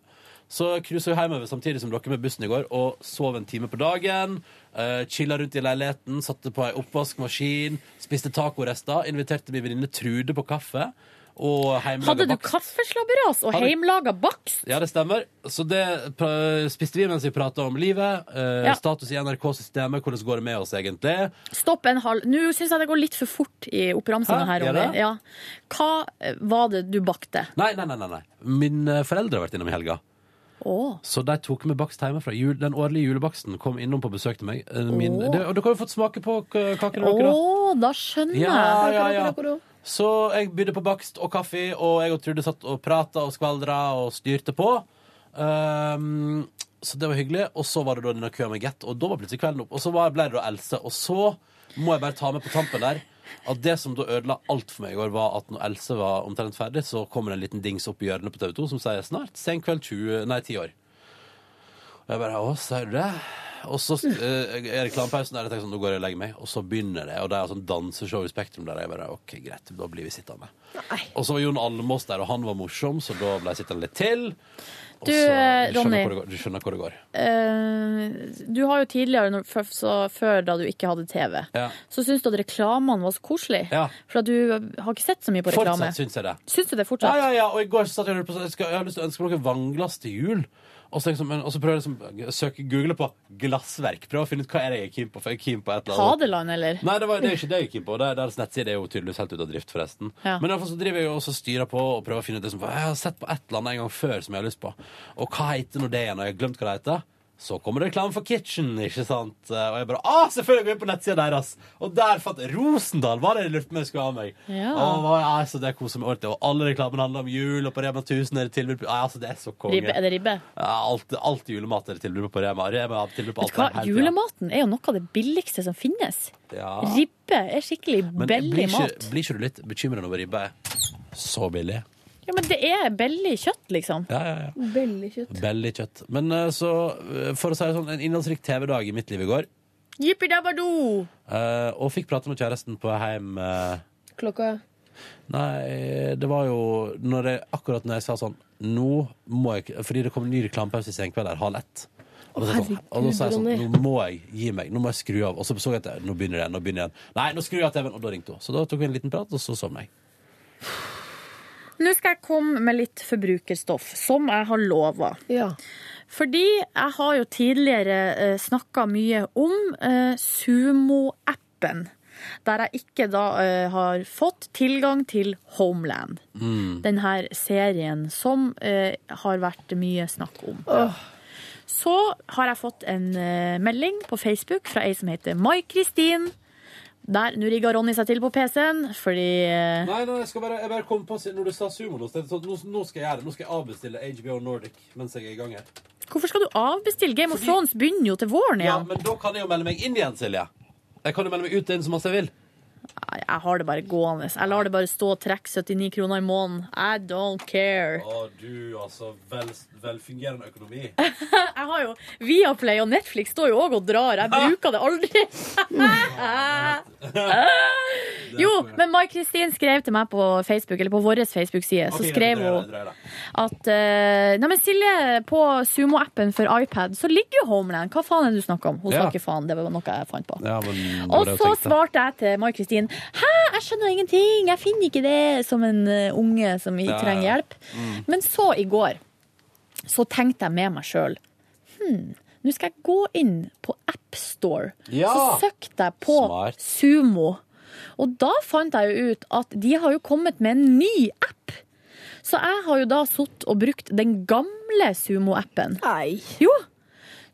Speaker 2: Så cruisa jeg hjemover samtidig som dere med bussen i går, og sov en time på dagen. Uh, chilla rundt i leiligheten, satte på ei oppvaskmaskin, spiste tacorester, inviterte min venninne Trude på kaffe. Og hjemmelaga
Speaker 4: Hadde du
Speaker 2: bakst.
Speaker 4: kaffeslabberas og
Speaker 2: Hadde-
Speaker 4: heimlaga bakst?
Speaker 2: Ja, det stemmer. Så det pra- spiste vi mens vi prata om livet. eh,
Speaker 4: Ja.
Speaker 2: Status i NRK-systemet, hvordan går det med oss egentlig?
Speaker 4: Stopp en halv Nå syns jeg det går litt for fort i
Speaker 2: Hæ?
Speaker 4: oppramsinga her,
Speaker 2: Gjør
Speaker 4: Ronny.
Speaker 2: det?
Speaker 4: Ja. Hva eh, var det du bakte?
Speaker 2: Nei, nei, nei. nei, nei. Mine foreldre har vært innom i helga.
Speaker 4: Å.
Speaker 2: Så de tok med bakst hjemmefra. Jul, den årlige julebaksten kom innom på besøk til meg. Eh, Min,
Speaker 4: Åh.
Speaker 2: det, og dere har jo fått smake på k- kakene
Speaker 4: Å,
Speaker 2: dere, da.
Speaker 4: da skjønner jeg.
Speaker 2: Ja, ja, ja. Så jeg bydde på bakst og kaffe, og jeg og Trude satt og prata og skvaldra og styrte på. Ehm, så det var hyggelig. Og så var det da denne køen med Get, og da var plutselig kvelden opp. Og så var, ble det da Else. Og så må jeg bare ta med på tampen der at det som da ødela alt for meg i går, var at når Else var omtrent ferdig, så kommer det en liten dings opp i hjørnet på TV 2 som sier snart sen kveld 20, nei 10 år. Og jeg bare Å, sier du det? Og så eh, er reklamepausen der, og jeg tenker sånn, nå går jeg og legger meg. Og så begynner det, og det er sånn danseshow i Spektrum der. Og jeg bare OK, greit, da blir vi sittende. Og så var Jon Almås der, og han var morsom, så da ble jeg sittende litt til. Og
Speaker 4: Du,
Speaker 2: så,
Speaker 4: eh,
Speaker 2: skjønner
Speaker 4: Ronny.
Speaker 2: hvor det går- Du skjønner hvor det går.
Speaker 4: Eh, du har jo tidligere, når, før, så, før da du ikke hadde TV,
Speaker 2: Ja.
Speaker 4: så syns du at reklamene var så koselige.
Speaker 2: Ja.
Speaker 4: For at du har ikke sett så mye på reklame.
Speaker 2: Fortsatt syns jeg det.
Speaker 4: Syns du det
Speaker 2: Ja,
Speaker 4: fortsatt?
Speaker 2: ja, ja. Og i går så satt jeg og lurte på sånn, jeg, skal, jeg har lyst til å ønske meg noe vannglass til jul. Og så, tenkte jeg sånn, men- og så prøver jeg liksom, å søke google på glassverk. Prøv å finne ut hva er det jeg er keen på. For jeg er keen på et eller annet.
Speaker 4: Hadeland, eller?
Speaker 2: Nei, det, var, det er ikke det jeg gikk inn på. Det, deres nettside er jo tydeligvis helt ute av drift, forresten.
Speaker 4: Ja.
Speaker 2: Men iallfall så driver jeg jo også og styrer på og prøver å finne ut det som Jeg har sett på et eller annet en gang før som jeg har lyst på. Og hva heter nå det igjen? Og jeg har glemt hva det heter. Så kommer det reklame for Kitchen, ikke sant? Og jeg bare ah, selvfølgelig! Gå inn på nettsida deres! Og der fant Rosendal var det de lurte på om jeg skulle ha meg.
Speaker 4: Ja.
Speaker 2: Å, hva- ja, altså, det koser meg ordentlig. Og alle reklamene handler om jul, og på Rema 1000 er det tilbud på ja, altså, Det er så konge.
Speaker 4: Ribbe, er det ribbe?
Speaker 2: Ja, alt, alt julemat er det tilbud på Rema. Rema har tilbud på
Speaker 4: Vet
Speaker 2: alt
Speaker 4: du hva?
Speaker 2: der hele tiden.
Speaker 4: Julematen er jo noe av det billigste som finnes.
Speaker 2: Ja.
Speaker 4: Ribbe er skikkelig
Speaker 2: Men
Speaker 4: billig
Speaker 2: blir
Speaker 4: mat.
Speaker 2: ikke, blir ikke du litt bekymra når ribba er så billig?
Speaker 4: Ja, men det er billig kjøtt, liksom.
Speaker 2: Ja, ja, ja.
Speaker 3: Veldig kjøtt.
Speaker 2: Veldig kjøtt. Men eh, så, eh, for å si det sånn, en innholdsrik TV-dag i mitt liv i går.
Speaker 4: Jippi-dabba-do!
Speaker 2: eh, og fikk prate med kjæresten på hjem eh,
Speaker 3: Klokka
Speaker 2: Nei, det var jo når jeg, akkurat når jeg sa sånn Nå må jeg Fordi det kom en ny reklamepause i senkveld der, halv ett. Og da, sa jeg sånn, og da sa jeg sånn
Speaker 3: Ronny.
Speaker 2: Nå må jeg gi meg. Nå må jeg skru av. Og så så jeg at jeg- nå begynner det igjen. Nå begynner det igjen. Nei, nå skrur jeg av TV-en. Og da ringte hun. Så da tok vi en liten prat, og så sovna jeg.
Speaker 4: Nå skal jeg komme med litt forbrukerstoff, som jeg har lova.
Speaker 3: Ja.
Speaker 4: Fordi jeg har jo tidligere eh, snakka mye om eh, Sumo-appen. Der jeg ikke da eh, har fått tilgang til Homeland. Den her serien som eh, har vært mye snakk om. Så har jeg fått en eh, melding på Facebook fra ei som heter Mai-Kristin. Der, Nå rigga Ronny seg til på PC-en, fordi eh,
Speaker 2: Nei, nei, jeg skal bare, jeg bare kom på siden når du sa sumo nå, så tenkte jeg sånn, nå, nå skal jeg gjøre det. Nå skal jeg avbestille HBO Nordic mens jeg er i gang her.
Speaker 4: Hvorfor skal du avbestille? Game of Thrones begynner jo til våren
Speaker 2: Ja,
Speaker 4: igjen.
Speaker 2: men da kan jeg jo melde meg inn igjen, Silje. Jeg kan jo melde meg ut og inn så masse jeg vil.
Speaker 4: Nei, Jeg har det bare gående. Jeg lar det bare stå og trekke 79 kroner i måneden. I don't care.
Speaker 2: Å, du, altså. Vel, velfungerende økonomi.
Speaker 4: Jeg har jo Viaplay og Netflix står jo òg og drar. Jeg bruker det aldri. jo, men Mai Kristin skrev til meg på Facebook, eller på vår Facebook-side, så skrev hun at eh, Nei, men Silje, på Sumo-appen for iPad så ligger jo Homeland. Hva faen er det du snakker om? Hun
Speaker 2: Ja.
Speaker 4: sa ikke faen, det var noe jeg fant på.
Speaker 2: Ja, men,
Speaker 4: Og så svarte jeg til Mai-Kristin Hæ, jeg skjønner ingenting, jeg finner ikke det Som en eh, unge som
Speaker 2: Ja,
Speaker 4: ikke
Speaker 2: ja, ja.
Speaker 4: trenger hjelp Men så i går Så tenkte jeg med meg selv Hm, nå skal jeg gå inn på App Store
Speaker 2: Ja!
Speaker 4: Så søkte jeg på
Speaker 2: Smart.
Speaker 4: Sumo Og da fant jeg jo ut at De har jo kommet med en ny app Så jeg har jo da sutt og brukt Den gamle Sumo-appen
Speaker 3: Nei.
Speaker 4: jo.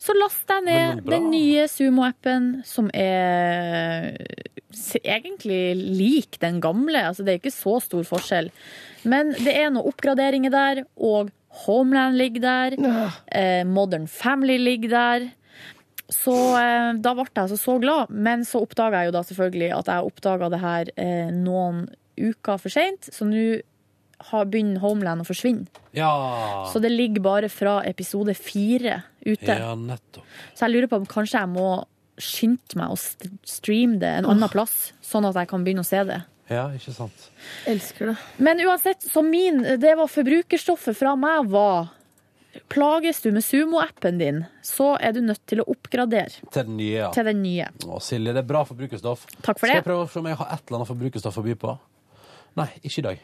Speaker 4: Så last deg
Speaker 2: Men
Speaker 4: ned
Speaker 2: bra.
Speaker 4: den nye Sumo-appen, som er s- egentlig lik den gamle. Altså, det er ikke så stor forskjell. Men det er noen oppgraderinger der, og Homeland ligger der. Eh, Modern Family ligger der. Så eh, da ble jeg altså så glad, men så oppdaga jeg jo da selvfølgelig at jeg oppdaga det her eh, noen uker for seint, så nå har- begynner Homeland å forsvinne.
Speaker 2: Ja.
Speaker 4: Så det ligger bare fra episode fire ute.
Speaker 2: ja, nettopp.
Speaker 4: Så jeg lurer på om kanskje jeg må skynde meg å st- streame det en annen plass, sånn at jeg kan begynne å se det.
Speaker 2: Ja, ikke sant.
Speaker 3: Elsker det.
Speaker 4: Men uansett, så min, det var forbrukerstoffet fra meg var Plages du med sumo-appen din, så er du nødt til å oppgradere
Speaker 2: Til den nye, ja.
Speaker 4: til den nye.
Speaker 2: Å, Silje, det er bra forbrukerstoff.
Speaker 4: Takk for
Speaker 2: Skal jeg
Speaker 4: det.
Speaker 2: prøve å se om jeg har et eller annet forbrukerstoff å by på? Nei, ikke i dag.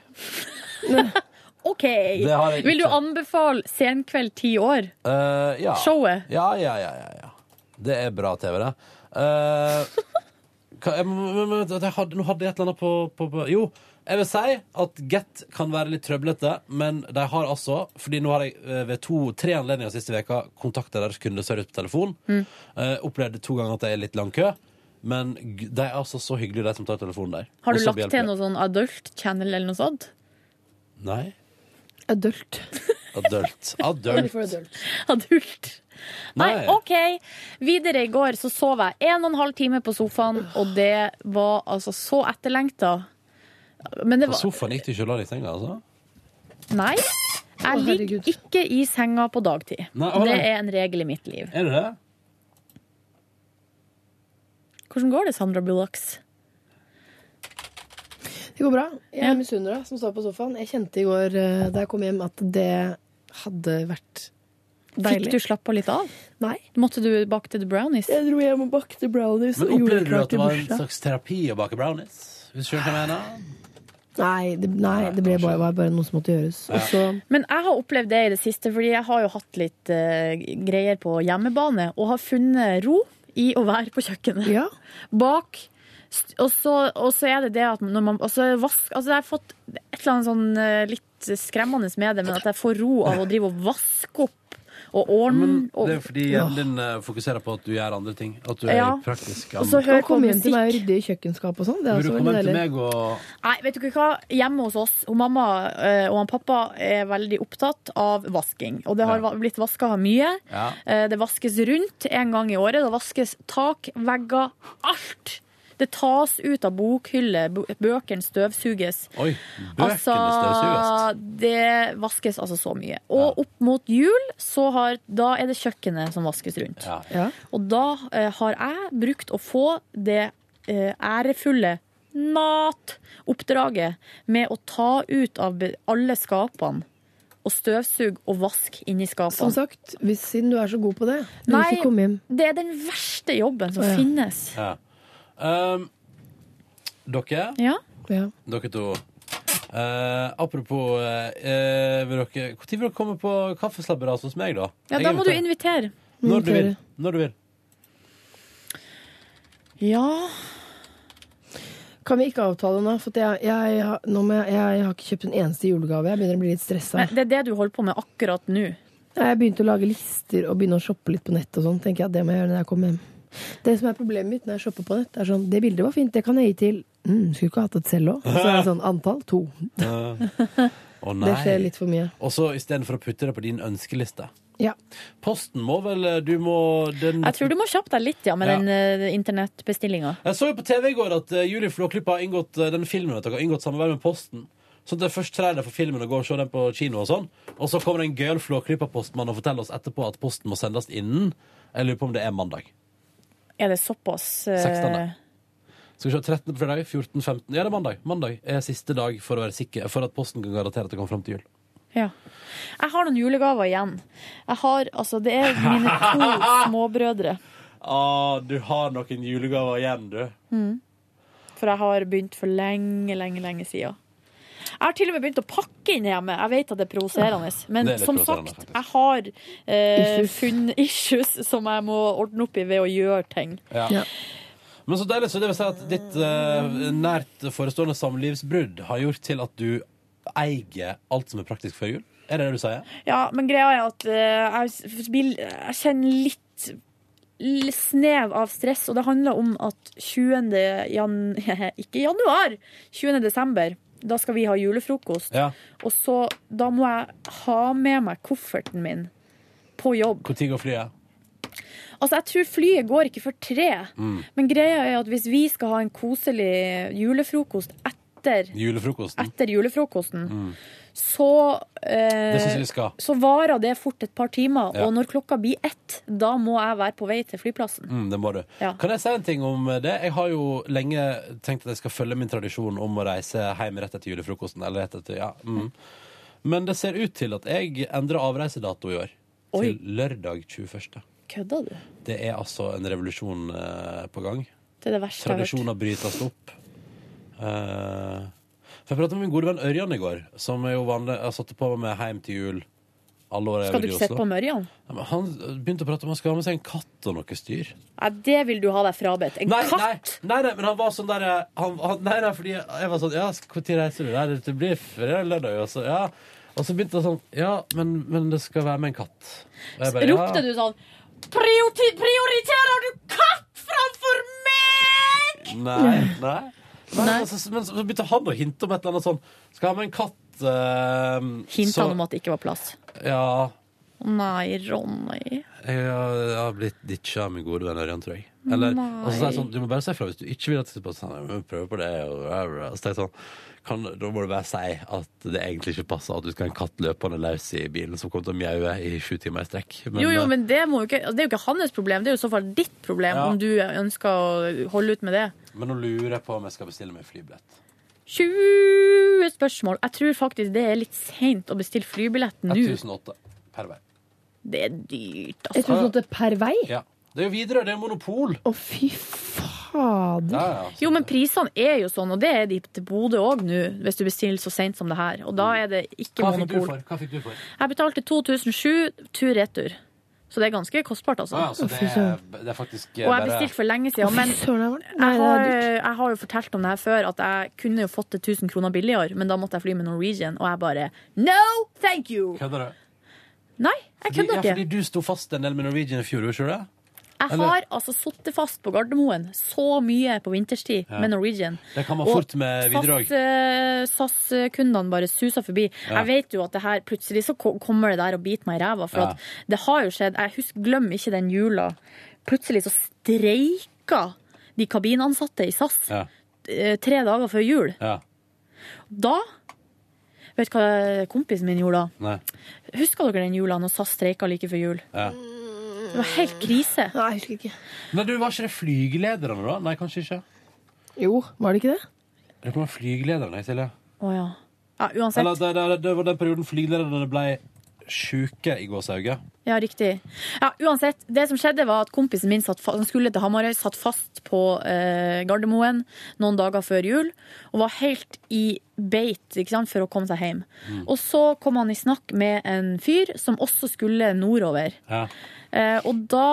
Speaker 4: OK!
Speaker 2: Det har jeg
Speaker 4: Vil du
Speaker 2: ikke.
Speaker 4: anbefale Senkveld ti år?
Speaker 2: Eh, ja.
Speaker 4: Showet?
Speaker 2: Ja, ja, ja, ja, ja. Det er bra TV, det. Eh, hva, jeg, må- må- må- jeg hadde, nå hadde jeg et eller annet på, på, på Jo, jeg vil si at Get kan være litt trøblete, men de har altså Fordi nå har jeg eh, ved to, tre anledninger siste veka kontakta deres kundeservice på telefon.
Speaker 4: Mm.
Speaker 2: Eh, opplevde to ganger at det er litt lang kø. Men g- de er altså så hyggelige, de som tar telefonen der.
Speaker 4: Har
Speaker 2: Og
Speaker 4: du
Speaker 2: så
Speaker 4: lagt
Speaker 2: hjelper
Speaker 4: til
Speaker 2: det.
Speaker 4: noe sånn adult channel eller noe sånt?
Speaker 2: Nei.
Speaker 3: Adult.
Speaker 2: Adult.
Speaker 3: Veldig
Speaker 2: Adult.
Speaker 3: for adult.
Speaker 4: Adult. Nei.
Speaker 2: Nei.
Speaker 4: OK. Videre i går så sov jeg en og en halv time på sofaen, og det var altså så etterlengta. Men det
Speaker 2: På
Speaker 4: var
Speaker 2: sofaen gikk du ikke og la deg i senga, altså?
Speaker 4: Nei. Jeg
Speaker 3: herregud.
Speaker 4: ligger ikke i senga på dagtid.
Speaker 2: Nei, å, nei.
Speaker 4: Det er en regel i mitt liv.
Speaker 2: Er du det?
Speaker 4: Hvordan går det, Sandra Bullocks?
Speaker 3: Det går bra. Jeg misunner deg som står på sofaen. Jeg kjente i går eh, da jeg kom hjem, at det hadde vært
Speaker 4: Fikk du slappa litt av?
Speaker 3: Nei.
Speaker 4: Måtte du bake til the brownies?
Speaker 3: Jeg dro hjem og bakte brownies
Speaker 2: Men
Speaker 3: og gjorde
Speaker 2: opplevde du
Speaker 3: klart
Speaker 2: at det
Speaker 3: til
Speaker 2: var en
Speaker 3: bursdag.
Speaker 2: slags terapi å bake brownies? Hvis du skjønner hva jeg mener?
Speaker 3: Nei, det, nei, det ble bare, var bare noe som måtte gjøres. Og så
Speaker 4: Men jeg har opplevd det i det siste, fordi jeg har jo hatt litt eh, greier på hjemmebane, og har funnet ro i å være på kjøkkenet.
Speaker 3: Ja.
Speaker 4: bak. st- Og så, og så er det det at når man og så vask, altså Jeg har fått et eller annet sånn eh, litt skremmende med det, men at jeg får ro av å drive og vaske opp og ordne
Speaker 2: Men det er
Speaker 4: og,
Speaker 2: fordi hjernen din eh, fokuserer på at du gjør andre ting. At du er
Speaker 4: Ja.
Speaker 2: praktisk.
Speaker 4: og så
Speaker 3: Kan
Speaker 4: høre på
Speaker 3: komme hjem til meg og
Speaker 4: musikk.
Speaker 3: rydde i kjøkkenskapet og sånn. Det er
Speaker 2: Vil du
Speaker 3: også
Speaker 2: komme hjem
Speaker 3: veldig
Speaker 2: til meg
Speaker 3: deilig.
Speaker 2: og
Speaker 4: Nei, vet du ikke hva? Hjemme hos oss, hun mamma eh, og han pappa er veldig opptatt av vasking. Og det har
Speaker 2: Ja.
Speaker 4: va- blitt vaska mye.
Speaker 2: ja.
Speaker 4: Eh, Det vaskes rundt en gang i året. Det vaskes tak, vegger, alt. Det tas ut av bokhyller, bo- bøkene støvsuges. Altså,
Speaker 2: Oi, bøkene støvsuges.
Speaker 4: det vaskes altså så mye. Og opp mot jul, så har, da er det kjøkkenet som vaskes rundt.
Speaker 2: Ja.
Speaker 4: Og da eh, har jeg brukt å få det eh, ærefulle NAT-oppdraget med å ta ut av be- alle skapene og støvsuge og vaske inni
Speaker 2: Sånn.
Speaker 3: Som
Speaker 4: skapene.
Speaker 3: sagt, hvis, siden du er så god på det, vil du
Speaker 4: Nei.
Speaker 3: ikke komme hjem.
Speaker 4: Det er den verste jobben som
Speaker 3: Å, ja.
Speaker 4: finnes.
Speaker 2: Ja. Um, dere,
Speaker 4: Ja.
Speaker 3: Ja.
Speaker 2: dere to. Eh, apropos eh, eh, vil dere, Når vil dere komme på kaffeslabberas hos meg, da?
Speaker 4: ja,
Speaker 2: Jeg
Speaker 4: da må du
Speaker 2: inviterer.
Speaker 4: invitere.
Speaker 2: Når du vil.
Speaker 3: Invitere.
Speaker 2: Når du vil.
Speaker 4: Ja.
Speaker 3: Kan vi ikke avtale nå? For at jeg, jeg, har- nå må jeg, jeg har ikke kjøpt en eneste julegave. Jeg begynner å bli litt stressa.
Speaker 4: Men det er det du holder på med akkurat nå.
Speaker 3: Jeg begynte å lage lister og begynne å shoppe litt på nett. og sånn, tenker jeg at Det må jeg gjøre når jeg kommer hjem. Det som er problemet mitt når jeg shopper på nett, er sånn Det bildet var fint, det kan jeg gi til mm, Skulle ikke hatt et selv òg. Så er det sånn antall to.
Speaker 2: Å
Speaker 3: Det skjer
Speaker 2: nei.
Speaker 3: litt for mye.
Speaker 2: Og så istedenfor å putte det på din ønskeliste.
Speaker 3: Ja.
Speaker 2: Posten må vel eh, Du må den
Speaker 4: Jeg tror du må kjappe deg litt ja, med
Speaker 2: Ja.
Speaker 4: den eh, internettbestillinga.
Speaker 2: Jeg så jo på TV i går at eh, Julie Flåklypa har inngått eh, den filmen vet dere, har inngått samarbeid med Posten. Så det er først trailer for filmen og går og ser den på kino og sånn. Og så kommer det en gøyal Flåklypa-postmann og forteller oss etterpå at posten må sendes innen. Jeg lurer på om det er mandag.
Speaker 4: Er det såpass eh,
Speaker 2: 16. Skal vi se, 13. på fredag, 14. 15. Ja, det er mandag. Mandag er siste dag for å være sikker, for at posten kan garantere at det kommer fram til jul.
Speaker 4: Ja. Jeg har noen julegaver igjen. Jeg har, altså, det er mine to småbrødre.
Speaker 2: Ah, du har noen julegaver igjen, du.
Speaker 4: For jeg har begynt for lenge, lenge, lenge siden. Jeg har til og med begynt å pakke inn hjemme. Jeg vet at det er provoserende. Men
Speaker 2: Det er litt
Speaker 4: som
Speaker 2: provoserende,
Speaker 4: sagt,
Speaker 2: faktisk.
Speaker 4: jeg har eh,
Speaker 3: Issues.
Speaker 4: funnet issues som jeg må ordne opp i ved å gjøre ting.
Speaker 2: Ja.
Speaker 3: Ja.
Speaker 2: Men så deilig, så det vil si at ditt eh, nært forestående samlivsbrudd har gjort til at du eier alt som er praktisk før jul? Er det det du sier?
Speaker 4: Ja, men greia er at eh, jeg, vil- jeg kjenner litt l- snev av stress, og det handler om at 20. Jan... Ikke januar! 20. desember. Da skal vi ha julefrokost.
Speaker 2: Ja.
Speaker 4: Og så da må jeg ha med meg kofferten min på jobb.
Speaker 2: Når går flyet?
Speaker 4: Altså, jeg tror flyet går ikke før tre.
Speaker 2: Mm.
Speaker 4: Men greia er at hvis vi skal ha en koselig julefrokost
Speaker 2: Mm.
Speaker 4: etter,
Speaker 2: Julefrokosten.
Speaker 4: etter julefrokosten, så
Speaker 2: Mm. Det syns jeg
Speaker 4: eh,
Speaker 2: vi skal.
Speaker 4: så varer det fort et par timer,
Speaker 2: Ja.
Speaker 4: og når klokka blir ett, da må jeg være på vei til flyplassen.
Speaker 2: Mm, det må du.
Speaker 4: Ja.
Speaker 2: Kan jeg si en ting om det? Jeg har jo lenge tenkt at jeg skal følge min tradisjon om å reise hjem rett etter julefrokosten. Eller rett etter, ja. Mm. Men det ser ut til at jeg endrer avreisedato i år.
Speaker 4: Oi.
Speaker 2: Til lørdag 21.
Speaker 4: Kødda du?
Speaker 2: Det er altså en revolusjon eh, på gang.
Speaker 4: Det er det verste jeg har hørt.
Speaker 2: Tradisjoner brytes opp. Eh, for Jeg pratet med min gode venn Ørjan i går, som er jo vanlig Jeg satte på meg med hjem til jul. Alle år jeg
Speaker 4: Skal du
Speaker 2: bodde i
Speaker 4: ikke sitte
Speaker 2: Oslo.
Speaker 4: på Mørjan?
Speaker 2: Ja, men Han begynte å prate om han skal ha med seg en katt og noe styr.
Speaker 4: Nei, det vil du ha deg frabedt. En
Speaker 2: Nei, nei,
Speaker 4: katt!
Speaker 2: nei, nei, men han var sånn der eh, han, han, Nei, nei, fordi jeg var sånn Ja, når reiser du? Nei, det blir fredag eller lørdag. Og så, ja. og så begynte han sånn Ja, men, men det skal være med en katt. Og jeg bare,
Speaker 4: Ropte du sånn "Prioriti- Prioriterer du katt framfor meg?!
Speaker 2: Nei, nei. nei. altså, men så så begynte han å hinte om et eller annet sånn Skal ha med en katt eh,
Speaker 4: Hinta
Speaker 2: så-
Speaker 4: han om at det ikke var plass.
Speaker 2: Ja,
Speaker 4: Nei, Ronny.
Speaker 2: jeg har, jeg har blitt ditcha av min gode venn Ørjan, tror jeg. Eller, og så sier jeg sånn, du må bare si fra hvis du ikke vil at jeg skal på sånn, jeg må prøve på det. Og, og så tenker jeg sånn, kan, da må du bare si at det egentlig ikke passer at du skal ha en katt løpende løs i bilen som kommer til å mjaue i sju timer i strekk. Men,
Speaker 4: jo, jo,
Speaker 2: eh,
Speaker 4: men det, må jo ikke, altså, det er jo ikke hans problem. Det er jo i så fall ditt problem
Speaker 2: Ja.
Speaker 4: om du ønsker å holde ut med det.
Speaker 2: men nå lurer jeg på om jeg skal bestille meg flybillett.
Speaker 4: 20 spørsmål. Jeg tror faktisk det er litt seint å bestille flybillett nå.
Speaker 2: 1008 per vei.
Speaker 4: Det er dyrt, altså.
Speaker 3: 1008 per vei?
Speaker 2: Ja. Det er jo Widerøe, det er monopol!
Speaker 3: Å, fy fader.
Speaker 2: Ja, ja.
Speaker 4: Jo, men prisene er jo sånn, og det er de til Bodø òg nå, hvis du bestiller så seint som det her. Og da er det
Speaker 2: Mm.
Speaker 4: ikke
Speaker 2: Hva fikk du
Speaker 4: monopol.
Speaker 2: for? Hva fikk du for?
Speaker 4: Jeg betalte 2007 tur-retur. Så det er ganske kostbart, altså.
Speaker 2: Ah, ja, så det, er, det er faktisk eh,
Speaker 4: Og jeg
Speaker 2: bare
Speaker 4: bestilte for lenge siden, men
Speaker 3: Søren, det er varmt. Nei,
Speaker 4: jeg
Speaker 3: det
Speaker 4: har, eh,
Speaker 3: er dyrt.
Speaker 4: jeg har jo fortalt om det her før, at jeg kunne jo fått det 1000 kroner billigere, men da måtte jeg fly med Norwegian, og jeg bare No, thank you!
Speaker 2: Kødder du?
Speaker 4: Jeg
Speaker 2: Fordi-
Speaker 4: kødder
Speaker 2: Ja,
Speaker 4: ikke.
Speaker 2: fordi du sto fast en del med Norwegian i fjor, gjorde ikke du det?
Speaker 4: Jeg har altså sittet fast på Gardermoen så mye på vinterstid
Speaker 2: Ja. Eh,
Speaker 4: med Norwegian. eh,
Speaker 2: Det kan man
Speaker 4: Og
Speaker 2: fort med videre òg.
Speaker 4: SAS-kundene bare suser forbi.
Speaker 2: Ja.
Speaker 4: Jeg vet jo at det her plutselig så ko- kommer det der og biter meg i ræva, for
Speaker 2: Ja.
Speaker 4: at det har jo skjedd. Jeg husker, glem ikke den jula. Plutselig så streika de kabinansatte i SAS
Speaker 2: Ja.
Speaker 4: eh, tre dager før jul.
Speaker 2: Ja.
Speaker 4: Da Vet du hva kompisen min gjorde da?
Speaker 2: Nei.
Speaker 4: Husker dere den jula når SAS streika like før jul?
Speaker 2: Ja.
Speaker 4: Det var helt krise.
Speaker 3: Nei, jeg husker ikke.
Speaker 2: Men du, var ikke det flygelederne, da? Nei, kanskje ikke.
Speaker 3: Jo, var det ikke det?
Speaker 2: Det var flygelederne, jeg, Silje.
Speaker 4: Å ja. ja. Uansett.
Speaker 2: Eller det, det, det var den perioden flygelederne ble sjuke i gåseauget.
Speaker 4: Ja, riktig. Ja, uansett, det som skjedde var at kompisen min satt fa- han skulle til Hamarøy, satt fast på eh, Gardermoen noen dager før jul, og var helt i beit ikke sant, for å komme seg hjem. Og så kom han i snakk med en fyr som også skulle nordover.
Speaker 2: Ja.
Speaker 4: Eh, og da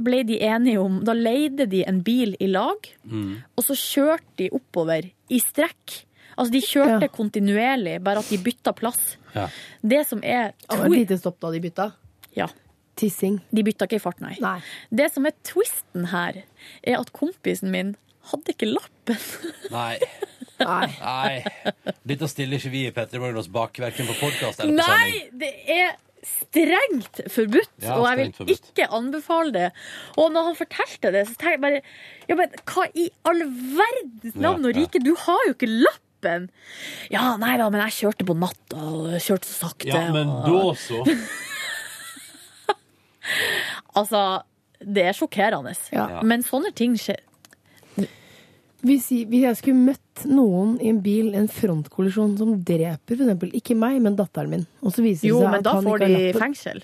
Speaker 4: ble de enige om Da leide de en bil i lag, og så kjørte de oppover i strekk. Altså, de kjørte
Speaker 3: Ja.
Speaker 4: kontinuerlig, bare at de bytta plass.
Speaker 2: Ja.
Speaker 4: Det som er
Speaker 3: Det var et
Speaker 4: tror-
Speaker 3: lite stopp da de bytta.
Speaker 4: Ja.
Speaker 3: Tissing.
Speaker 4: De bytta ikke i fart, nei.
Speaker 3: Nei.
Speaker 4: Det som er twisten her, er at kompisen min hadde ikke lappen.
Speaker 2: Nei.
Speaker 3: Nei.
Speaker 2: Nei. Dette stiller ikke vi i P3 Morgen oss bak, verken på podkast eller på sending.
Speaker 4: Nei, det er strengt forbudt,
Speaker 2: Ja,
Speaker 4: og jeg vil
Speaker 2: strengt forbudt.
Speaker 4: ikke anbefale det. Og når han fortalte det, så tenkte jeg bare ja, men Hva i all verdens navn
Speaker 2: Ja,
Speaker 4: og
Speaker 2: ja.
Speaker 4: rike, du har jo ikke lappen! Ja, nei da, men jeg kjørte på natta, og jeg kjørte så sakte.
Speaker 2: Ja, men
Speaker 4: og-
Speaker 2: da så.
Speaker 4: Altså, det er sjokkerende.
Speaker 3: Ja.
Speaker 4: Men sånne ting skjer.
Speaker 3: Hvis jeg, hvis jeg skulle møtt noen i en bil, en frontkollisjon, som dreper for eksempel, ikke meg, men datteren min, og så viser det
Speaker 4: Jo,
Speaker 3: seg
Speaker 4: men
Speaker 3: at
Speaker 4: da
Speaker 3: han
Speaker 4: får
Speaker 3: ikke
Speaker 4: de
Speaker 3: har lappen-
Speaker 4: fengsel.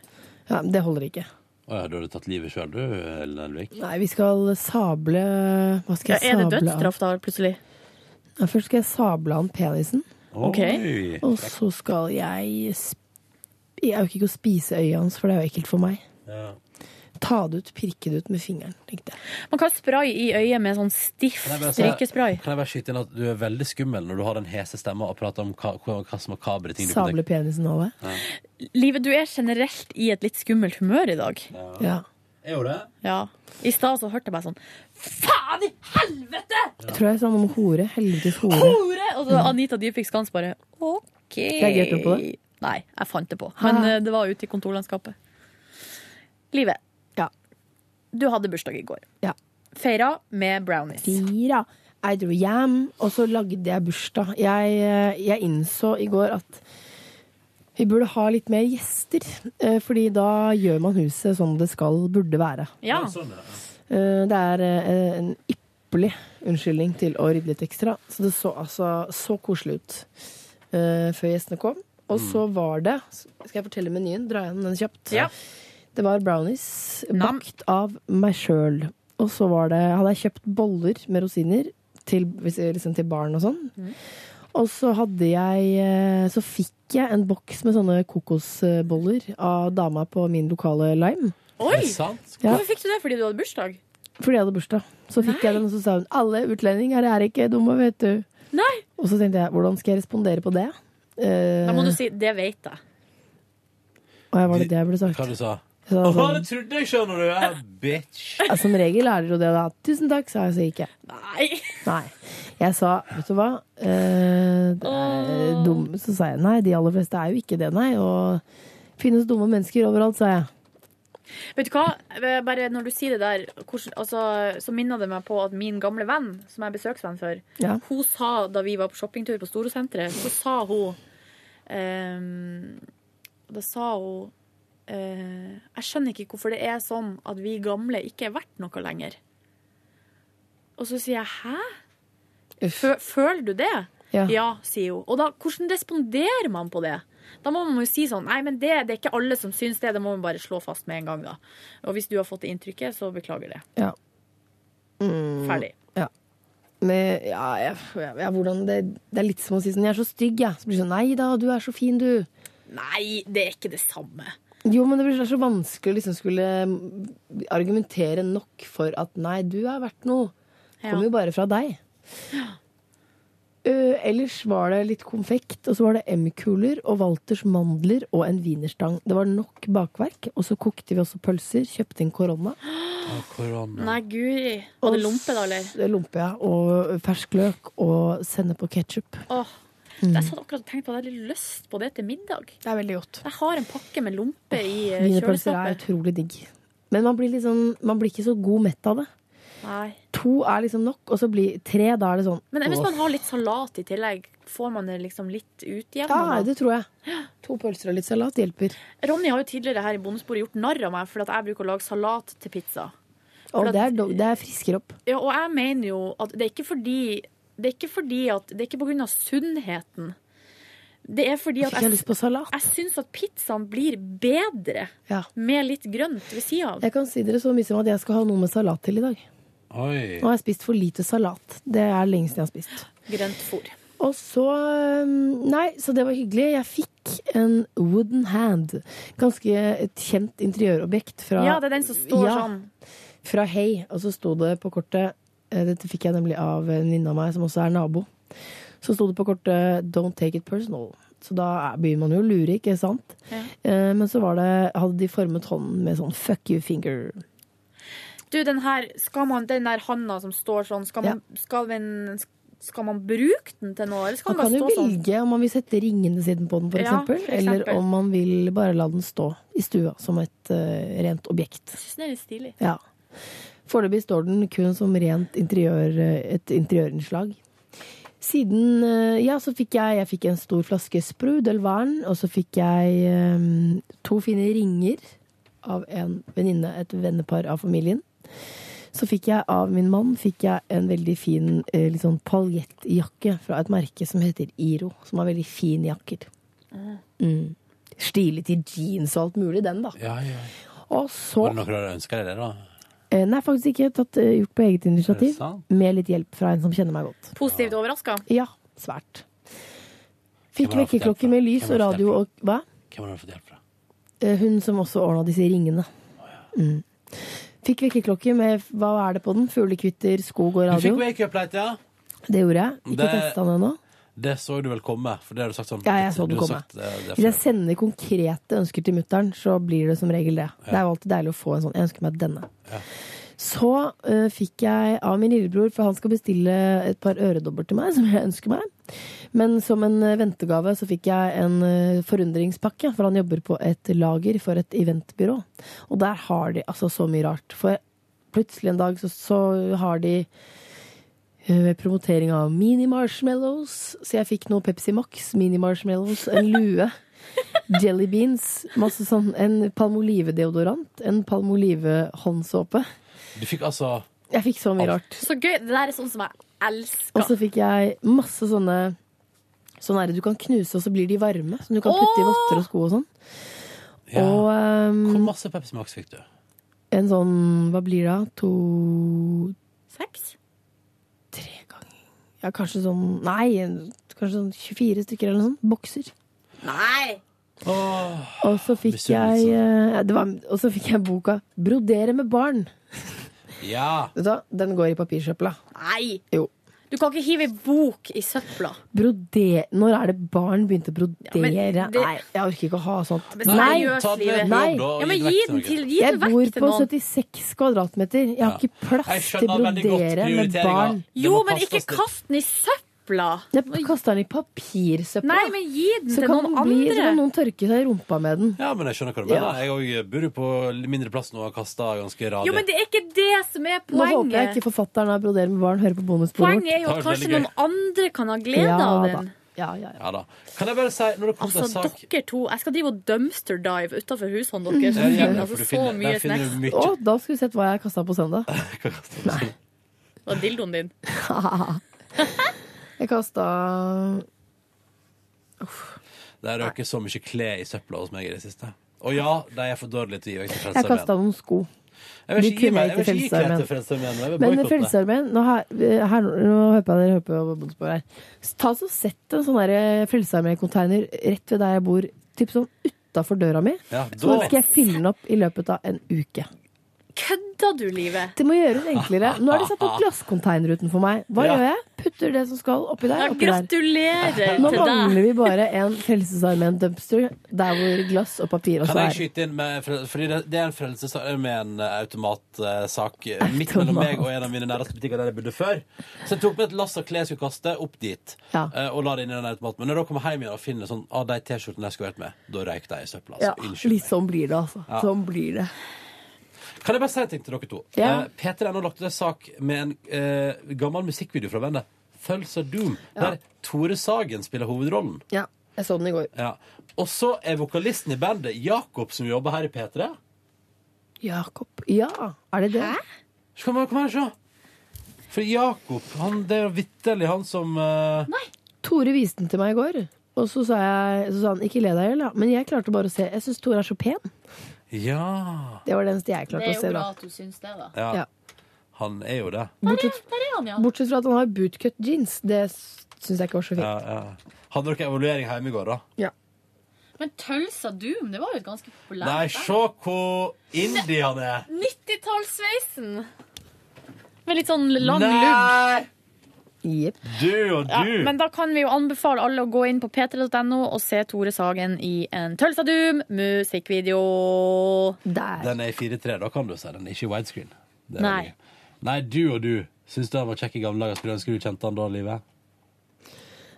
Speaker 3: Ja, men det holder ikke.
Speaker 2: Å ja, du hadde tatt livet sjøl, du, Nelvik.
Speaker 3: Nei, vi skal sable Hva skal
Speaker 4: Ja, er
Speaker 3: jeg
Speaker 4: det
Speaker 3: sable av?
Speaker 4: dødsstraff da, plutselig?
Speaker 3: Ja, først skal jeg sable av han penisen,
Speaker 4: Ok.
Speaker 2: Oi.
Speaker 3: og så skal jeg sp Jeg orker ikke å spise øyet hans, for det er jo ekkelt for meg.
Speaker 2: Ja.
Speaker 3: Ta det ut, pirke det ut med fingeren, tenkte jeg.
Speaker 4: Man kan spraye i øyet med sånn stiff
Speaker 2: Nei, men altså-
Speaker 4: strykespray.
Speaker 2: Kan jeg bare skyte inn at du er veldig skummel når du har den hese stemma og prater om hva, hva, hva som er kabre ting du kan
Speaker 3: Sable penisen av det.
Speaker 4: Livet, du er generelt i et litt skummelt humør i dag.
Speaker 3: Ja.
Speaker 2: Er jo det?
Speaker 4: Ja. I stad så hørte jeg meg sånn Faen i helvete!
Speaker 3: Jeg tror jeg sa noe om hore. Helvetes hore.
Speaker 4: Hore! Og så Anita Dybvik Skans bare OK.
Speaker 3: Reagerte du på det?
Speaker 4: Nei, jeg fant det på. Men
Speaker 3: Ah.
Speaker 4: eh, det var ute i kontorlandskapet. Livet,
Speaker 3: Ja.
Speaker 4: du hadde bursdag i går.
Speaker 3: Ja.
Speaker 4: Feira med brownies.
Speaker 3: Fira. Jeg dro hjem, og så lagde jeg bursdag. Jeg, eh, jeg innså i går at vi burde ha litt mer gjester, eh, fordi da gjør man huset sånn det skal, burde være.
Speaker 4: Ja.
Speaker 2: Sånn,
Speaker 3: Eh, Det er eh, en ypperlig unnskyldning til å rydde litt ekstra. Så det så altså så koselig ut eh, før gjestene kom. Og så var det Skal jeg fortelle menyen? Dra igjen den kjapt.
Speaker 4: Mm. Ja.
Speaker 3: Det var brownies
Speaker 4: Nam.
Speaker 3: bakt av meg sjøl. Og så var det, hadde jeg kjøpt boller med rosiner til, hvis- liksom til barn og sånn.
Speaker 4: Mm.
Speaker 3: Og så hadde jeg eh, Så fikk jeg en boks med sånne kokosboller av dama på min lokale Lime.
Speaker 4: Oi!
Speaker 2: Er det sant?
Speaker 3: Ja.
Speaker 4: Hvorfor fikk du det? Fordi du hadde bursdag?
Speaker 3: Fordi jeg hadde bursdag. Så fikk jeg den, og så sa hun 'alle utlendinger er ikke dumme, vet du'.
Speaker 4: Nei.
Speaker 3: Og så tenkte jeg 'hvordan skal jeg respondere på det'? Eh,
Speaker 4: Da må du si 'det vet jeg'.
Speaker 3: og jeg var det det jeg burde sagt.
Speaker 2: Hva du sa
Speaker 3: Så jeg
Speaker 2: Å,
Speaker 3: var
Speaker 2: det
Speaker 3: sånn,
Speaker 2: trodde jeg, skjønner du! Ja, bitch.
Speaker 3: ja, som regel er det jo det, da. 'Tusen takk', sa jeg, så gikk jeg.
Speaker 4: Nei!
Speaker 3: Nei. Jeg sa 'vet du hva', eh, det er dumme Så sa jeg 'nei, de aller fleste er jo ikke det, nei'. Og finnes dumme mennesker overalt, sa jeg.
Speaker 4: Vet du hva? Eh, Bare når du sier det der, hvordan, altså, så minner det meg på at min gamle venn, som jeg er besøksvenn for,
Speaker 3: Ja.
Speaker 4: hun sa da vi var på shoppingtur på Storosenteret, så sa hun ehm, Da sa hun eh, Jeg skjønner ikke hvorfor det er sånn at vi gamle ikke er verdt noe lenger. Og så sier jeg hæ?
Speaker 3: Uff.
Speaker 4: Fø- Føler du det?
Speaker 3: Ja.
Speaker 4: Ja, sier hun. Og da, hvordan responderer man på det? Da må man jo si sånn Nei, men det, det er ikke alle som syns det. Det må man bare slå fast med en gang, da. Og hvis du har fått det inntrykket, så beklager det.
Speaker 3: Ja. Mm.
Speaker 4: Ferdig.
Speaker 3: Med, ja, jeg, ja, ja, hvordan det, det er litt som å si sånn 'jeg er så stygg', jeg. Så blir det sånn 'nei da, du er så fin, du'.
Speaker 4: Nei, det er ikke det samme.
Speaker 3: Jo, men det blir så vanskelig å liksom skulle argumentere nok for at nei, du er verdt noe. Det
Speaker 4: Ja.
Speaker 3: kommer jo bare fra deg. Øh, ellers var det litt konfekt, og så var det M-kuler og Walters mandler og en wienerstang. Det var nok bakverk, og så kokte vi også pølser, kjøpte en korona.
Speaker 2: Å, korona.
Speaker 4: Nei, guri. Var det lompe, da, eller?
Speaker 3: s- Lompe, ja. Og fersk løk og sennep og ketsjup.
Speaker 4: Åh,
Speaker 3: Mm.
Speaker 4: Jeg satt akkurat og tenkte på at jeg hadde litt lyst på det til middag.
Speaker 3: Det er veldig godt.
Speaker 4: Jeg har en pakke med lompe i eh,
Speaker 3: Wienerpølser
Speaker 4: kjøleskapet.
Speaker 3: er utrolig digg. Men man blir, litt sånn, man blir ikke så god mett av det.
Speaker 4: Nei.
Speaker 3: To er liksom nok, og så blir tre, da er det sånn.
Speaker 4: Men hvis
Speaker 3: åh.
Speaker 4: man har litt salat i tillegg, får man det liksom litt
Speaker 3: Ja,
Speaker 4: utjevna?
Speaker 3: det tror jeg. To pølser og litt salat hjelper.
Speaker 4: Ronny har jo tidligere her i Bondesporet gjort narr av meg for at jeg bruker å lage salat til pizza.
Speaker 3: Og
Speaker 4: at-
Speaker 3: det, er, do- det er frisker opp.
Speaker 4: Ja, og jeg mener jo at det er ikke fordi Det er ikke fordi at Det er ikke på grunn av sunnheten. Det er fordi at
Speaker 3: Fikk jeg
Speaker 4: jeg,
Speaker 3: lyst på salat?
Speaker 4: jeg syns at pizzaen blir bedre
Speaker 3: Ja.
Speaker 4: med litt grønt ved sida av.
Speaker 3: Jeg kan si dere så mye som at jeg skal ha noe med salat til i dag.
Speaker 2: Oi.
Speaker 3: Nå har jeg spist for lite salat. Det er lenge siden jeg har spist.
Speaker 4: Grønt fôr.
Speaker 3: Og så øhm, Nei, så det var hyggelig. Jeg fikk en wooden hand. Ganske et kjent interiørobjekt fra,
Speaker 4: Ja, det er den som står
Speaker 3: Ja.
Speaker 4: sånn.
Speaker 3: fra Hei. Og så sto det på kortet eh, Dette fikk jeg nemlig av en venninne av meg som også er nabo. Så sto det på kortet 'Don't take it personal'. Så da er- begynner man jo å lure, ikke sant?
Speaker 4: Ja.
Speaker 3: Eh, Men så var det, hadde de formet hånden med sånn 'fuck you finger'.
Speaker 4: Du, den her Skal man Den der handa som står sånn, skal man, skal den, skal man bruke den til noe, eller skal
Speaker 3: Man
Speaker 4: den
Speaker 3: kan
Speaker 4: bare
Speaker 3: jo
Speaker 4: stå sånn?
Speaker 3: velge om man vil sette ringene siden på den, for
Speaker 4: Ja,
Speaker 3: eksempel,
Speaker 4: for eksempel.
Speaker 3: Eller om man vil bare la den stå i stua som et eh, rent objekt.
Speaker 4: Jeg synes den er litt stilig.
Speaker 3: Ja. Foreløpig står den kun som rent interiør, et interiørinnslag. Siden eh, Ja, så fikk jeg, jeg fikk en stor flaske sprudelvern, og så fikk jeg eh, to fine ringer av en venninne, et vennepar av familien. Så fikk jeg av min mann fikk jeg en veldig fin eh, litt sånn paljettjakke fra et merke som heter Iro, som har veldig fine jakker. Mm. Stilig til jeans og alt mulig, den, da.
Speaker 2: Ja, ja.
Speaker 3: Og så
Speaker 2: Var det noe du ønska deg, det, da?
Speaker 3: Eh, Nei, faktisk ikke. Tatt, eh, gjort på eget
Speaker 2: Er det
Speaker 3: initiativ.
Speaker 2: sant?
Speaker 3: Med litt hjelp fra en som kjenner meg godt.
Speaker 4: Positivt overraska.
Speaker 3: Ja, svært. Fikk
Speaker 2: Hvem har du fått hjelp fra?
Speaker 3: vekkerklokke med lys
Speaker 2: Hvem
Speaker 3: og
Speaker 2: har du fått
Speaker 3: radio og Hva?
Speaker 2: Hvem har du fått hjelp fra?
Speaker 3: Eh, Hun som også ordna disse ringene. Mm. Fikk vekkerklokke med hva er det på den? Fuglekvitter, skog og
Speaker 2: Du fikk
Speaker 3: radio.
Speaker 2: wake-up-light, ja?
Speaker 3: Det gjorde jeg. Ikke
Speaker 2: Det-
Speaker 3: testa den ennå.
Speaker 2: Det så du vel komme, for det har du sagt sånn
Speaker 3: Ja, jeg så
Speaker 2: du
Speaker 3: den
Speaker 2: har
Speaker 3: komme.
Speaker 2: sagt, eh, det
Speaker 3: Hvis jeg
Speaker 2: før.
Speaker 3: sender konkrete ønsker til mutter'n, så blir det som regel det. Det er jo alltid deilig å få en sånn. Jeg ønsker meg denne. Så eh, fikk jeg av min lillebror, for han skal bestille et par øredobber til meg, som jeg ønsker meg. Men som en eh, ventegave så fikk jeg en eh, forundringspakke, for han jobber på et lager for et eventbyrå. Og der har de altså så mye rart. For plutselig en dag så, så har de eh, promotering av mini-marshmallows, så jeg fikk noe Pepsi Max, mini-marshmallows, en lue. Jelly beans, masse sånn, en palmolive-deodorant, en palmolive-håndsåpe.
Speaker 2: Du fikk altså
Speaker 3: Jeg fikk så mye rart.
Speaker 4: Så gøy. Det der er sånn som jeg
Speaker 3: Og
Speaker 4: elsker.
Speaker 3: så fikk jeg masse sånne Sånne her du kan knuse, og så blir de varme. Som du kan putte i
Speaker 4: Åh!
Speaker 3: votter og sko og sånn.
Speaker 2: ja.
Speaker 3: Og
Speaker 2: Hvor
Speaker 3: ehm,
Speaker 2: masse Pepsi Max fikk du?
Speaker 3: en sånn Hva blir det da? To
Speaker 4: Sex?
Speaker 3: Tre ganger Ja, kanskje sånn Nei, en- kanskje sånn 24 stykker eller noe sånt. Bokser.
Speaker 4: Nei!
Speaker 3: Og så fikk
Speaker 2: Misunnelse.
Speaker 3: jeg eh, det var, Og så fikk jeg boka 'Brodere med barn'.
Speaker 2: Ja!
Speaker 3: Vet du hva? Den går i papirsøpla.
Speaker 4: Nei!
Speaker 3: Jo.
Speaker 4: Du kan ikke hive ei bok i søpla.
Speaker 3: Brodere Når er det barn begynte å brodere?
Speaker 4: men det-
Speaker 3: Nei, jeg orker ikke å ha sånt.
Speaker 4: Men
Speaker 3: Nei!
Speaker 4: seriøst,
Speaker 2: ta den
Speaker 4: Live.
Speaker 2: med
Speaker 3: Nei.
Speaker 2: jobb, da, og
Speaker 4: Ja, men
Speaker 2: vekk
Speaker 4: gi den til, gi
Speaker 3: Jeg
Speaker 4: den
Speaker 3: bor
Speaker 4: vekk til
Speaker 3: på
Speaker 4: noen.
Speaker 3: 76 kvadratmeter. Jeg har
Speaker 2: Ja.
Speaker 3: ikke
Speaker 2: Jeg
Speaker 3: plass til
Speaker 2: skjønner veldig godt
Speaker 3: brodere med
Speaker 2: prioriteringa.
Speaker 3: barn.
Speaker 2: Det
Speaker 4: Jo,
Speaker 2: må
Speaker 4: men
Speaker 2: kastes
Speaker 4: ikke
Speaker 2: litt.
Speaker 4: kast den i søpla!
Speaker 3: Jeg kaster den i papirsøpla.
Speaker 4: Nei, men gi den
Speaker 3: så,
Speaker 4: til
Speaker 3: kan
Speaker 4: noen
Speaker 3: den bli, så
Speaker 4: andre.
Speaker 3: kan noen tørke seg i rumpa med den.
Speaker 2: Ja, men jeg skjønner hva du
Speaker 3: Ja.
Speaker 2: mener. Jeg òg bor jo på mindre plass nå og har kasta ganske radig.
Speaker 4: Jo, men det er ikke det som er
Speaker 3: Nå håper jeg
Speaker 4: poenget.
Speaker 3: ikke forfatteren av 'Broder med barn' hører på bonusbordet
Speaker 4: Poenget er jo at
Speaker 2: Det var
Speaker 4: kanskje
Speaker 2: veldig gøy.
Speaker 4: noen andre kan ha glede av
Speaker 3: da.
Speaker 4: den.
Speaker 3: Ja, ja, ja.
Speaker 2: Ja da. Kan jeg bare si, når det kommer til
Speaker 4: Altså,
Speaker 2: en sak
Speaker 4: dere to Jeg skal drive og dumpster dive utafor husene deres.
Speaker 2: Ja, ja,
Speaker 4: Mm.
Speaker 2: ja, for
Speaker 4: Altså,
Speaker 2: du
Speaker 4: så
Speaker 2: finner-
Speaker 4: mye
Speaker 2: Der finner
Speaker 4: snacks.
Speaker 2: du mye.
Speaker 3: Å, da skulle du sett hva jeg kasta på søndag.
Speaker 4: Og dildoen din.
Speaker 3: Jeg kasta
Speaker 2: Det har røket så mye klær i søpla hos meg i det siste. Og ja, de er for dårlige til å gi vekk til
Speaker 3: Jeg kasta
Speaker 2: Frelsesarmeen.
Speaker 3: noen sko.
Speaker 2: Jeg vil ikke gi
Speaker 3: de kunne
Speaker 2: meg- jeg vil
Speaker 3: ikke
Speaker 2: ikke gi klær til Frelsesarmeen. jeg vil
Speaker 3: Men
Speaker 2: boykotte.
Speaker 3: Frelsesarmeen nå, her, her, nå håper jeg dere hører på bondesporet her. Ta så Sett en sånn der Frelsesarmeen-container rett ved der jeg bor, typ sånn utafor døra mi.
Speaker 2: Ja,
Speaker 3: Så
Speaker 2: da
Speaker 3: skal jeg fylle den opp i løpet av en uke.
Speaker 4: kødder du, Livet?
Speaker 3: Det må gjøres enklere. Nå er det satt opp glasscontainer utenfor meg. Hva
Speaker 2: Ja.
Speaker 3: gjør jeg? Putter det som skal oppi
Speaker 4: Ja,
Speaker 3: der, oppi der.
Speaker 4: gratulerer
Speaker 3: Nå
Speaker 4: til deg.
Speaker 3: mangler vi bare en Frelsesarmeen dumpster der hvor glass og papir også
Speaker 2: Kan jeg
Speaker 3: er.
Speaker 2: skyte inn med frel- Fordi det, det er en Frelsesarmeen eh, automatsak eh, midt mellom
Speaker 3: Automat.
Speaker 2: meg og en av mine nærmeste butikker der jeg bodde før. Så jeg tok med et lass av klær jeg skulle kaste, opp dit.
Speaker 3: Ja.
Speaker 2: eh, Og la det inn i den automaten. Men når jeg da kommer hjem igjen og finner sånn av de T-skjortene jeg skulle vært med, da røyk de i søpla.
Speaker 3: Ja,
Speaker 2: Altså. Unnskyld.
Speaker 3: litt sånn blir det, altså.
Speaker 2: Ja.
Speaker 3: Sånn blir det.
Speaker 2: Kan jeg bare si en ting til dere to?
Speaker 3: Ja.
Speaker 2: Eh, Peter har nå lagt ut en sak med en eh, gammel musikkvideo fra bandet Thuls of Doom, der Tore Sagen spiller hovedrollen.
Speaker 3: Ja, jeg så den i går.
Speaker 2: Ja. Og så er vokalisten i bandet Jakob, som jobber her i P3.
Speaker 3: Jakob. Ja, er det det?
Speaker 2: Så Kom her, kom her og se. For Jakob, han, det er jo vitterlig han som eh,
Speaker 3: Tore viste den til meg i går. Og så sa, jeg, så sa han ikke le deg i hjel, da. Men jeg klarte bare å se. Jeg syns Tore er så pen.
Speaker 2: Ja.
Speaker 3: Det var det eneste jeg klarte å se. da
Speaker 10: at du syns det, da.
Speaker 2: ja.
Speaker 3: Ja.
Speaker 2: Han er jo det.
Speaker 3: Bortsett,
Speaker 10: Der er han, ja.
Speaker 3: bortsett fra at han har bootcut jeans. Det syns jeg ikke var så
Speaker 2: Ja,
Speaker 3: fint.
Speaker 2: ja. Hadde dere evaluering hjemme i går, da?
Speaker 10: Men Tulsa Doom, det var jo et ganske
Speaker 2: Nei,
Speaker 10: populært.
Speaker 2: se hvor indie han er!
Speaker 10: 90-tallssveisen! Med litt sånn lang lugg.
Speaker 2: Nei!
Speaker 3: Jepp.
Speaker 2: Du og
Speaker 4: Ja,
Speaker 2: du!
Speaker 4: men da kan vi jo anbefale alle å gå inn på p3.no og se Tore Sagen i en Tølsa Doom musikkvideo.
Speaker 3: Der.
Speaker 2: Den er i 4-3, da kan du si den. Ikke i widescreen. Det er
Speaker 4: Nei.
Speaker 2: veldig gøy. Nei, du og du. Syns du han var kjekk i gamle dager? Skulle ønske du kjente han da, Live?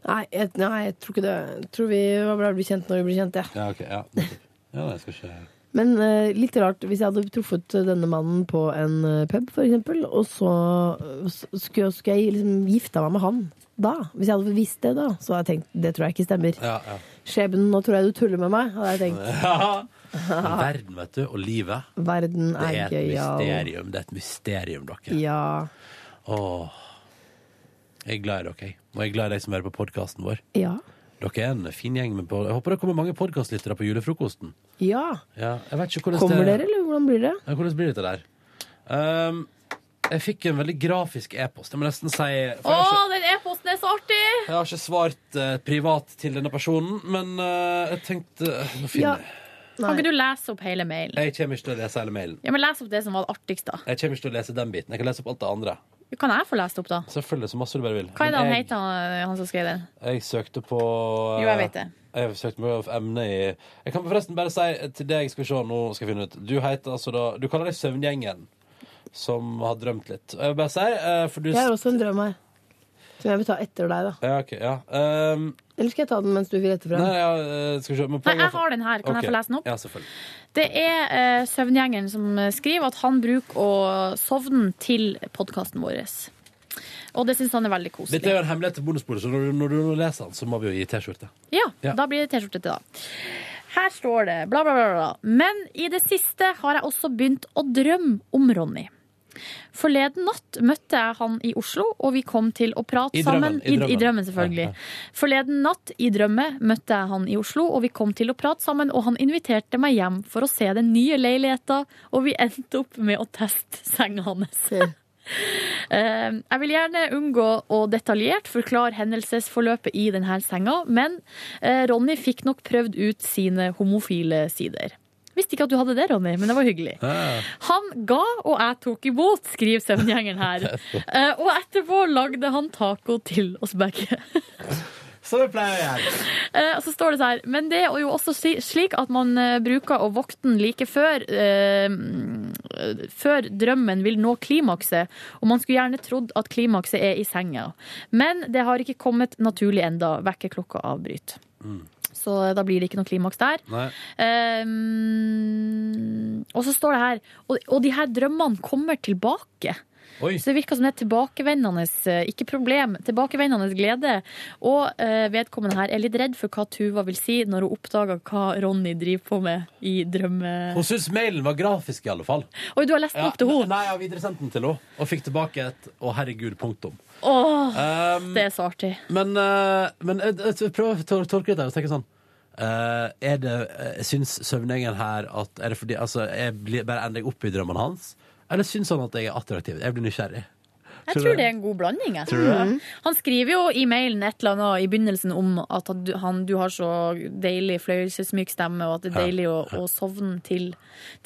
Speaker 3: Nei, jeg, nei, jeg tror ikke det. Jeg tror vi blir bli kjent når vi blir kjent, jeg.
Speaker 2: Ja, ok. Ja, ja jeg skal ikke
Speaker 3: Men eh, litt rart, hvis jeg hadde truffet denne mannen på en eh, pub, for eksempel, og så eh, s- skulle, jeg- skulle jeg liksom gifta meg med han da, hvis jeg hadde visst det da, så hadde jeg tenkt, det tror jeg ikke stemmer.
Speaker 2: Ja, ja.
Speaker 3: Skjebnen, nå tror jeg du tuller med meg, hadde jeg tenkt.
Speaker 2: Men Verden, vet du, og livet,
Speaker 3: Verden
Speaker 2: det
Speaker 3: er
Speaker 2: er et
Speaker 3: gøyal.
Speaker 2: mysterium. Det er et mysterium, dere.
Speaker 3: Ja.
Speaker 2: Åh. Jeg er glad i dere, jeg. og jeg er glad i deg som hører på podkasten vår.
Speaker 3: Ja.
Speaker 2: Dere er en fin gjeng. Med pod- jeg håper det kommer mange podkastlyttere på julefrokosten.
Speaker 3: Ja.
Speaker 2: Ja, jeg vet ikke hvordan
Speaker 3: Kommer
Speaker 2: det-
Speaker 3: dere, eller hvordan blir det?
Speaker 2: Ja, hvordan blir dette der? Ehm, jeg fikk en veldig grafisk e-post. Jeg må nesten si for jeg
Speaker 10: Å,
Speaker 2: har ikke-
Speaker 10: den e-posten er så artig!
Speaker 2: Jeg har ikke svart eh, privat til denne personen, men eh, jeg tenkte Nå
Speaker 3: Ja.
Speaker 2: finner jeg.
Speaker 4: Kan ikke du lese opp hele mailen?
Speaker 2: Jeg kommer ikke til å lese hele mailen.
Speaker 4: Ja, men Les opp det som var det artigste.
Speaker 2: Jeg kommer ikke til å lese den biten. Jeg kan lese opp alt det andre.
Speaker 4: Kan jeg få lest opp, da?
Speaker 2: Selvfølgelig så masse du bare vil.
Speaker 4: Hva er det
Speaker 2: Men
Speaker 4: han
Speaker 2: jeg,
Speaker 4: heter, han- han som skrev den?
Speaker 2: jeg søkte på eh,
Speaker 4: Jo, jeg vet det.
Speaker 2: Jeg søkte på emne i Jeg kan forresten bare si til deg Skal vi se, nå skal jeg finne ut. Du heter altså da Du kaller deg Søvngjengen, som har drømt litt. Og Jeg vil bare si, eh, for du
Speaker 3: Jeg har også en drøm her. Som jeg vil ta etter deg, da.
Speaker 2: Ja, OK. Ja. Ehm,
Speaker 3: Eller skal jeg ta den mens du vil etter
Speaker 2: nei,
Speaker 3: fra?
Speaker 2: ja, eh, skal vi se men
Speaker 4: Nei,
Speaker 2: poenget
Speaker 4: jeg
Speaker 2: er for-
Speaker 4: har den her. Kan jeg
Speaker 2: Ok.
Speaker 4: få lese den opp?
Speaker 2: Ja, selvfølgelig.
Speaker 4: Det er eh, søvngjengeren som skriver at han bruker å sovne til podkasten vår. Og det syns han er veldig koselig.
Speaker 2: Dette er jo en hemmelighet til bonusbordet, så når du, når du nå leser den, så må vi jo gi T-skjorte.
Speaker 4: Ja,
Speaker 2: Ja.
Speaker 4: da blir det T-skjorte til da. Her står det bla, bla, bla, bla. Men i det siste har jeg også begynt å drømme om Ronny. Forleden natt møtte jeg han i Oslo, og vi kom til å prate
Speaker 2: I drømmen,
Speaker 4: sammen
Speaker 2: i drømmen.
Speaker 4: I, I drømmen, selvfølgelig.
Speaker 2: Ja,
Speaker 4: Forleden natt i drømme møtte jeg han i Oslo, og vi kom til å prate sammen, og han inviterte meg hjem for å se den nye leiligheta, og vi endte opp med å teste senga hans. Eh, Jeg vil gjerne unngå å detaljert forklare hendelsesforløpet i denne senga, men eh, Ronny fikk nok prøvd ut sine homofile sider. Visste ikke at du hadde det, Ronny, men det var hyggelig. Han ga, og jeg tok imot, skriver søvngjengeren her. Eh, Og etterpå lagde han taco til oss begge.
Speaker 2: Så det pleier jeg.
Speaker 4: Eh, og så står det så her, men det er jo også si- slik at man eh, bruker å vokte den like før, eh, mm, før drømmen vil nå klimakset, og man skulle gjerne trodd at klimakset er i senga. Men det har ikke kommet naturlig enda, vekkerklokka avbryter.
Speaker 2: Mm.
Speaker 4: Så eh, da blir det ikke noe klimaks der.
Speaker 2: Nei.
Speaker 4: Eh, og så står det her, og, og de her drømmene kommer tilbake.
Speaker 2: Oi.
Speaker 4: Så det virker som det er tilbakevendende, eh, ikke problem, tilbakevendende glede. Og eh, vedkommende her er litt redd for hva Tuva vil si når hun oppdager hva Ronny driver på med i drømme...
Speaker 2: Hun syntes mailen var grafisk, i alle fall.
Speaker 4: Oi, du har lest den opp til henne!
Speaker 2: Nei, jeg har videresendt den til henne, og fikk tilbake et 'Å, herregud', punktum.
Speaker 4: Åh,
Speaker 2: Um,
Speaker 4: det er så artig.
Speaker 2: men eh, men jeg, jeg, jeg prøver å tol- tolke dette og tenke sånn eh, Er det eh, Syns søvnengen her at Er det fordi Altså, jeg blir, bare ender jeg opp i drømmene hans? Eller syns han at jeg er attraktiv? Jeg blir nysgjerrig.
Speaker 4: Jeg tror det er en god blanding. Jeg.
Speaker 9: Tror du det?
Speaker 4: Han skriver jo i mailen et eller annet i begynnelsen om at han- du, han, du har så deilig fløyelsesmyk stemme, og at det er deilig å, å sovne til,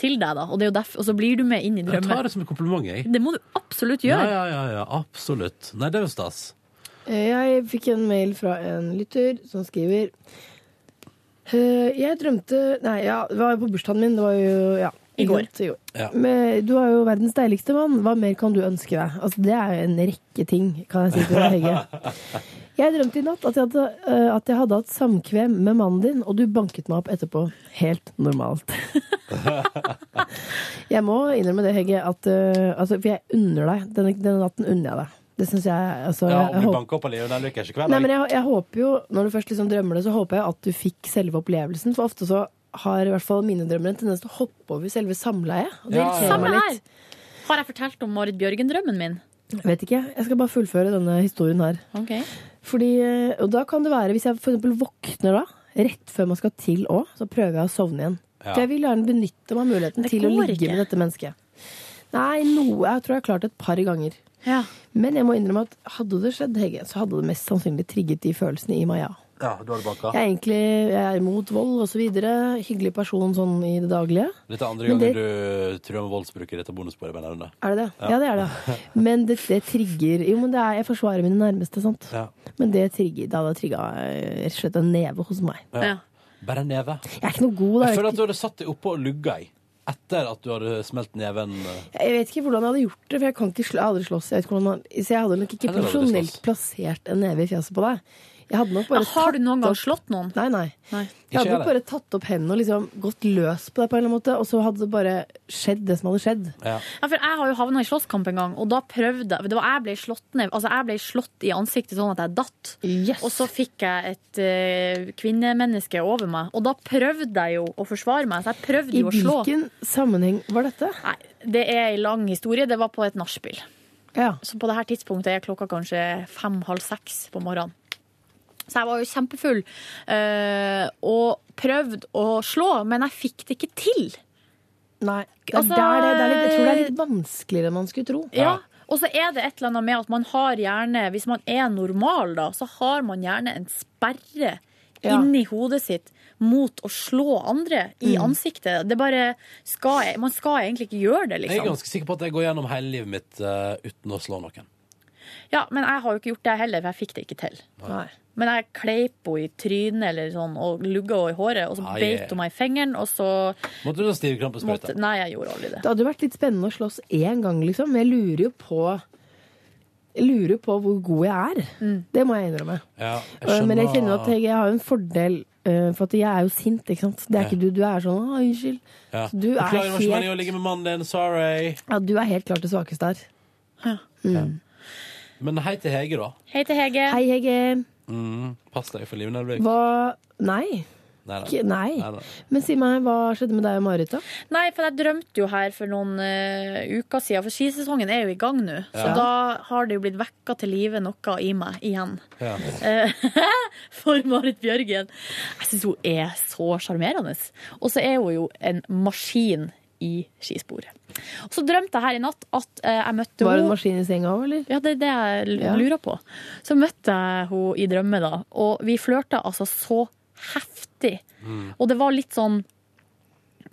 Speaker 4: til deg. da Og, det er jo derfor, og så blir du med inn i
Speaker 2: Jeg tar
Speaker 4: drømmen.
Speaker 2: det som en kompliment, jeg.
Speaker 4: Det må du absolutt
Speaker 2: Ja,
Speaker 4: gjøre.
Speaker 2: ja, ja, ja, absolutt. Nei, det er jo stas.
Speaker 3: Eh, Jeg fikk en mail fra en lytter som skriver «Eh, Jeg drømte Nei, ja, det var jo på bursdagen min. Det var jo ja,
Speaker 4: I går.
Speaker 3: sant, i går.
Speaker 2: Ja.
Speaker 3: Men, du er jo verdens deiligste mann. Hva mer kan du ønske deg? Altså, det er jo en rekke ting, kan jeg si til deg, Hege. Jeg drømte i natt at jeg, hadde, eh, at jeg hadde hatt samkvem med mannen din, og du banket meg opp etterpå. Helt normalt. jeg må innrømme det, Hege, at, eh, altså, for jeg unner deg. Denne, denne natten unner jeg deg. Det syns jeg altså,
Speaker 2: Ja,
Speaker 3: jeg,
Speaker 2: Om
Speaker 3: jeg
Speaker 2: du
Speaker 3: håper
Speaker 2: banker opp av Lionel Lykkers i kveld?
Speaker 3: Nei, men
Speaker 2: jeg-
Speaker 3: jeg, jeg håper jo, når du først liksom drømmer det, så håper jeg at du fikk selve opplevelsen. For ofte så har i hvert fall mine drømmer en tendens til å hoppe over selve samleiet. Og det
Speaker 2: Ja, ja, ja.
Speaker 3: irriterer
Speaker 4: Samme
Speaker 3: meg
Speaker 4: her.
Speaker 3: litt.
Speaker 4: Har jeg fortalt om Marit Bjørgen-drømmen min?
Speaker 3: Jeg vet ikke, jeg skal bare fullføre denne historien her.
Speaker 4: Ok.
Speaker 3: Fordi, eh, og da kan det være, hvis jeg for eksempel våkner da, rett før man skal til òg, så prøver jeg å sovne igjen.
Speaker 2: Ja.
Speaker 3: For jeg vil gjerne benytte meg av muligheten
Speaker 4: Det
Speaker 3: til å
Speaker 4: går
Speaker 3: ligge
Speaker 4: ikke.
Speaker 3: med dette mennesket. Nei, noe jeg tror jeg har klart et par ganger.
Speaker 4: Ja.
Speaker 3: Men jeg må innrømme at hadde det skjedd, Hege, så hadde det mest sannsynlig trigget de følelsene i meg, ja.
Speaker 2: Ja, du har det banka.
Speaker 3: Jeg er egentlig jeg er imot vold osv. Hyggelig person sånn i det daglige.
Speaker 2: Dette er andre
Speaker 3: Men
Speaker 2: gangen
Speaker 3: det-
Speaker 2: du truer med voldsbruk i dette bonussporet. mener du det?
Speaker 3: Er det det? Ja, det er det. Men det, det trigger Jo, men det er, jeg forsvarer mine nærmeste, sant.
Speaker 2: Ja.
Speaker 3: Men det trigger, det hadde trigga rett og slett en neve hos meg.
Speaker 4: Ja.
Speaker 2: Bare en neve.
Speaker 3: Jeg er ikke noe god, da.
Speaker 2: Jeg
Speaker 3: Jeg
Speaker 2: føler at
Speaker 3: vet,
Speaker 2: du hadde satt deg oppå og lugga i etter at du hadde smelt neven. eh,
Speaker 3: ikke, jeg vet ikke hvordan jeg hadde gjort det, for jeg kan ikke slå, jeg hadde aldri slåss. Jeg vet ikke hvordan man, så jeg hadde nok ikke
Speaker 2: Nei, det hadde du
Speaker 3: profesjonelt
Speaker 2: slåss.
Speaker 3: plassert en neve i fjeset på deg. Jeg hadde nok bare
Speaker 4: Har du noen gang
Speaker 3: tatt opp-
Speaker 4: slått noen?
Speaker 3: Nei, nei.
Speaker 4: Nei.
Speaker 3: Jeg
Speaker 2: Ikke
Speaker 3: hadde
Speaker 2: jeg,
Speaker 3: nok bare tatt opp hendene og liksom gått løs på deg på en eller annen måte, og så hadde det bare skjedd det som hadde skjedd.
Speaker 2: Ja.
Speaker 4: Ja, for jeg har jo havna i slåsskamp en gang, og da prøvde jeg Det var jeg ble slått ned Altså, jeg ble slått i ansiktet sånn at jeg datt.
Speaker 3: Yes.
Speaker 4: Og så fikk jeg et eh, kvinnemenneske over meg, og da prøvde jeg jo å forsvare meg. Så jeg prøvde
Speaker 3: I
Speaker 4: jo å slå.
Speaker 3: hvilken sammenheng var dette?
Speaker 4: Nei, det er en lang historie. Det var på et nachspiel.
Speaker 3: Ja.
Speaker 4: Så på det her tidspunktet er klokka kanskje fem-halv seks på morgenen. Så jeg var jo kjempefull eh, og prøvde å slå, men jeg fikk det ikke til.
Speaker 3: Nei, det er
Speaker 4: Altså,
Speaker 3: der det, det er litt, jeg tror det er litt vanskeligere enn man skulle tro.
Speaker 4: Ja. Og så er det et eller annet med at man har gjerne, hvis man er normal, da, så har man gjerne en sperre
Speaker 3: Ja.
Speaker 4: inni hodet sitt mot å slå andre i
Speaker 2: Mm.
Speaker 4: ansiktet. Det bare skal, Man skal egentlig ikke gjøre det,
Speaker 2: Jeg er
Speaker 4: liksom.
Speaker 2: ganske sikker på at jeg går gjennom hele livet mitt eh, uten å slå noen.
Speaker 4: Ja, men jeg har jo ikke gjort det heller, for jeg fikk det ikke til.
Speaker 3: Nei.
Speaker 4: Men jeg kleip henne i trynet eller sånn, og lugga henne i håret, og så
Speaker 2: Ai.
Speaker 4: beit hun meg i fingeren, og så
Speaker 2: Måtte du da stive krampesprøyte?
Speaker 4: måtte Nei, jeg gjorde aldri det.
Speaker 3: Det hadde jo vært litt spennende å slåss én gang, liksom. Men jeg lurer jo på jeg lurer jo på hvor god jeg er. Det må jeg innrømme.
Speaker 2: Ja, jeg
Speaker 3: Eh,
Speaker 2: skjønner.
Speaker 3: Men jeg kjenner at jeg, jeg har jo en fordel, eh, for at jeg er jo sint, ikke sant. Det er ikke du. Du er sånn «Å, 'unnskyld'.
Speaker 2: ja.
Speaker 3: Så du er
Speaker 2: Beklager, det var ikke meningen å
Speaker 3: helt
Speaker 2: ligge med mannen din. Sorry.
Speaker 3: ja, du er helt klart det svakeste her.
Speaker 2: Men hei til Hege, da.
Speaker 4: Hei til Hege.
Speaker 3: Hei, Hege.
Speaker 2: Mm, pass deg for livet. Nei,
Speaker 3: Hva Nei.
Speaker 2: nei.
Speaker 3: Ikke, nei.
Speaker 2: Nei, nei.
Speaker 3: Men si meg, hva skjedde med deg og Marit, da?
Speaker 4: Nei, for jeg drømte jo her for noen eh, uker siden, for skisesongen er jo i gang nå. Så
Speaker 2: Ja.
Speaker 4: da har det jo blitt vekka til live noe i meg igjen.
Speaker 2: Ja.
Speaker 4: Eh, for Marit Bjørgen. Jeg syns hun er så sjarmerende. Og så er hun jo en maskin i skisporet. Og så drømte jeg her i natt at eh, jeg møtte
Speaker 3: Var det en
Speaker 4: henne.
Speaker 3: maskin i senga òg, eller?
Speaker 4: Ja, det er det jeg l-
Speaker 3: Ja.
Speaker 4: lurer på. Så møtte jeg henne i drømme, da. Og vi flørta altså så heftig. Og det var litt sånn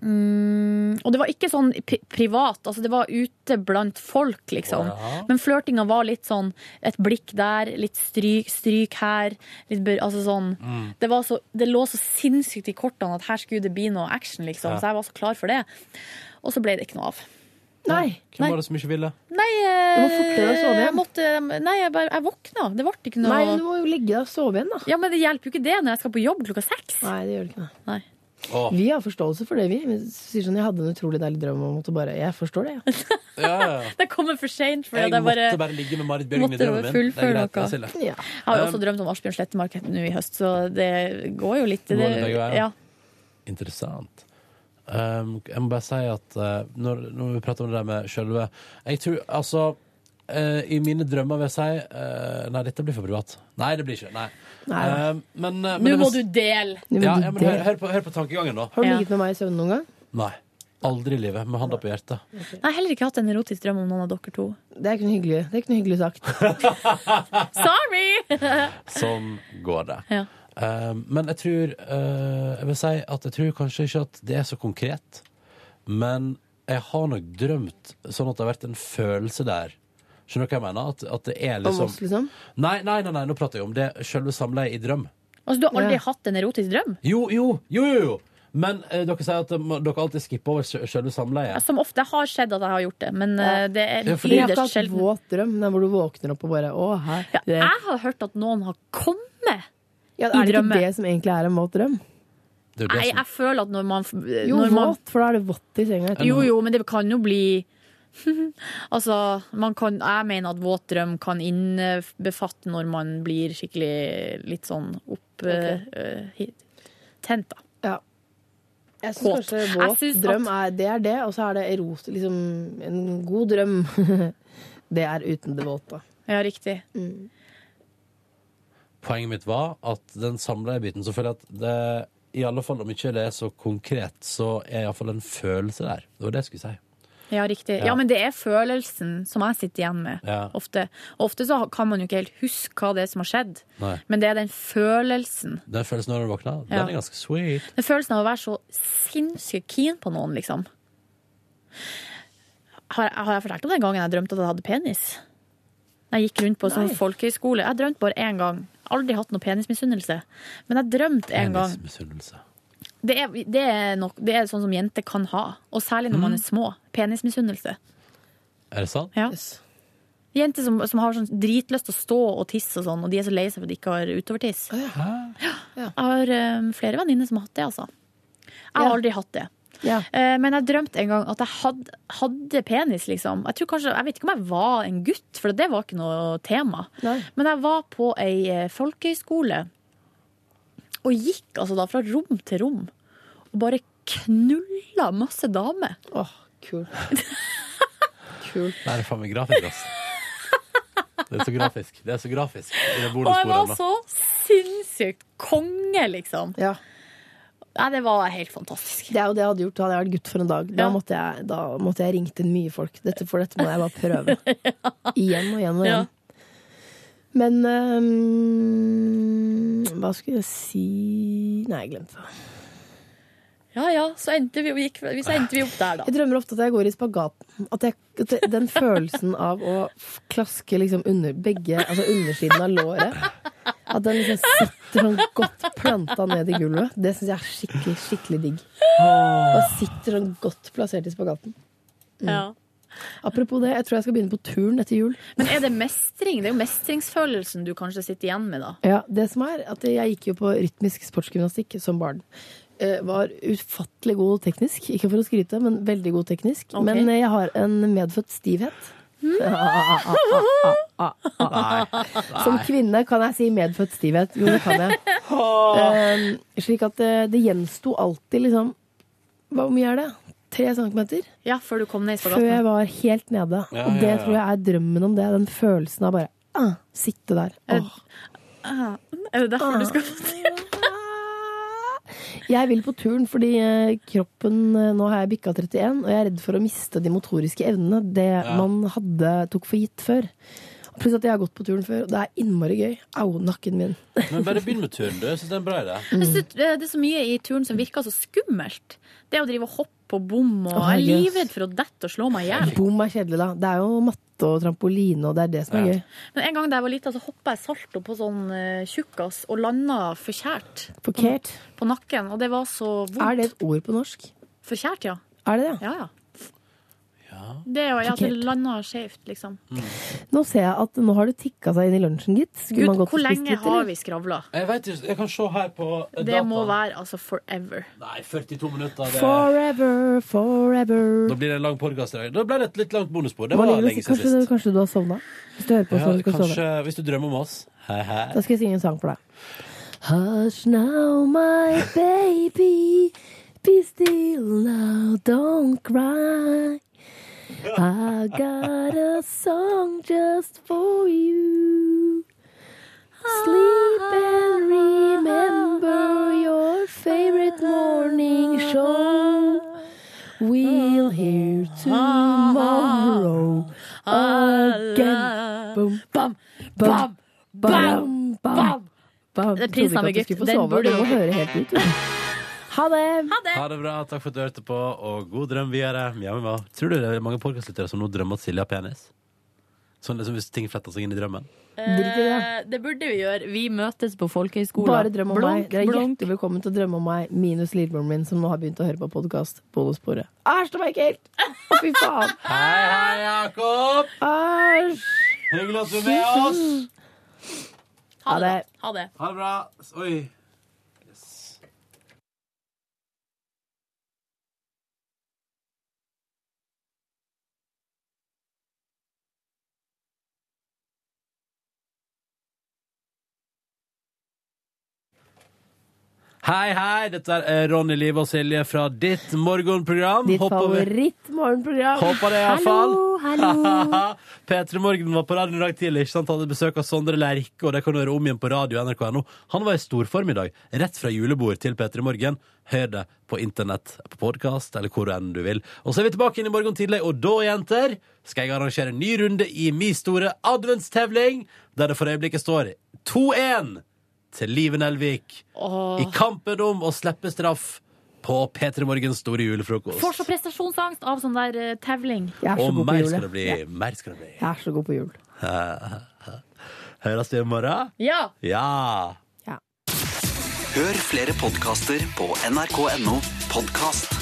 Speaker 4: mm, Og det var ikke sånn pri privat, altså det var ute blant folk, liksom.
Speaker 2: Ja.
Speaker 4: Men flørtinga var litt sånn et blikk der, litt stryk, stryk her. Litt bør, altså sånn.
Speaker 2: Mm.
Speaker 4: det, var så, det lå så sinnssykt i kortene at her skulle det bli noe action, liksom.
Speaker 2: Ja.
Speaker 4: Så jeg var så klar for det. Og så ble det ikke noe av.
Speaker 3: Nei.
Speaker 2: Hvem var det som ikke ville?
Speaker 4: Nei,
Speaker 3: Du må fortere å sove igjen.
Speaker 4: jeg måtte, eh, nei jeg, bare, jeg våkna. Det ble ikke noe
Speaker 3: Nei, du må jo ligge og sove igjen, da.
Speaker 4: Ja, Men det hjelper jo ikke det når jeg skal på jobb klokka seks.
Speaker 3: Nei, det gjør det ikke. det.
Speaker 4: Nei.
Speaker 2: Åh.
Speaker 3: Vi har forståelse for det, vi. Vi sier sånn, Jeg hadde en utrolig deilig drøm om at bare Jeg forstår det, ja.
Speaker 2: Ja, ja, ja.
Speaker 4: Det kommer for seint. For
Speaker 2: Jeg
Speaker 4: det er bare,
Speaker 2: måtte bare ligge med Marit Bjørgen i
Speaker 4: måtte
Speaker 2: drømmen min. Det
Speaker 4: fullføre
Speaker 2: er greit,
Speaker 4: noe.
Speaker 2: jeg ser det.
Speaker 3: ja.
Speaker 4: jeg har jo også drømt om Asbjørn Slettemark nå i høst, så det går jo litt.
Speaker 2: Går
Speaker 4: Det,
Speaker 2: litt begge veier.
Speaker 4: ja.
Speaker 2: Interessant. Um, jeg må bare si at eh, når, når vi prater om det der med sjølve Jeg tror altså eh, I mine drømmer vil jeg si eh, Nei, dette blir for privat. Nei, det blir ikke. Nei.
Speaker 3: Nei, nei.
Speaker 2: Um, men, eh, men
Speaker 4: Nå
Speaker 2: jeg
Speaker 4: må
Speaker 2: vil
Speaker 4: du
Speaker 2: s-
Speaker 4: dele!
Speaker 3: Men
Speaker 2: ja,
Speaker 3: du,
Speaker 2: ja, men
Speaker 3: det-
Speaker 2: hør, hør, på, hør på tankegangen, da.
Speaker 3: Har du
Speaker 4: Ja.
Speaker 3: ligget med meg i søvne noen gang?
Speaker 2: Nei. Aldri i livet, med handa på hjertet.
Speaker 4: Jeg har heller ikke hatt en erotisk drøm om noen av dere to.
Speaker 3: Det er ikke noe hyggelig, det er ikke noe hyggelig sagt.
Speaker 4: Sorry!
Speaker 2: Sånn går det.
Speaker 4: Ja.
Speaker 2: Eh, men jeg tror eh, Jeg vil si at jeg tror kanskje ikke at det er så konkret. Men jeg har nok drømt sånn at det har vært en følelse der. Skjønner du hva jeg mener? At, at det er
Speaker 3: Om
Speaker 2: liksom
Speaker 3: oss, liksom.
Speaker 2: nei, nei, nei, nei, nå prater jeg om det selve samleiet i drøm.
Speaker 4: Altså, du har aldri
Speaker 3: Ja.
Speaker 4: hatt en erotisk drøm?
Speaker 2: Jo, jo, jo, jo! jo. Men eh, dere sier at eh, må- dere alltid skipper over sel- selve samleiet.
Speaker 4: Som ofte har skjedd at jeg har gjort det, men eh, det er
Speaker 2: Ja, fordi-
Speaker 3: Jeg har ikke
Speaker 4: ytterst
Speaker 3: hatt
Speaker 4: sjelden.
Speaker 3: våt drøm, den hvor du våkner opp og bare Å, her.
Speaker 4: Ja,
Speaker 3: det-
Speaker 4: jeg har hørt at noen har kommet.
Speaker 3: Ja, er det
Speaker 4: drømme.
Speaker 3: ikke det som egentlig er en våt drøm?
Speaker 2: Det er jo det
Speaker 4: Nei,
Speaker 2: som-
Speaker 4: jeg føler at når man
Speaker 3: Jo,
Speaker 4: når man,
Speaker 3: våt, for da er det vått i senga.
Speaker 4: Eh,
Speaker 3: etterpå.
Speaker 4: jo, jo, men det kan jo bli Altså, man kan Jeg mener at våt drøm kan innbefatte når man blir skikkelig litt sånn opp
Speaker 3: Ok.
Speaker 4: eh, hit- Tent, da.
Speaker 3: Jeg
Speaker 4: Kåt.
Speaker 3: syns kanskje
Speaker 4: Jeg
Speaker 3: våt
Speaker 4: synes at-
Speaker 3: drøm er det, er det og så er det eros, liksom en god drøm. det er uten det våte.
Speaker 4: Ja, riktig.
Speaker 2: Poenget mitt var at den samleiebiten Så føler jeg at det i alle fall om ikke det er så konkret, så er iallfall en følelse der. Det var det jeg skulle si.
Speaker 4: Ja, riktig.
Speaker 2: Ja.
Speaker 4: Ja, men det er følelsen som jeg sitter igjen med.
Speaker 2: Ja.
Speaker 4: Ofte. Og ofte så kan man jo ikke helt huske hva det er som har skjedd,
Speaker 2: Nei.
Speaker 4: men det er den følelsen.
Speaker 2: Den følelsen når du våkner,
Speaker 4: Ja.
Speaker 2: den er ganske sweet.
Speaker 4: Den følelsen av å være så sinnssykt keen på noen, liksom. Har, har jeg fortalt om den gangen jeg drømte at jeg hadde penis? Jeg gikk rundt på en sånn folkehøyskole. Jeg drømte bare én gang. Aldri hatt noe penismisunnelse. Men jeg drømte en gang.
Speaker 2: Penismisunnelse.
Speaker 4: Det er, det, er nok, det er sånn som jenter kan ha. Og særlig når man er små. Penismisunnelse.
Speaker 2: Er det sant?
Speaker 4: Ja. Jenter som, som har sånn dritlyst til å stå og tisse og sånn, og de er så lei seg for at de ikke har utovertiss. Ja. Jeg har eh, flere venninner som har hatt det, altså. Jeg har
Speaker 3: Ja.
Speaker 4: aldri hatt det.
Speaker 3: Ja.
Speaker 4: Eh, men jeg drømte en gang at jeg hadde, hadde penis, liksom. Jeg, tror kanskje, jeg vet ikke om jeg var en gutt, for det var ikke noe tema.
Speaker 3: Nei.
Speaker 4: Men jeg var på ei eh, folkehøyskole og gikk altså da fra rom til rom og bare knulla masse damer.
Speaker 3: Åh, kult. kult.
Speaker 2: Nei, det er faen meg grafisk, ass. Det er så grafisk. Det er så grafisk. I det
Speaker 4: Og jeg var
Speaker 2: bonusbordet.
Speaker 4: så sinnssykt konge, liksom.
Speaker 3: Ja.
Speaker 4: Nei, det var helt fantastisk.
Speaker 3: Det er jo det jeg hadde gjort da hadde jeg vært gutt for en dag. Da,
Speaker 4: Ja.
Speaker 3: måtte, jeg, da måtte jeg ringt inn mye folk. Dette, for dette må jeg bare prøve. Igjen og igjen og
Speaker 4: Ja.
Speaker 3: igjen. Men øhm, Hva skulle jeg si Nei, jeg glemte det.
Speaker 4: Ja ja, så endte vi, gikk, så endte vi opp der, da.
Speaker 3: Jeg drømmer ofte at jeg går i spagaten. At jeg, at det- den følelsen av å f- klaske liksom under begge Altså undersiden av låret. At den liksom sitter sånn godt planta ned i gulvet. Det syns jeg er skikkelig, skikkelig digg. Og sitter sånn godt plassert i spagaten.
Speaker 4: Ja.
Speaker 3: Apropos det, jeg tror jeg skal begynne på turn etter jul.
Speaker 4: Men er det mestring? Det er jo mestringsfølelsen du kanskje sitter igjen med, da.
Speaker 3: Ja, det som er at Jeg gikk jo på rytmisk sportsgymnastikk som barn. Eh, var ufattelig god teknisk. Ikke for å skryte, men veldig god teknisk.
Speaker 4: Ok.
Speaker 3: Men eh, jeg har en medfødt stivhet. Som kvinne kan jeg si medfødt stivhet. Jo, det kan jeg. Eh, slik at eh, det gjensto alltid liksom Hva hvor mye er det? Tre centimeter?
Speaker 4: Ja, før du kom ned i
Speaker 3: Før jeg
Speaker 4: spagaten.
Speaker 3: var helt nede.
Speaker 2: Ja,
Speaker 3: Og
Speaker 2: ja,
Speaker 3: det
Speaker 2: ja.
Speaker 3: tror jeg er drømmen om det. Den følelsen av bare ah, sitte der.
Speaker 4: Er-
Speaker 3: Åh.
Speaker 4: Er det derfor du skal
Speaker 3: Jeg vil på turn fordi eh, kroppen eh, Nå har jeg bikka 31, og jeg er redd for å miste de motoriske evnene. Det man hadde tok for gitt før. Pluss at jeg har gått på turn før, og det er innmari gøy. Au, nakken min.
Speaker 2: Men bare begynn med turen, du. Jeg syns det er en bra idé.
Speaker 4: Jeg synes Det det er så mye i turen som virker så skummelt. Det å drive og hoppe og bomme og
Speaker 3: Å,
Speaker 4: Jeg er
Speaker 3: herregud.
Speaker 4: livredd for å dette og slå meg i hjel.
Speaker 3: Bom er kjedelig, da. Det er jo matte og trampoline, og det er det som er
Speaker 2: Ja.
Speaker 3: gøy.
Speaker 4: Men en gang da jeg var lita, så hoppa jeg salto på sånn eh, tjukkas og landa forkjært
Speaker 3: Forkert.
Speaker 4: på nakken. Og det var så
Speaker 3: Er det
Speaker 4: vondt.
Speaker 3: et ord på norsk?
Speaker 4: Forkjært, ja.
Speaker 3: Er det det?
Speaker 4: Ja, ja. Det er jo ja, at det
Speaker 3: Forkjært.
Speaker 4: landa skjevt, liksom.
Speaker 3: Nå ser jeg at nå har det tikka seg inn i lunsjen, gitt.
Speaker 4: Gud,
Speaker 3: Skulle man gått
Speaker 4: hvor
Speaker 3: og spist
Speaker 4: lenge
Speaker 3: litt,
Speaker 4: har
Speaker 3: eller?
Speaker 4: vi skravla?
Speaker 2: Jeg vet ikke, jeg kan se her på eh,
Speaker 4: Det må
Speaker 2: dataen.
Speaker 4: være altså forever.
Speaker 2: Nei, 42 minutter. Det...
Speaker 3: Forever,
Speaker 2: Da
Speaker 3: forever.
Speaker 2: blir det en lang podcast i dag. Da ble det et litt langt bonusbord. Det
Speaker 3: Hva
Speaker 2: var
Speaker 3: ligger det-
Speaker 2: lenge siden
Speaker 3: Kanskje,
Speaker 2: sist.
Speaker 3: kanskje du har sovna? Hvis du hører på, så
Speaker 2: Ja,
Speaker 3: du skal sove.
Speaker 2: kanskje hvis du drømmer om oss. Hei, hei.
Speaker 3: Da skal jeg synge en sang for deg. Hush now, my baby. Be still now, don't cry. I got a song just for you. Sleep and remember your favorite morning show. We Bam! Bam.
Speaker 4: Det er
Speaker 3: Jeg
Speaker 4: prisen av
Speaker 3: trodde ikke at
Speaker 4: Egypt.
Speaker 3: du skulle få
Speaker 4: Den
Speaker 3: sove.
Speaker 4: burde
Speaker 3: Du må
Speaker 4: du-
Speaker 3: høre helt ut. du. Ha det!
Speaker 2: Ha det bra, takk for at du hørte på, og god drøm videre. Ja, men hva? Tror du det er mange podkastlyttere som nå drømmer at Silje har penis? Sånn liksom hvis ting fletter seg inn i drømmen?
Speaker 3: Drit i det.
Speaker 4: Eh, det burde vi gjøre. Vi møtes på folkehøyskolen.
Speaker 3: Bare drøm om meg. Dere er
Speaker 4: blunk.
Speaker 3: hjertelig velkommen til å drømme om meg, minus lillebroren min, som nå har begynt å høre på podkast. Bonussporet. Æsj, det var ekkelt! Å, Fy faen.
Speaker 2: Hei, hei, Jakob!
Speaker 3: Æsj.
Speaker 2: Hyggelig at du er med oss!
Speaker 4: Ha det. Ha
Speaker 3: Ha det.
Speaker 4: det.
Speaker 2: Ha det bra. Oi. Hei, hei! Dette er eh, Ronny Liv og Silje fra ditt morgenprogram.
Speaker 3: Ditt
Speaker 2: Håper vi-
Speaker 3: favorittmorgenprogram.
Speaker 2: Håper det, iallfall.
Speaker 3: hallo.
Speaker 2: P3 Morgen var på radioen i dag tidlig. Ikke sant? Hadde besøk av Sondre Lerche, og det kan du høre om igjen på radio nrk.no. Han var i storform i dag. Rett fra julebord til P3 Morgen. Hør det på internett, på podkast eller hvor enn du vil. Og så er vi tilbake inn i morgen tidlig, og da, jenter, skal jeg arrangere en ny runde i min store adventstevling, der det for øyeblikket står 2-1 til Liven Elvik i kampen om å slippe straff på P3 Morgens store julefrokost.
Speaker 4: Får så prestasjonsangst av sånn der eh, tevling.
Speaker 3: Jeg er så
Speaker 2: Og
Speaker 3: god på
Speaker 2: mer
Speaker 3: jul.
Speaker 2: skal
Speaker 3: jeg.
Speaker 2: det bli. Mer skal det bli.
Speaker 3: Jeg er så god på jul.
Speaker 2: Høres det i morgen?
Speaker 4: Ja.
Speaker 2: Ja.
Speaker 5: Hør flere podkaster på nrk.no podkast.